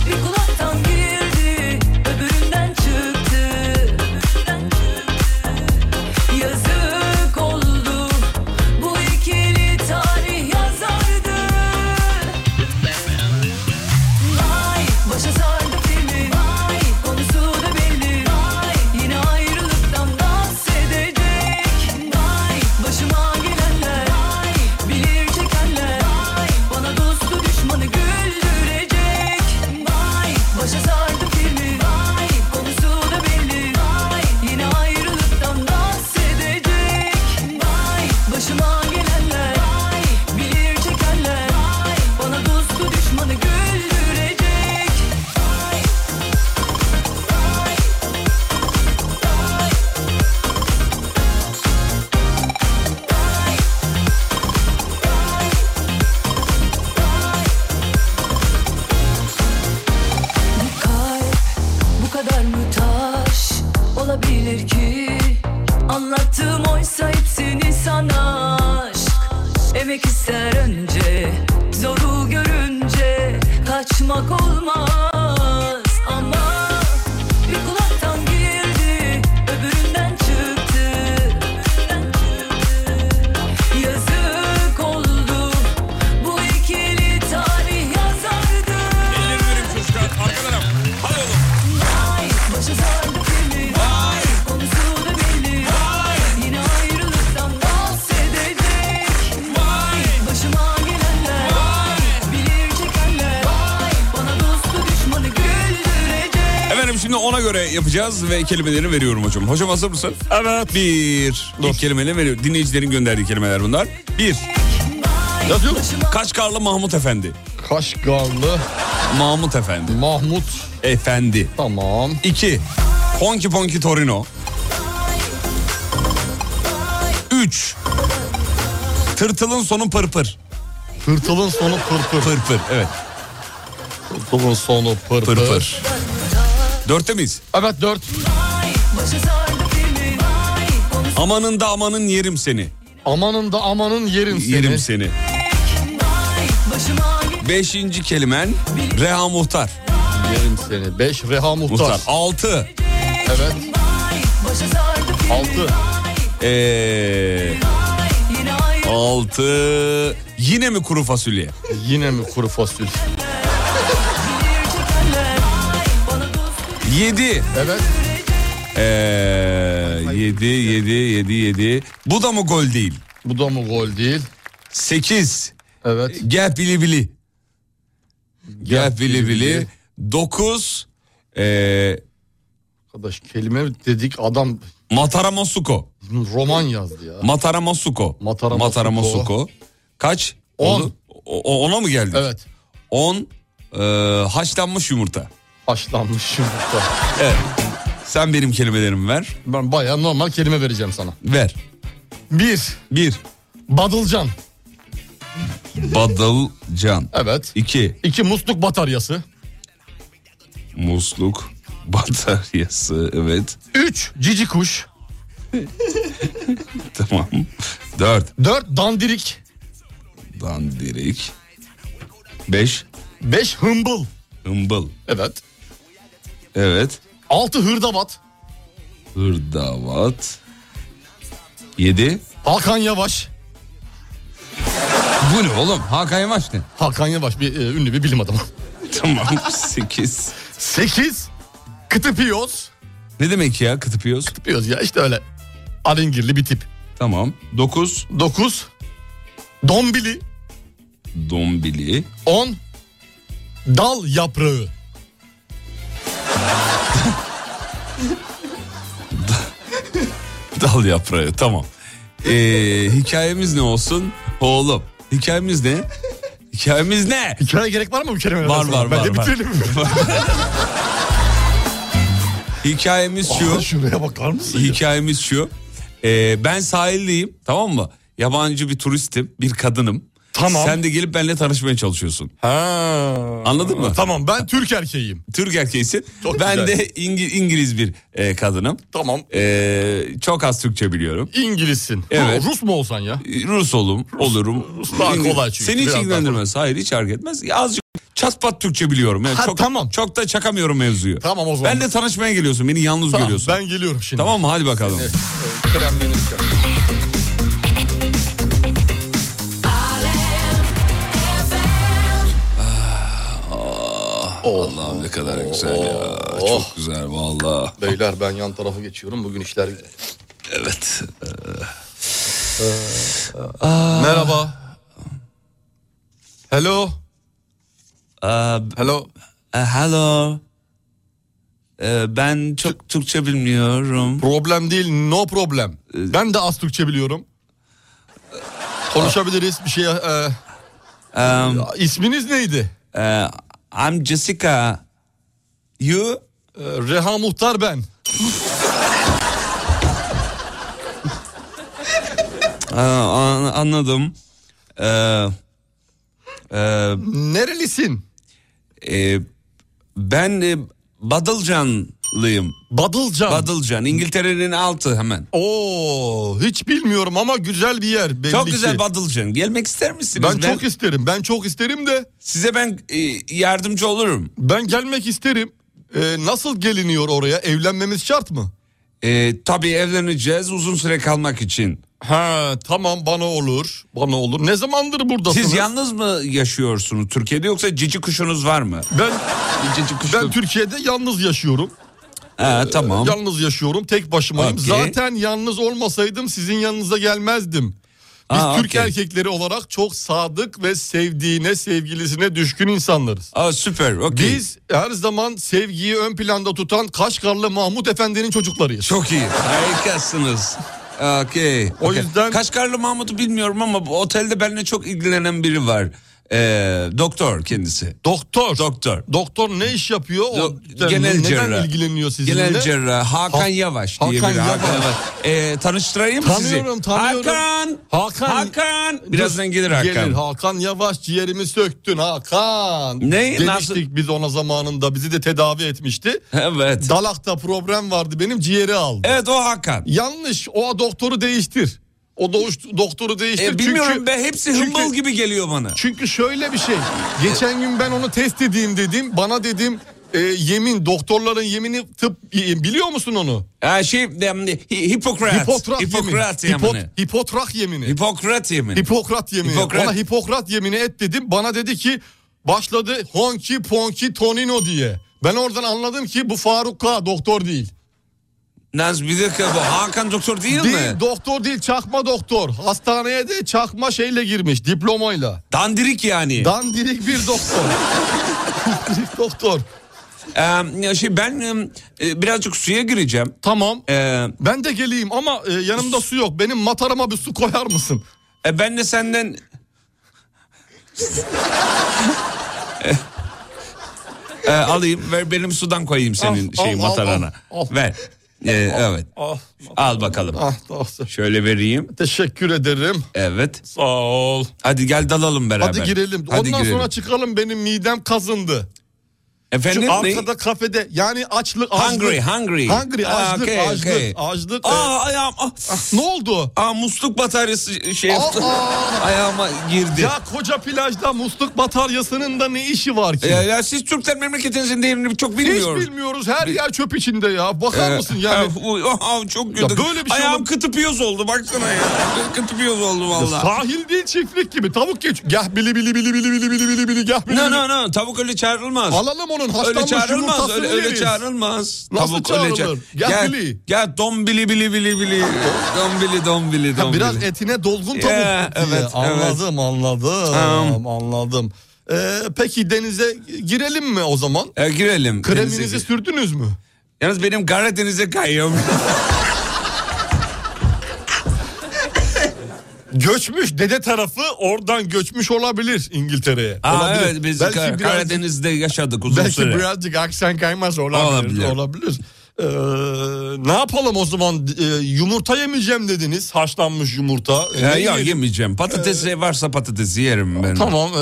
[SPEAKER 13] bir kulaktan girdi, öbüründen çıktı. Yazık oldu, bu ikili tarih yazardı. Vay başa sardı filmi Vay konusu da belli Vay yine ayrılıktan bahsedecek Vay başıma gelenler Vay bilir çekenler Vay bana dostu düşmanı güldürecek Vay başa sardı filmi Vay konusu da belli Vay yine ayrılıktan bahsedecek Vay başıma gelenler Vay bilir çekenler Vay bana dostu düşmanı güldürecek Bu kalp bu kadar mı taş olabilir ki? Anlattığım oysa hepsini sana aşk Emek ister önce, zoru görünce kaçmak olmaz ama bir kulaktan girdi, öbüründen çıktı. Yazık oldu, bu ikili tarih yazardı. Elini verin çocuklar, arka taraf, hadi oğlum. Vay, başa sardı filmi. Vay, konusu da belli. Vay, yine ayrılıktan bahsedecek. Vay, başıma gelenler. Vay, bilir çekenler. Vay, bana dostu düşmanı güldürecek.
[SPEAKER 3] Efendim şimdi ona göre yapacağız ve kelimeleri veriyorum hocam. Hocam hazır mısın? Evet. Bir. İlk kelimeni veriyor. Dinleyicilerin gönderdiği kelimeler bunlar. Bir. Yazıyor. Kaşgarlı Mahmut Efendi. Kaşgarlı. Mahmut Efendi. Mahmut. Efendi. Tamam. İki. Ponki Ponki Torino. Üç. Tırtılın sonu pırpır. Tırtılın sonu pırpır. Pırpır evet. Tırtılın sonu pırpır. pırpır. Dörtte miyiz? Evet dört.
[SPEAKER 13] Başa sardı filmi. Vay,
[SPEAKER 3] Amanın da amanın yerim seni.
[SPEAKER 4] Amanın da amanın yerim seni.
[SPEAKER 3] Yerim seni.
[SPEAKER 13] Başıma
[SPEAKER 3] Beşinci kelimen Reha Muhtar.
[SPEAKER 4] Yerim seni. Beş Reha Muhtar.
[SPEAKER 3] Altı.
[SPEAKER 4] Evet.
[SPEAKER 13] başa sardı film.
[SPEAKER 4] Altı.
[SPEAKER 3] Ee,
[SPEAKER 13] Yine ay
[SPEAKER 3] altı. Yine mi kuru fasulye?
[SPEAKER 4] Yine mi kuru fasulye?
[SPEAKER 3] Yedi.
[SPEAKER 4] Evet.
[SPEAKER 3] Ee, yedi, yedi, yedi, yedi. Bu da mı gol değil?
[SPEAKER 4] Bu da mı gol değil?
[SPEAKER 3] Sekiz.
[SPEAKER 4] Evet.
[SPEAKER 3] Gel bili bili. Gel bili bili. Dokuz. Ee,
[SPEAKER 4] Arkadaş kelime dedik adam
[SPEAKER 3] Matara Masuko.
[SPEAKER 4] roman yazdı ya.
[SPEAKER 3] Matara Masuko.
[SPEAKER 4] Matara
[SPEAKER 3] Matara
[SPEAKER 4] Masuko.
[SPEAKER 3] Masuko. Kaç?
[SPEAKER 4] On.
[SPEAKER 3] Oldu? O- o- ona mı geldik?
[SPEAKER 4] Evet.
[SPEAKER 3] On. ee, haşlanmış yumurta.
[SPEAKER 4] Haşlanmış yumurta.
[SPEAKER 3] Evet. Sen benim kelimelerimi ver.
[SPEAKER 4] Ben baya normal kelime vereceğim sana.
[SPEAKER 3] Ver.
[SPEAKER 4] Bir.
[SPEAKER 3] Bir.
[SPEAKER 4] Badılcan.
[SPEAKER 3] Badılcan.
[SPEAKER 4] Evet.
[SPEAKER 3] İki.
[SPEAKER 4] İki musluk bataryası.
[SPEAKER 3] Musluk. Bataryası. Evet.
[SPEAKER 4] Üç. Cici kuş.
[SPEAKER 3] Tamam. Dört.
[SPEAKER 4] Dört. Dandirik.
[SPEAKER 3] Dandirik. Beş.
[SPEAKER 4] Beş. Hımbıl.
[SPEAKER 3] Hımbıl.
[SPEAKER 4] Evet.
[SPEAKER 3] Evet.
[SPEAKER 4] Altı. Hırdavat.
[SPEAKER 3] Hırdavat. Yedi.
[SPEAKER 4] Hakan Yavaş.
[SPEAKER 3] Bu ne oğlum? Hakan Yavaş ne?
[SPEAKER 4] Hakan Yavaş bir e, ünlü bir bilim adamı.
[SPEAKER 3] <laughs> Tamam. Sekiz.
[SPEAKER 4] Sekiz. Kıtıpiyoz.
[SPEAKER 3] Ne demek ya kıtıpıyoruz?
[SPEAKER 4] Kıtıpiyoz ya işte öyle. Alengirli bir tip.
[SPEAKER 3] Tamam. Dokuz.
[SPEAKER 4] Dokuz. Dombili.
[SPEAKER 3] Dombili.
[SPEAKER 4] 10 dal yaprağı.
[SPEAKER 3] <laughs> Dal yaprağı. Tamam. Ee, hikayemiz ne olsun? Oğlum. Hikayemiz ne? Hikayemiz ne?
[SPEAKER 4] Hikaye gerek var mı bu kelimelerden
[SPEAKER 3] Var,
[SPEAKER 4] sonra?
[SPEAKER 3] var,
[SPEAKER 4] Bence
[SPEAKER 3] var, var.
[SPEAKER 4] bitirelim.
[SPEAKER 3] <laughs> Hikayemiz şu.
[SPEAKER 4] Aa, şuraya bakar mısın? ya?
[SPEAKER 3] Hikayemiz şu. Ee, ben sahildeyim tamam mı? Yabancı bir turistim, bir kadınım.
[SPEAKER 4] Tamam.
[SPEAKER 3] Sen de gelip benimle tanışmaya çalışıyorsun.
[SPEAKER 4] Ha.
[SPEAKER 3] Anladın mı?
[SPEAKER 4] Tamam ben Türk erkeğiyim.
[SPEAKER 3] Türk erkeğisin.
[SPEAKER 4] Çok
[SPEAKER 3] ben
[SPEAKER 4] güzel.
[SPEAKER 3] de İngi- İngiliz bir e, kadınım.
[SPEAKER 4] Tamam.
[SPEAKER 3] Ee, çok az Türkçe biliyorum.
[SPEAKER 4] İngilizsin.
[SPEAKER 3] Evet.
[SPEAKER 4] Ru- Rus mu olsan ya?
[SPEAKER 3] Rus olum, olurum.
[SPEAKER 4] Rus daha
[SPEAKER 3] İngi-
[SPEAKER 4] kolay çünkü,
[SPEAKER 3] Seni hiç
[SPEAKER 4] biraz daha
[SPEAKER 3] ilgilendirmez. Hayır hiç fark etmez. Ya Azıcık çat pat Türkçe biliyorum. Yani
[SPEAKER 4] Ha,
[SPEAKER 3] çok,
[SPEAKER 4] tamam.
[SPEAKER 3] Çok da çakamıyorum mevzuyu.
[SPEAKER 4] Tamam o zaman.
[SPEAKER 3] Ben de tanışmaya geliyorsun. Beni yalnız
[SPEAKER 4] Tamam,
[SPEAKER 3] görüyorsun.
[SPEAKER 4] ben geliyorum şimdi.
[SPEAKER 3] Tamam mı? Hadi bakalım.
[SPEAKER 4] Kremlenirken.
[SPEAKER 3] Allah'ım ne kadar güzel ya. Çok güzel valla.
[SPEAKER 4] Oh. Beyler ben yan tarafa geçiyorum. Bugün işler Ee, güzel.
[SPEAKER 3] Evet. Ee,
[SPEAKER 4] Merhaba. Hello. Hello.
[SPEAKER 3] Ee, e, hello. Ee, ben çok Türkçe bilmiyorum.
[SPEAKER 4] Problem değil no problem.
[SPEAKER 3] Ee,
[SPEAKER 4] Ben de az Türkçe biliyorum. Konuşabiliriz bir şey. E,
[SPEAKER 3] Um,
[SPEAKER 4] isminiz neydi?
[SPEAKER 3] e, I'm Jessica. You?
[SPEAKER 4] E, Reha Muhtar
[SPEAKER 3] <laughs>
[SPEAKER 4] ben.
[SPEAKER 3] Ee, an- anladım. Ee, e,
[SPEAKER 4] Nerelisin?
[SPEAKER 3] e, ben e, Badılcanlıyım.
[SPEAKER 4] Badılcan.
[SPEAKER 3] Badılcan. İngiltere'nin altı hemen.
[SPEAKER 4] Oo, hiç bilmiyorum ama güzel bir yer belli
[SPEAKER 3] Çok
[SPEAKER 4] ki.
[SPEAKER 3] güzel Badılcan. Gelmek ister misiniz?
[SPEAKER 4] ben çok isterim. Ben çok isterim de
[SPEAKER 3] Size ben e, yardımcı olurum.
[SPEAKER 4] ben gelmek isterim. E, nasıl geliniyor oraya? Evlenmemiz şart mı?
[SPEAKER 3] E, tabii evleneceğiz uzun süre kalmak için.
[SPEAKER 4] Ha tamam bana olur. Bana olur. Ne zamandır buradasınız?
[SPEAKER 3] Siz yalnız mı yaşıyorsunuz Türkiye'de yoksa cici kuşunuz var mı?
[SPEAKER 4] ben
[SPEAKER 3] Cici kuş.
[SPEAKER 4] ben Türkiye'de yalnız yaşıyorum.
[SPEAKER 3] Ha, tamam.
[SPEAKER 4] Yalnız yaşıyorum. Tek başımayım.
[SPEAKER 3] Okey.
[SPEAKER 4] Zaten yalnız olmasaydım sizin yanınıza gelmezdim. Biz
[SPEAKER 3] Aa,
[SPEAKER 4] Türk
[SPEAKER 3] okey.
[SPEAKER 4] erkekleri olarak çok sadık ve sevdiğine, sevgilisine düşkün insanlarız.
[SPEAKER 3] Aa, süper. Okey.
[SPEAKER 4] Biz her zaman sevgiyi ön planda tutan Kaşgarlı Mahmut Efendi'nin çocuklarıyız.
[SPEAKER 3] Çok iyi. Harikasınız. Okey.
[SPEAKER 4] O
[SPEAKER 3] okey.
[SPEAKER 4] yüzden-
[SPEAKER 3] Kaşgarlı Mahmut'u bilmiyorum ama bu otelde benimle çok ilgilenen biri var. Ee, doktor kendisi.
[SPEAKER 4] Doktor.
[SPEAKER 3] Doktor.
[SPEAKER 4] Doktor ne iş yapıyor? O,
[SPEAKER 3] Do-
[SPEAKER 4] yani
[SPEAKER 3] genel
[SPEAKER 4] neden
[SPEAKER 3] cerrah.
[SPEAKER 4] ilgileniyor sizinle?
[SPEAKER 3] Genel cerrah Hakan
[SPEAKER 4] Ha-
[SPEAKER 3] Yavaş diye
[SPEAKER 4] Hakan
[SPEAKER 3] biri. Hakan
[SPEAKER 4] Yavaş.
[SPEAKER 3] Yavaş. Ee, tanıştırayım mı sizi?
[SPEAKER 4] Tanıyorum tanıyorum.
[SPEAKER 3] Hakan. Hakan. Birazdan gelir Hakan.
[SPEAKER 4] Gelir Hakan yavaş ciğerimi söktün Hakan.
[SPEAKER 3] Ne?
[SPEAKER 4] Demiştik
[SPEAKER 3] Nasıl-
[SPEAKER 4] biz ona zamanında bizi de tedavi etmişti.
[SPEAKER 3] Evet.
[SPEAKER 4] Dalakta problem vardı benim ciğeri aldı.
[SPEAKER 3] Evet o Hakan.
[SPEAKER 4] Yanlış o doktoru değiştir. O doğuş- doktoru değiştir.
[SPEAKER 3] Ee, bilmiyorum
[SPEAKER 4] çünkü,
[SPEAKER 3] be hepsi
[SPEAKER 4] çünkü-
[SPEAKER 3] hımbıl gibi geliyor bana.
[SPEAKER 4] Çünkü şöyle bir şey. Geçen gün ben onu test edeyim dedim. Bana dedim e, yemin doktorların yemini tıp e, biliyor musun onu?
[SPEAKER 3] Ee, şey em, Hi- Hipokrat.
[SPEAKER 4] Hipokrat
[SPEAKER 3] Hipokrat
[SPEAKER 4] yemin.
[SPEAKER 3] yemini.
[SPEAKER 4] Hipot- Hipotrak yemini.
[SPEAKER 3] Hipokrat yemini.
[SPEAKER 4] Hipokrat yemini.
[SPEAKER 3] Hipokrat-
[SPEAKER 4] Ona Hipokrat yemini et dedim. Bana dedi ki başladı honki ponki tonino diye. Ben oradan anladım ki bu Faruk K doktor değil.
[SPEAKER 3] Naz bir dakika bu Hakan doktor değil, mi?
[SPEAKER 4] doktor değil çakma doktor. Hastaneye de çakma şeyle girmiş diplomayla.
[SPEAKER 3] Dandirik yani.
[SPEAKER 4] Dandirik bir doktor. Dandirik doktor.
[SPEAKER 3] <laughs> Ee, ya şey ben em, e, birazcık suya gireceğim.
[SPEAKER 4] Tamam.
[SPEAKER 3] Ee,
[SPEAKER 4] Ben de geleyim ama e, yanımda su yok. Benim matarama bir su koyar mısın?
[SPEAKER 3] e, ben de senden Ee, alayım ver benim sudan koyayım senin
[SPEAKER 4] Al,
[SPEAKER 3] şey
[SPEAKER 4] al, al,
[SPEAKER 3] matarana.
[SPEAKER 4] al, al.
[SPEAKER 3] Ver. Ee, evet.
[SPEAKER 4] Ah,
[SPEAKER 3] Al bakalım.
[SPEAKER 4] ah doktor.
[SPEAKER 3] Şöyle vereyim.
[SPEAKER 4] Teşekkür ederim.
[SPEAKER 3] Evet.
[SPEAKER 4] Sağ ol.
[SPEAKER 3] Hadi gel dalalım beraber.
[SPEAKER 4] Hadi girelim.
[SPEAKER 3] Hadi
[SPEAKER 4] Ondan
[SPEAKER 3] girelim.
[SPEAKER 4] sonra çıkalım benim midem kazındı.
[SPEAKER 3] Efendim
[SPEAKER 4] Şu
[SPEAKER 3] ne?
[SPEAKER 4] arkada kafede yani açlık açlık.
[SPEAKER 3] Hungry, hungry.
[SPEAKER 4] Hungry
[SPEAKER 3] Aa,
[SPEAKER 4] açlık
[SPEAKER 3] okay,
[SPEAKER 4] açlık
[SPEAKER 3] okay.
[SPEAKER 4] açlık.
[SPEAKER 3] Aa
[SPEAKER 4] Ee,
[SPEAKER 3] ayağım. ah.
[SPEAKER 4] ne oldu?
[SPEAKER 3] Aa musluk bataryası şey yaptı.
[SPEAKER 4] Aa!
[SPEAKER 3] Ayağıma girdi.
[SPEAKER 4] Ya koca plajda musluk bataryasının da ne işi var ki?
[SPEAKER 3] Ya, ya siz Türkler memleketinizin değerini çok
[SPEAKER 4] Hiç
[SPEAKER 3] bilmiyorsunuz.
[SPEAKER 4] bilmiyoruz. Her yer çöp içinde ya. Bakar
[SPEAKER 3] Ee,
[SPEAKER 4] mısın yani?
[SPEAKER 3] eh, uy, ah, çok kötü.
[SPEAKER 4] Ya böyle bir şey
[SPEAKER 3] Ayağım
[SPEAKER 4] olur-
[SPEAKER 3] kıtı piyoz oldu baksana ya. <laughs> kıtı piyoz oldu valla.
[SPEAKER 4] Sahil değil çiftlik gibi. Tavuk geç. Gah bili bili bili bili bili bili bili bili gah bili.
[SPEAKER 3] No
[SPEAKER 4] bili.
[SPEAKER 3] no no tavuk öyle çağrılmaz.
[SPEAKER 4] Alalım onun
[SPEAKER 3] öyle
[SPEAKER 4] haşlanmış
[SPEAKER 3] çağrılmaz
[SPEAKER 4] yumurtasını
[SPEAKER 3] öyle, öyle
[SPEAKER 4] yeriz.
[SPEAKER 3] çağrılmaz.
[SPEAKER 4] Nasıl
[SPEAKER 3] öyle
[SPEAKER 4] çağrılır?
[SPEAKER 3] ça-
[SPEAKER 4] Gel
[SPEAKER 3] Gel,
[SPEAKER 4] bili.
[SPEAKER 3] gel don bili bili bili bili. don bili don bili don
[SPEAKER 4] Ya biraz
[SPEAKER 3] bili.
[SPEAKER 4] etine dolgun tavuk.
[SPEAKER 3] Ya,
[SPEAKER 4] diye.
[SPEAKER 3] evet,
[SPEAKER 4] anladım anladım
[SPEAKER 3] Tamam.
[SPEAKER 4] anladım. Ee, peki denize girelim mi o zaman?
[SPEAKER 3] E, girelim. denize
[SPEAKER 4] Kreminizi
[SPEAKER 3] girelim.
[SPEAKER 4] sürdünüz mü?
[SPEAKER 3] Yalnız benim Karadeniz'e kayıyorum.
[SPEAKER 4] <laughs> Göçmüş dede tarafı oradan göçmüş olabilir İngiltere'ye.
[SPEAKER 3] Aa,
[SPEAKER 4] olabilir.
[SPEAKER 3] evet biz
[SPEAKER 4] belki
[SPEAKER 3] Kar-
[SPEAKER 4] biraz-
[SPEAKER 3] Karadeniz'de yaşadık uzun
[SPEAKER 4] belki
[SPEAKER 3] süre.
[SPEAKER 4] birazcık aksan kaymaz olabilir.
[SPEAKER 3] Olabilir.
[SPEAKER 4] Olabilir. Ee, ne yapalım o zaman? Ee, yumurta yemeyeceğim dediniz. Haşlanmış yumurta. Ee,
[SPEAKER 3] Ya,
[SPEAKER 4] ne
[SPEAKER 3] ya
[SPEAKER 4] yiyelim?
[SPEAKER 3] yemeyeceğim. Patatesi varsa patatesi yerim ben.
[SPEAKER 4] Ee, Tamam. ee,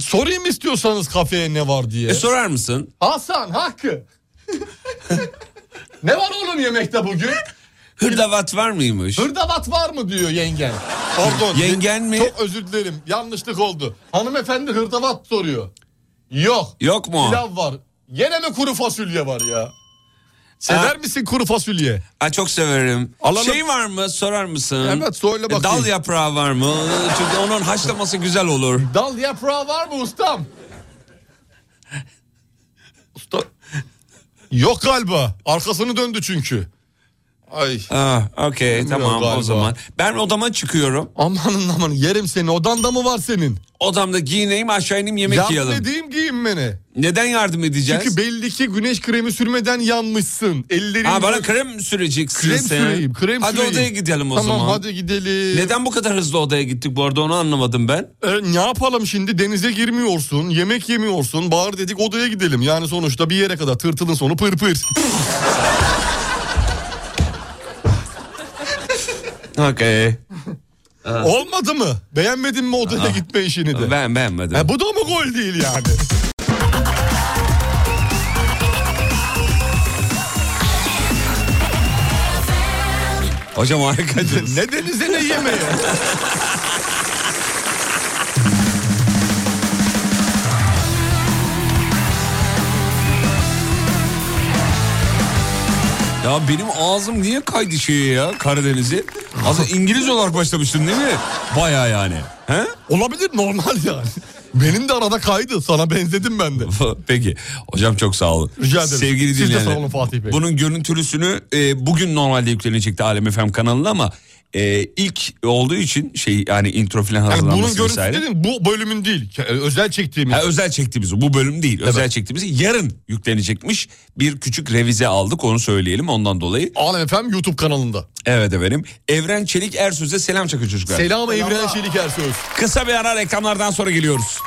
[SPEAKER 4] sorayım istiyorsanız kafeye ne var diye.
[SPEAKER 3] E, sorar mısın?
[SPEAKER 4] Hasan Hakkı. ne var oğlum yemekte bugün?
[SPEAKER 3] Hırdavat var mıymış?
[SPEAKER 4] Hırdavat var mı diyor yengen. Pardon.
[SPEAKER 3] Yengen mi?
[SPEAKER 4] Çok özür dilerim. Yanlışlık oldu. Hanımefendi hırdavat soruyor. Yok.
[SPEAKER 3] Yok mu?
[SPEAKER 4] Pilav var. Gene mi kuru fasulye var ya? Sever
[SPEAKER 3] Ha.
[SPEAKER 4] misin kuru fasulye?
[SPEAKER 3] Aa, çok severim.
[SPEAKER 4] Alalım.
[SPEAKER 3] Şey var mı? Sorar mısın?
[SPEAKER 4] Evet, söyle bakayım.
[SPEAKER 3] Dal yaprağı var mı? Çünkü onun haşlaması güzel olur.
[SPEAKER 4] Dal yaprağı var mı ustam? Usta. Yok galiba. Arkasını döndü çünkü. Ay.
[SPEAKER 3] Aa, okey
[SPEAKER 4] Bilmiyorum
[SPEAKER 3] tamam
[SPEAKER 4] galiba.
[SPEAKER 3] o zaman. Ben odama çıkıyorum.
[SPEAKER 4] Amanın aman yerim seni. Odanda mı var senin?
[SPEAKER 3] Odamda giyineyim aşağı ineyim yemek
[SPEAKER 4] Yardım
[SPEAKER 3] yiyelim.
[SPEAKER 4] edeyim giyinmene.
[SPEAKER 3] Neden yardım edeceğiz?
[SPEAKER 4] Çünkü belli ki güneş kremi sürmeden yanmışsın. Ellerin
[SPEAKER 3] Ha, bana krem süreceksin
[SPEAKER 4] krem
[SPEAKER 3] sen.
[SPEAKER 4] süreyim. Krem
[SPEAKER 3] hadi
[SPEAKER 4] süreyim.
[SPEAKER 3] odaya gidelim o
[SPEAKER 4] tamam,
[SPEAKER 3] zaman.
[SPEAKER 4] hadi gidelim.
[SPEAKER 3] Neden bu kadar hızlı odaya gittik bu arada onu anlamadım ben.
[SPEAKER 4] E, ne yapalım şimdi denize girmiyorsun, yemek yemiyorsun. Bağır dedik odaya gidelim. Yani sonuçta bir yere kadar tırtılın sonu pır pır.
[SPEAKER 3] <laughs> Okey.
[SPEAKER 4] <laughs>
[SPEAKER 3] Ah.
[SPEAKER 4] Olmadı mı? Beğenmedin mi odaya gitme işini de?
[SPEAKER 3] Ben beğenmedim.
[SPEAKER 4] Ha, bu da mı gol değil yani?
[SPEAKER 3] Hocam
[SPEAKER 4] <laughs>
[SPEAKER 3] harikaydınız.
[SPEAKER 4] ne denize ne yemeğe.
[SPEAKER 3] Ya benim ağzım niye kaydı şeye ya Karadeniz'i? Aslında İngiliz olarak başlamıştın değil mi? Baya yani. He?
[SPEAKER 4] Olabilir normal yani. Benim de arada kaydı. Sana benzedim ben de.
[SPEAKER 3] <laughs> Peki. Hocam çok sağ olun.
[SPEAKER 4] Rica ederim.
[SPEAKER 3] Sevgili
[SPEAKER 4] Siz de
[SPEAKER 3] dinleyenler.
[SPEAKER 4] sağ olun Fatih Bey.
[SPEAKER 3] Bunun görüntülüsünü e, bugün normalde yüklenecekti Alem FM kanalına ama e, ilk olduğu için şey yani intro falan
[SPEAKER 4] Yani
[SPEAKER 3] hazırlanması
[SPEAKER 4] bunun görüntüsü
[SPEAKER 3] vesaire.
[SPEAKER 4] dedim bu bölümün değil. Ke- e, Özel çektiğimiz.
[SPEAKER 3] Ha, özel çektiğimiz bu bölüm değil. Özel çektiğimiz yarın yüklenecekmiş. Bir küçük revize aldık onu söyleyelim ondan dolayı.
[SPEAKER 4] Alem FM YouTube kanalında.
[SPEAKER 3] Evet efendim. Evren Çelik Ersöz'e selam çakın çocuklar.
[SPEAKER 4] Selam Evren Çelik Ersöz.
[SPEAKER 3] Kısa bir ara reklamlardan sonra geliyoruz.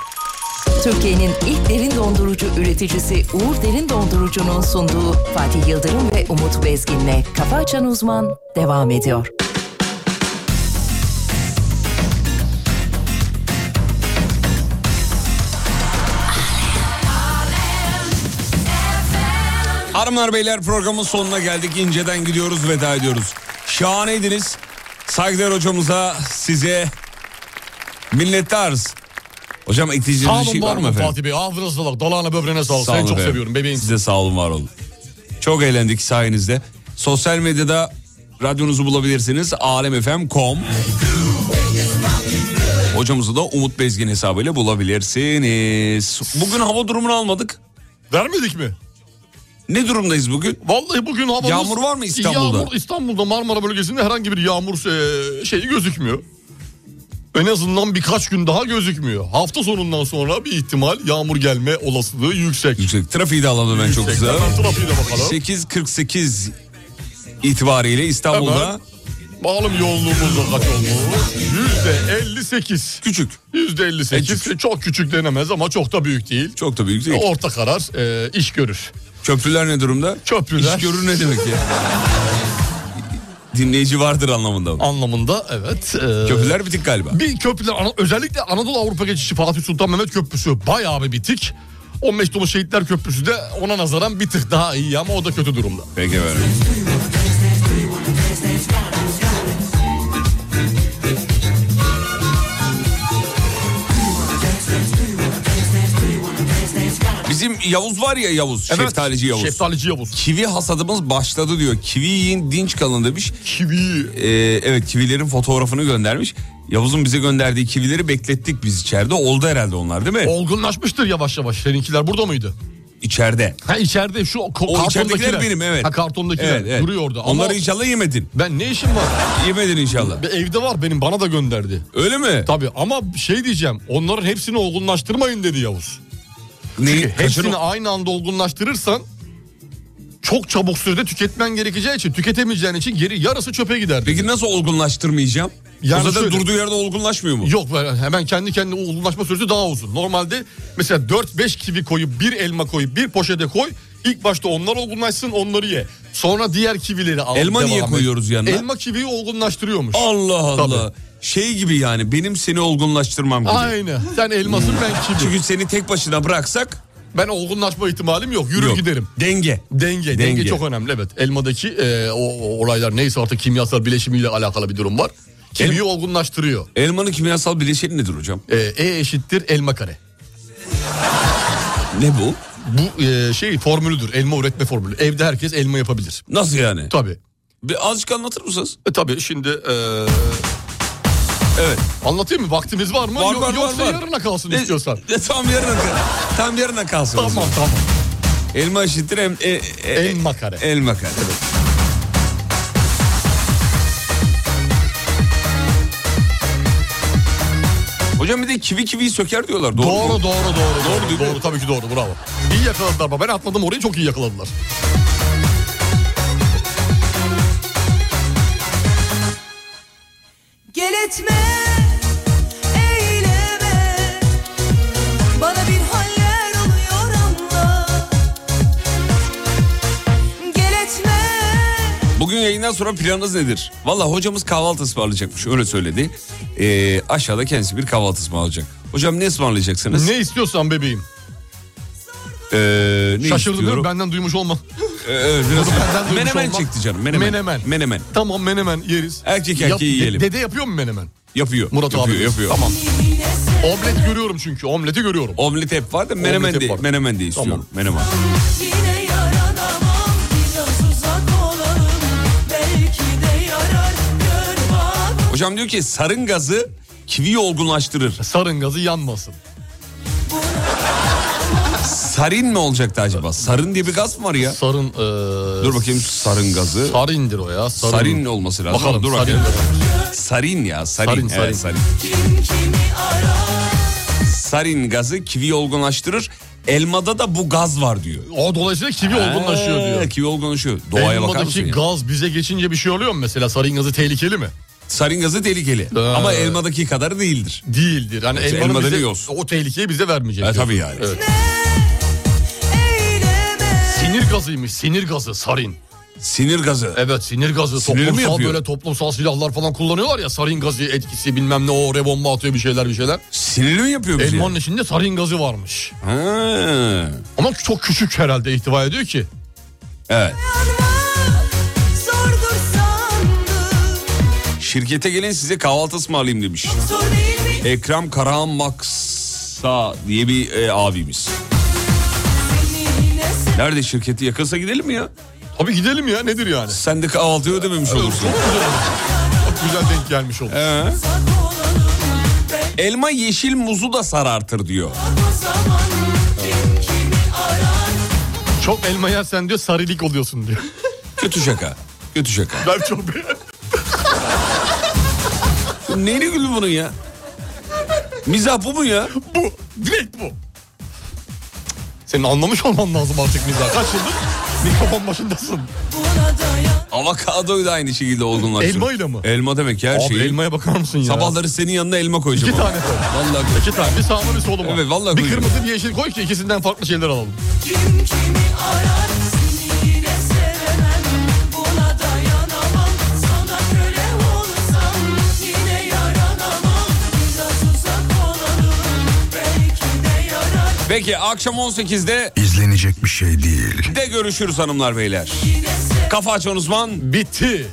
[SPEAKER 1] Türkiye'nin ilk derin dondurucu üreticisi Uğur Derin Dondurucu'nun sunduğu Fatih Yıldırım ve Umut Bezgin'le Kafa Açan Uzman devam ediyor.
[SPEAKER 3] Hanımlar beyler programın sonuna geldik. İnceden gidiyoruz veda ediyoruz. Şahaneydiniz. Saygılar hocamıza size minnettarız. Hocam
[SPEAKER 4] Sağ
[SPEAKER 3] ekleyeceğiniz bir
[SPEAKER 4] olun
[SPEAKER 3] şey
[SPEAKER 4] var
[SPEAKER 3] var mı
[SPEAKER 4] mı
[SPEAKER 3] efendim?
[SPEAKER 4] Fatih Bey? Ağzına sağlık. Dalağına böbreğine sağlık. Seni
[SPEAKER 3] olun
[SPEAKER 4] çok
[SPEAKER 3] efendim.
[SPEAKER 4] seviyorum bebeğim.
[SPEAKER 3] Siz de sağ olun var olun. Çok eğlendik sayenizde. Sosyal medyada radyonuzu bulabilirsiniz. alemfm.com Hocamızı da Umut Bezgin hesabıyla bulabilirsiniz. Bugün hava durumunu almadık.
[SPEAKER 4] Vermedik mi?
[SPEAKER 3] Ne durumdayız bugün?
[SPEAKER 4] Vallahi bugün havamız...
[SPEAKER 3] Yağmur var mı İstanbul'da?
[SPEAKER 4] Yağmur İstanbul'da Marmara bölgesinde herhangi bir yağmur e, şeyi gözükmüyor. En azından birkaç gün daha gözükmüyor. Hafta sonundan sonra bir ihtimal yağmur gelme olasılığı yüksek.
[SPEAKER 3] Yüksek. Trafiği de alalım hemen çok güzel.
[SPEAKER 4] Hemen trafiği de bakalım.
[SPEAKER 3] 8.48 itibariyle İstanbul'da
[SPEAKER 4] Hemen. Bakalım yoğunluğumuz da kaç olmuş? Yüzde 58.
[SPEAKER 3] Küçük.
[SPEAKER 4] Yüzde 58. Çok küçük denemez ama çok da büyük değil.
[SPEAKER 3] Çok da büyük değil.
[SPEAKER 4] Orta karar e, iş görür.
[SPEAKER 3] köprüler ne durumda?
[SPEAKER 4] Köprüler.
[SPEAKER 3] İş görür ne
[SPEAKER 4] <laughs>
[SPEAKER 3] demek ya? Dinleyici vardır anlamında mı?
[SPEAKER 4] Anlamında evet. e,
[SPEAKER 3] Köprüler bitik galiba.
[SPEAKER 4] Bir köprüler ana- özellikle Anadolu Avrupa geçişi Fatih Sultan Mehmet Köprüsü bayağı bir bitik. 15 dolu Şehitler Köprüsü de ona nazaran bir tık daha iyi ama o da kötü durumda.
[SPEAKER 3] Peki efendim. Bizim Yavuz var ya Yavuz, şeftalici Yavuz.
[SPEAKER 4] Şeftalici Yavuz.
[SPEAKER 3] Kivi hasadımız başladı diyor. Kivi yiyin dinç kalın demiş. Ee,
[SPEAKER 4] Kivi.
[SPEAKER 3] evet kivilerin fotoğrafını göndermiş. Yavuz'un bize gönderdiği kivileri beklettik biz içeride. Oldu herhalde onlar değil mi?
[SPEAKER 4] Olgunlaşmıştır yavaş yavaş. Seninkiler burada mıydı?
[SPEAKER 3] İçeride.
[SPEAKER 4] Ha içeride şu ko-
[SPEAKER 3] O
[SPEAKER 4] kartondakiler.
[SPEAKER 3] içeridekiler benim evet.
[SPEAKER 4] Ha kartondakiler
[SPEAKER 3] Evet, evet.
[SPEAKER 4] duruyor orada. Ama
[SPEAKER 3] Onları inşallah yemedin.
[SPEAKER 4] ben ne işim var?
[SPEAKER 3] Yemedin inşallah.
[SPEAKER 4] Bir evde var benim bana da gönderdi.
[SPEAKER 3] Öyle mi?
[SPEAKER 4] Tabii ama şey diyeceğim onların hepsini olgunlaştırmayın dedi Yavuz.
[SPEAKER 3] Neyi?
[SPEAKER 4] Çünkü
[SPEAKER 3] Kaçırın-
[SPEAKER 4] hepsini aynı anda olgunlaştırırsan çok çabuk sürede tüketmen gerekeceği için tüketemeyeceğin için geri yarısı çöpe gider. dedi.
[SPEAKER 3] Peki nasıl olgunlaştırmayacağım?
[SPEAKER 4] Yani
[SPEAKER 3] o zaten
[SPEAKER 4] şöyle-
[SPEAKER 3] durduğu yerde olgunlaşmıyor mu?
[SPEAKER 4] Yok böyle hemen kendi kendine olgunlaşma süresi daha uzun. Normalde mesela 4-5 kivi koyup bir elma koyup bir poşete koy. İlk başta onlar olgunlaşsın onları ye. Sonra diğer kivileri al.
[SPEAKER 3] Elma niye
[SPEAKER 4] devam et.
[SPEAKER 3] koyuyoruz yanına?
[SPEAKER 4] Elma kiviyi olgunlaştırıyormuş.
[SPEAKER 3] Allah Allah. Şey gibi yani benim seni olgunlaştırmam gibi.
[SPEAKER 4] Aynen. Sen elmasın ben kivi.
[SPEAKER 3] Çünkü seni tek başına bıraksak
[SPEAKER 4] Ben olgunlaşma ihtimalim yok. Yürür
[SPEAKER 3] Yok.
[SPEAKER 4] giderim.
[SPEAKER 3] denge.
[SPEAKER 4] Denge, denge,
[SPEAKER 3] Denge.
[SPEAKER 4] çok önemli evet. Elmadaki e, o, o olaylar neyse artık kimyasal bileşimiyle alakalı bir durum var. Kiviyi olgunlaştırıyor.
[SPEAKER 3] Elmanın kimyasal bileşeni nedir hocam?
[SPEAKER 4] E, e eşittir elma kare.
[SPEAKER 3] Ne bu?
[SPEAKER 4] Bu e, şey formülüdür. Elma üretme formülü. Evde herkes elma yapabilir.
[SPEAKER 3] Nasıl yani?
[SPEAKER 4] Tabii.
[SPEAKER 3] Bir azıcık anlatır mısınız?
[SPEAKER 4] E, tabii şimdi e,
[SPEAKER 3] Evet.
[SPEAKER 4] anlatayım mı? Vaktimiz var mı?
[SPEAKER 3] Var,
[SPEAKER 4] Yok-
[SPEAKER 3] var, var,
[SPEAKER 4] Yoksa
[SPEAKER 3] var.
[SPEAKER 4] yarına kalsın
[SPEAKER 3] Ne-
[SPEAKER 4] istiyorsan.
[SPEAKER 3] Ne, tam yarına kalsın. Tam yarına kalsın. o
[SPEAKER 4] Tamam
[SPEAKER 3] zaman.
[SPEAKER 4] tamam.
[SPEAKER 3] Elma eşittir em, e, e- e-
[SPEAKER 4] Elma kare.
[SPEAKER 3] elma kare. Hocam bir de kivi kiviyi söker diyorlar. Doğru,
[SPEAKER 4] Doğru
[SPEAKER 3] mu?
[SPEAKER 4] doğru doğru doğru.
[SPEAKER 3] değil
[SPEAKER 4] Doğru,
[SPEAKER 3] mi?
[SPEAKER 4] tabii ki doğru bravo. İyi yakaladılar baba. Ben atladım orayı çok iyi yakaladılar.
[SPEAKER 13] Gel etme, eyleme Bana bir haller oluyor anla Gel etme,
[SPEAKER 3] Bugün yayından sonra planınız nedir? Valla hocamız kahvaltı ısmarlayacakmış öyle söyledi. Ee, aşağıda kendisi bir kahvaltı ısmarlayacak. Hocam ne ısmarlayacaksınız?
[SPEAKER 4] Ne istiyorsan bebeğim.
[SPEAKER 3] Ee,
[SPEAKER 4] Şaşırdın
[SPEAKER 3] ne
[SPEAKER 4] değil mi?
[SPEAKER 3] istiyorum?
[SPEAKER 4] Benden duymuş olma.
[SPEAKER 3] <laughs> Ee, evet, biraz-
[SPEAKER 4] Bunu benden duymuş
[SPEAKER 3] Menemen
[SPEAKER 4] olmak-
[SPEAKER 3] çekti canım. Menemen.
[SPEAKER 4] Menemen.
[SPEAKER 3] Menemen.
[SPEAKER 4] Tamam menemen yeriz.
[SPEAKER 3] Erkek erkeği
[SPEAKER 4] Yap- de-
[SPEAKER 3] yiyelim.
[SPEAKER 4] Dede yapıyor mu menemen?
[SPEAKER 3] Yapıyor.
[SPEAKER 4] Murat
[SPEAKER 3] yapıyor,
[SPEAKER 4] abi.
[SPEAKER 3] Yapıyor.
[SPEAKER 4] Tamam. Omlet görüyorum çünkü. Omleti görüyorum.
[SPEAKER 3] Omlet hep var da menemen
[SPEAKER 4] hep
[SPEAKER 3] de,
[SPEAKER 4] var.
[SPEAKER 3] menemen de istiyorum. Menemen.
[SPEAKER 13] yine yaranamam Biraz uzak olalım, belki de yarar Gör bak,
[SPEAKER 3] Hocam diyor ki sarın gazı kiviyi olgunlaştırır.
[SPEAKER 4] Sarın gazı yanmasın.
[SPEAKER 3] Sarin mi olacaktı acaba? Sarın diye bir gaz mı var ya?
[SPEAKER 4] Sarın... eee,
[SPEAKER 3] Dur bakayım sarın gazı.
[SPEAKER 4] Sarindir o ya. Sarın,
[SPEAKER 3] Sarin olması lazım.
[SPEAKER 4] Bakalım.
[SPEAKER 3] Dur
[SPEAKER 4] sarin.
[SPEAKER 3] bakayım. Sarin ya sarin.
[SPEAKER 4] Sarin, sarin.
[SPEAKER 3] Evet, sarin. Sarin gazı kivi olgunlaştırır. Elmada da bu gaz var diyor.
[SPEAKER 4] O dolayısıyla kivi olgunlaşıyor diyor.
[SPEAKER 3] Kivi olgunlaşıyor. Doğaya bakar mısın?
[SPEAKER 4] Elmadaki
[SPEAKER 3] ya?
[SPEAKER 4] şey, gaz bize geçince bir şey oluyor mu mesela? Sarın gazı tehlikeli mi? Ee.
[SPEAKER 3] Sarın gazı tehlikeli. Ama elmadaki kadar değildir.
[SPEAKER 4] Değildir. Hani
[SPEAKER 3] Yoksa
[SPEAKER 4] elmanın
[SPEAKER 3] elmada
[SPEAKER 4] bize-
[SPEAKER 3] yoz.
[SPEAKER 4] o tehlikeyi bize vermeyecek.
[SPEAKER 3] E, tabii
[SPEAKER 4] diyorsun.
[SPEAKER 3] yani.
[SPEAKER 4] Evet. Sinir gazıymış. Sinir gazı sarin.
[SPEAKER 3] Sinir gazı.
[SPEAKER 4] Evet sinir gazı.
[SPEAKER 3] Sinir mi
[SPEAKER 4] toplumsal
[SPEAKER 3] yapıyor?
[SPEAKER 4] böyle toplumsal silahlar falan kullanıyorlar ya. Sarin gazı etkisi bilmem ne o rebomba atıyor bir şeyler bir şeyler.
[SPEAKER 3] Sinirli mi yapıyor bizi?
[SPEAKER 4] Elmanın içinde sarin gazı varmış. Ama çok küçük herhalde ihtiva ediyor ki.
[SPEAKER 3] Evet.
[SPEAKER 5] Zordur sandım
[SPEAKER 3] Şirkete gelin size kahvaltı ısmarlayayım demiş.
[SPEAKER 5] Zor değil mi?
[SPEAKER 3] Ekrem Karahan Maksa diye bir e, abimiz. Nerede şirketi yakınsa gidelim mi ya?
[SPEAKER 4] Abi gidelim ya nedir yani?
[SPEAKER 3] Sen de kahvaltıyı ödememiş olursun.
[SPEAKER 4] Çok güzel denk gelmiş oldu.
[SPEAKER 3] Ee? Elma yeşil muzu da sarartır diyor.
[SPEAKER 4] Çok elma yersen diyor sarilik oluyorsun diyor.
[SPEAKER 3] <laughs> Kötü şaka. Kötü şaka.
[SPEAKER 4] Ben çok beğendim.
[SPEAKER 3] Neyini güldü bunun ya? Mizah bu mu ya?
[SPEAKER 4] Bu. Direkt bu. Senin anlamış olman lazım artık mizah. Kaç yıldır mikrofon başındasın.
[SPEAKER 3] Avokadoyu da aynı şekilde olgunlaştırır.
[SPEAKER 4] Elmayla mı?
[SPEAKER 3] Elma demek her
[SPEAKER 4] Abi
[SPEAKER 3] şey.
[SPEAKER 4] elmaya bakar mısın ya?
[SPEAKER 3] Sabahları senin yanına elma koyacağım.
[SPEAKER 4] İki
[SPEAKER 3] ama.
[SPEAKER 4] tane koy.
[SPEAKER 3] Vallahi
[SPEAKER 4] İki tane. Bir sağlı bir soluma.
[SPEAKER 3] Evet, vallahi
[SPEAKER 4] Bir
[SPEAKER 3] koyacağım.
[SPEAKER 4] kırmızı bir yeşil koy ki ikisinden farklı şeyler alalım.
[SPEAKER 5] Kim kimi arar seni yine sevemem Buna dayanamam sana köle olsam Yine yaranamam bize tuzak olalım Belki de yarar
[SPEAKER 3] Peki akşam 18'de
[SPEAKER 12] İzlenecek bir şey değil.
[SPEAKER 3] de görüşürüz hanımlar beyler. Kafa açan uzman
[SPEAKER 4] bitti.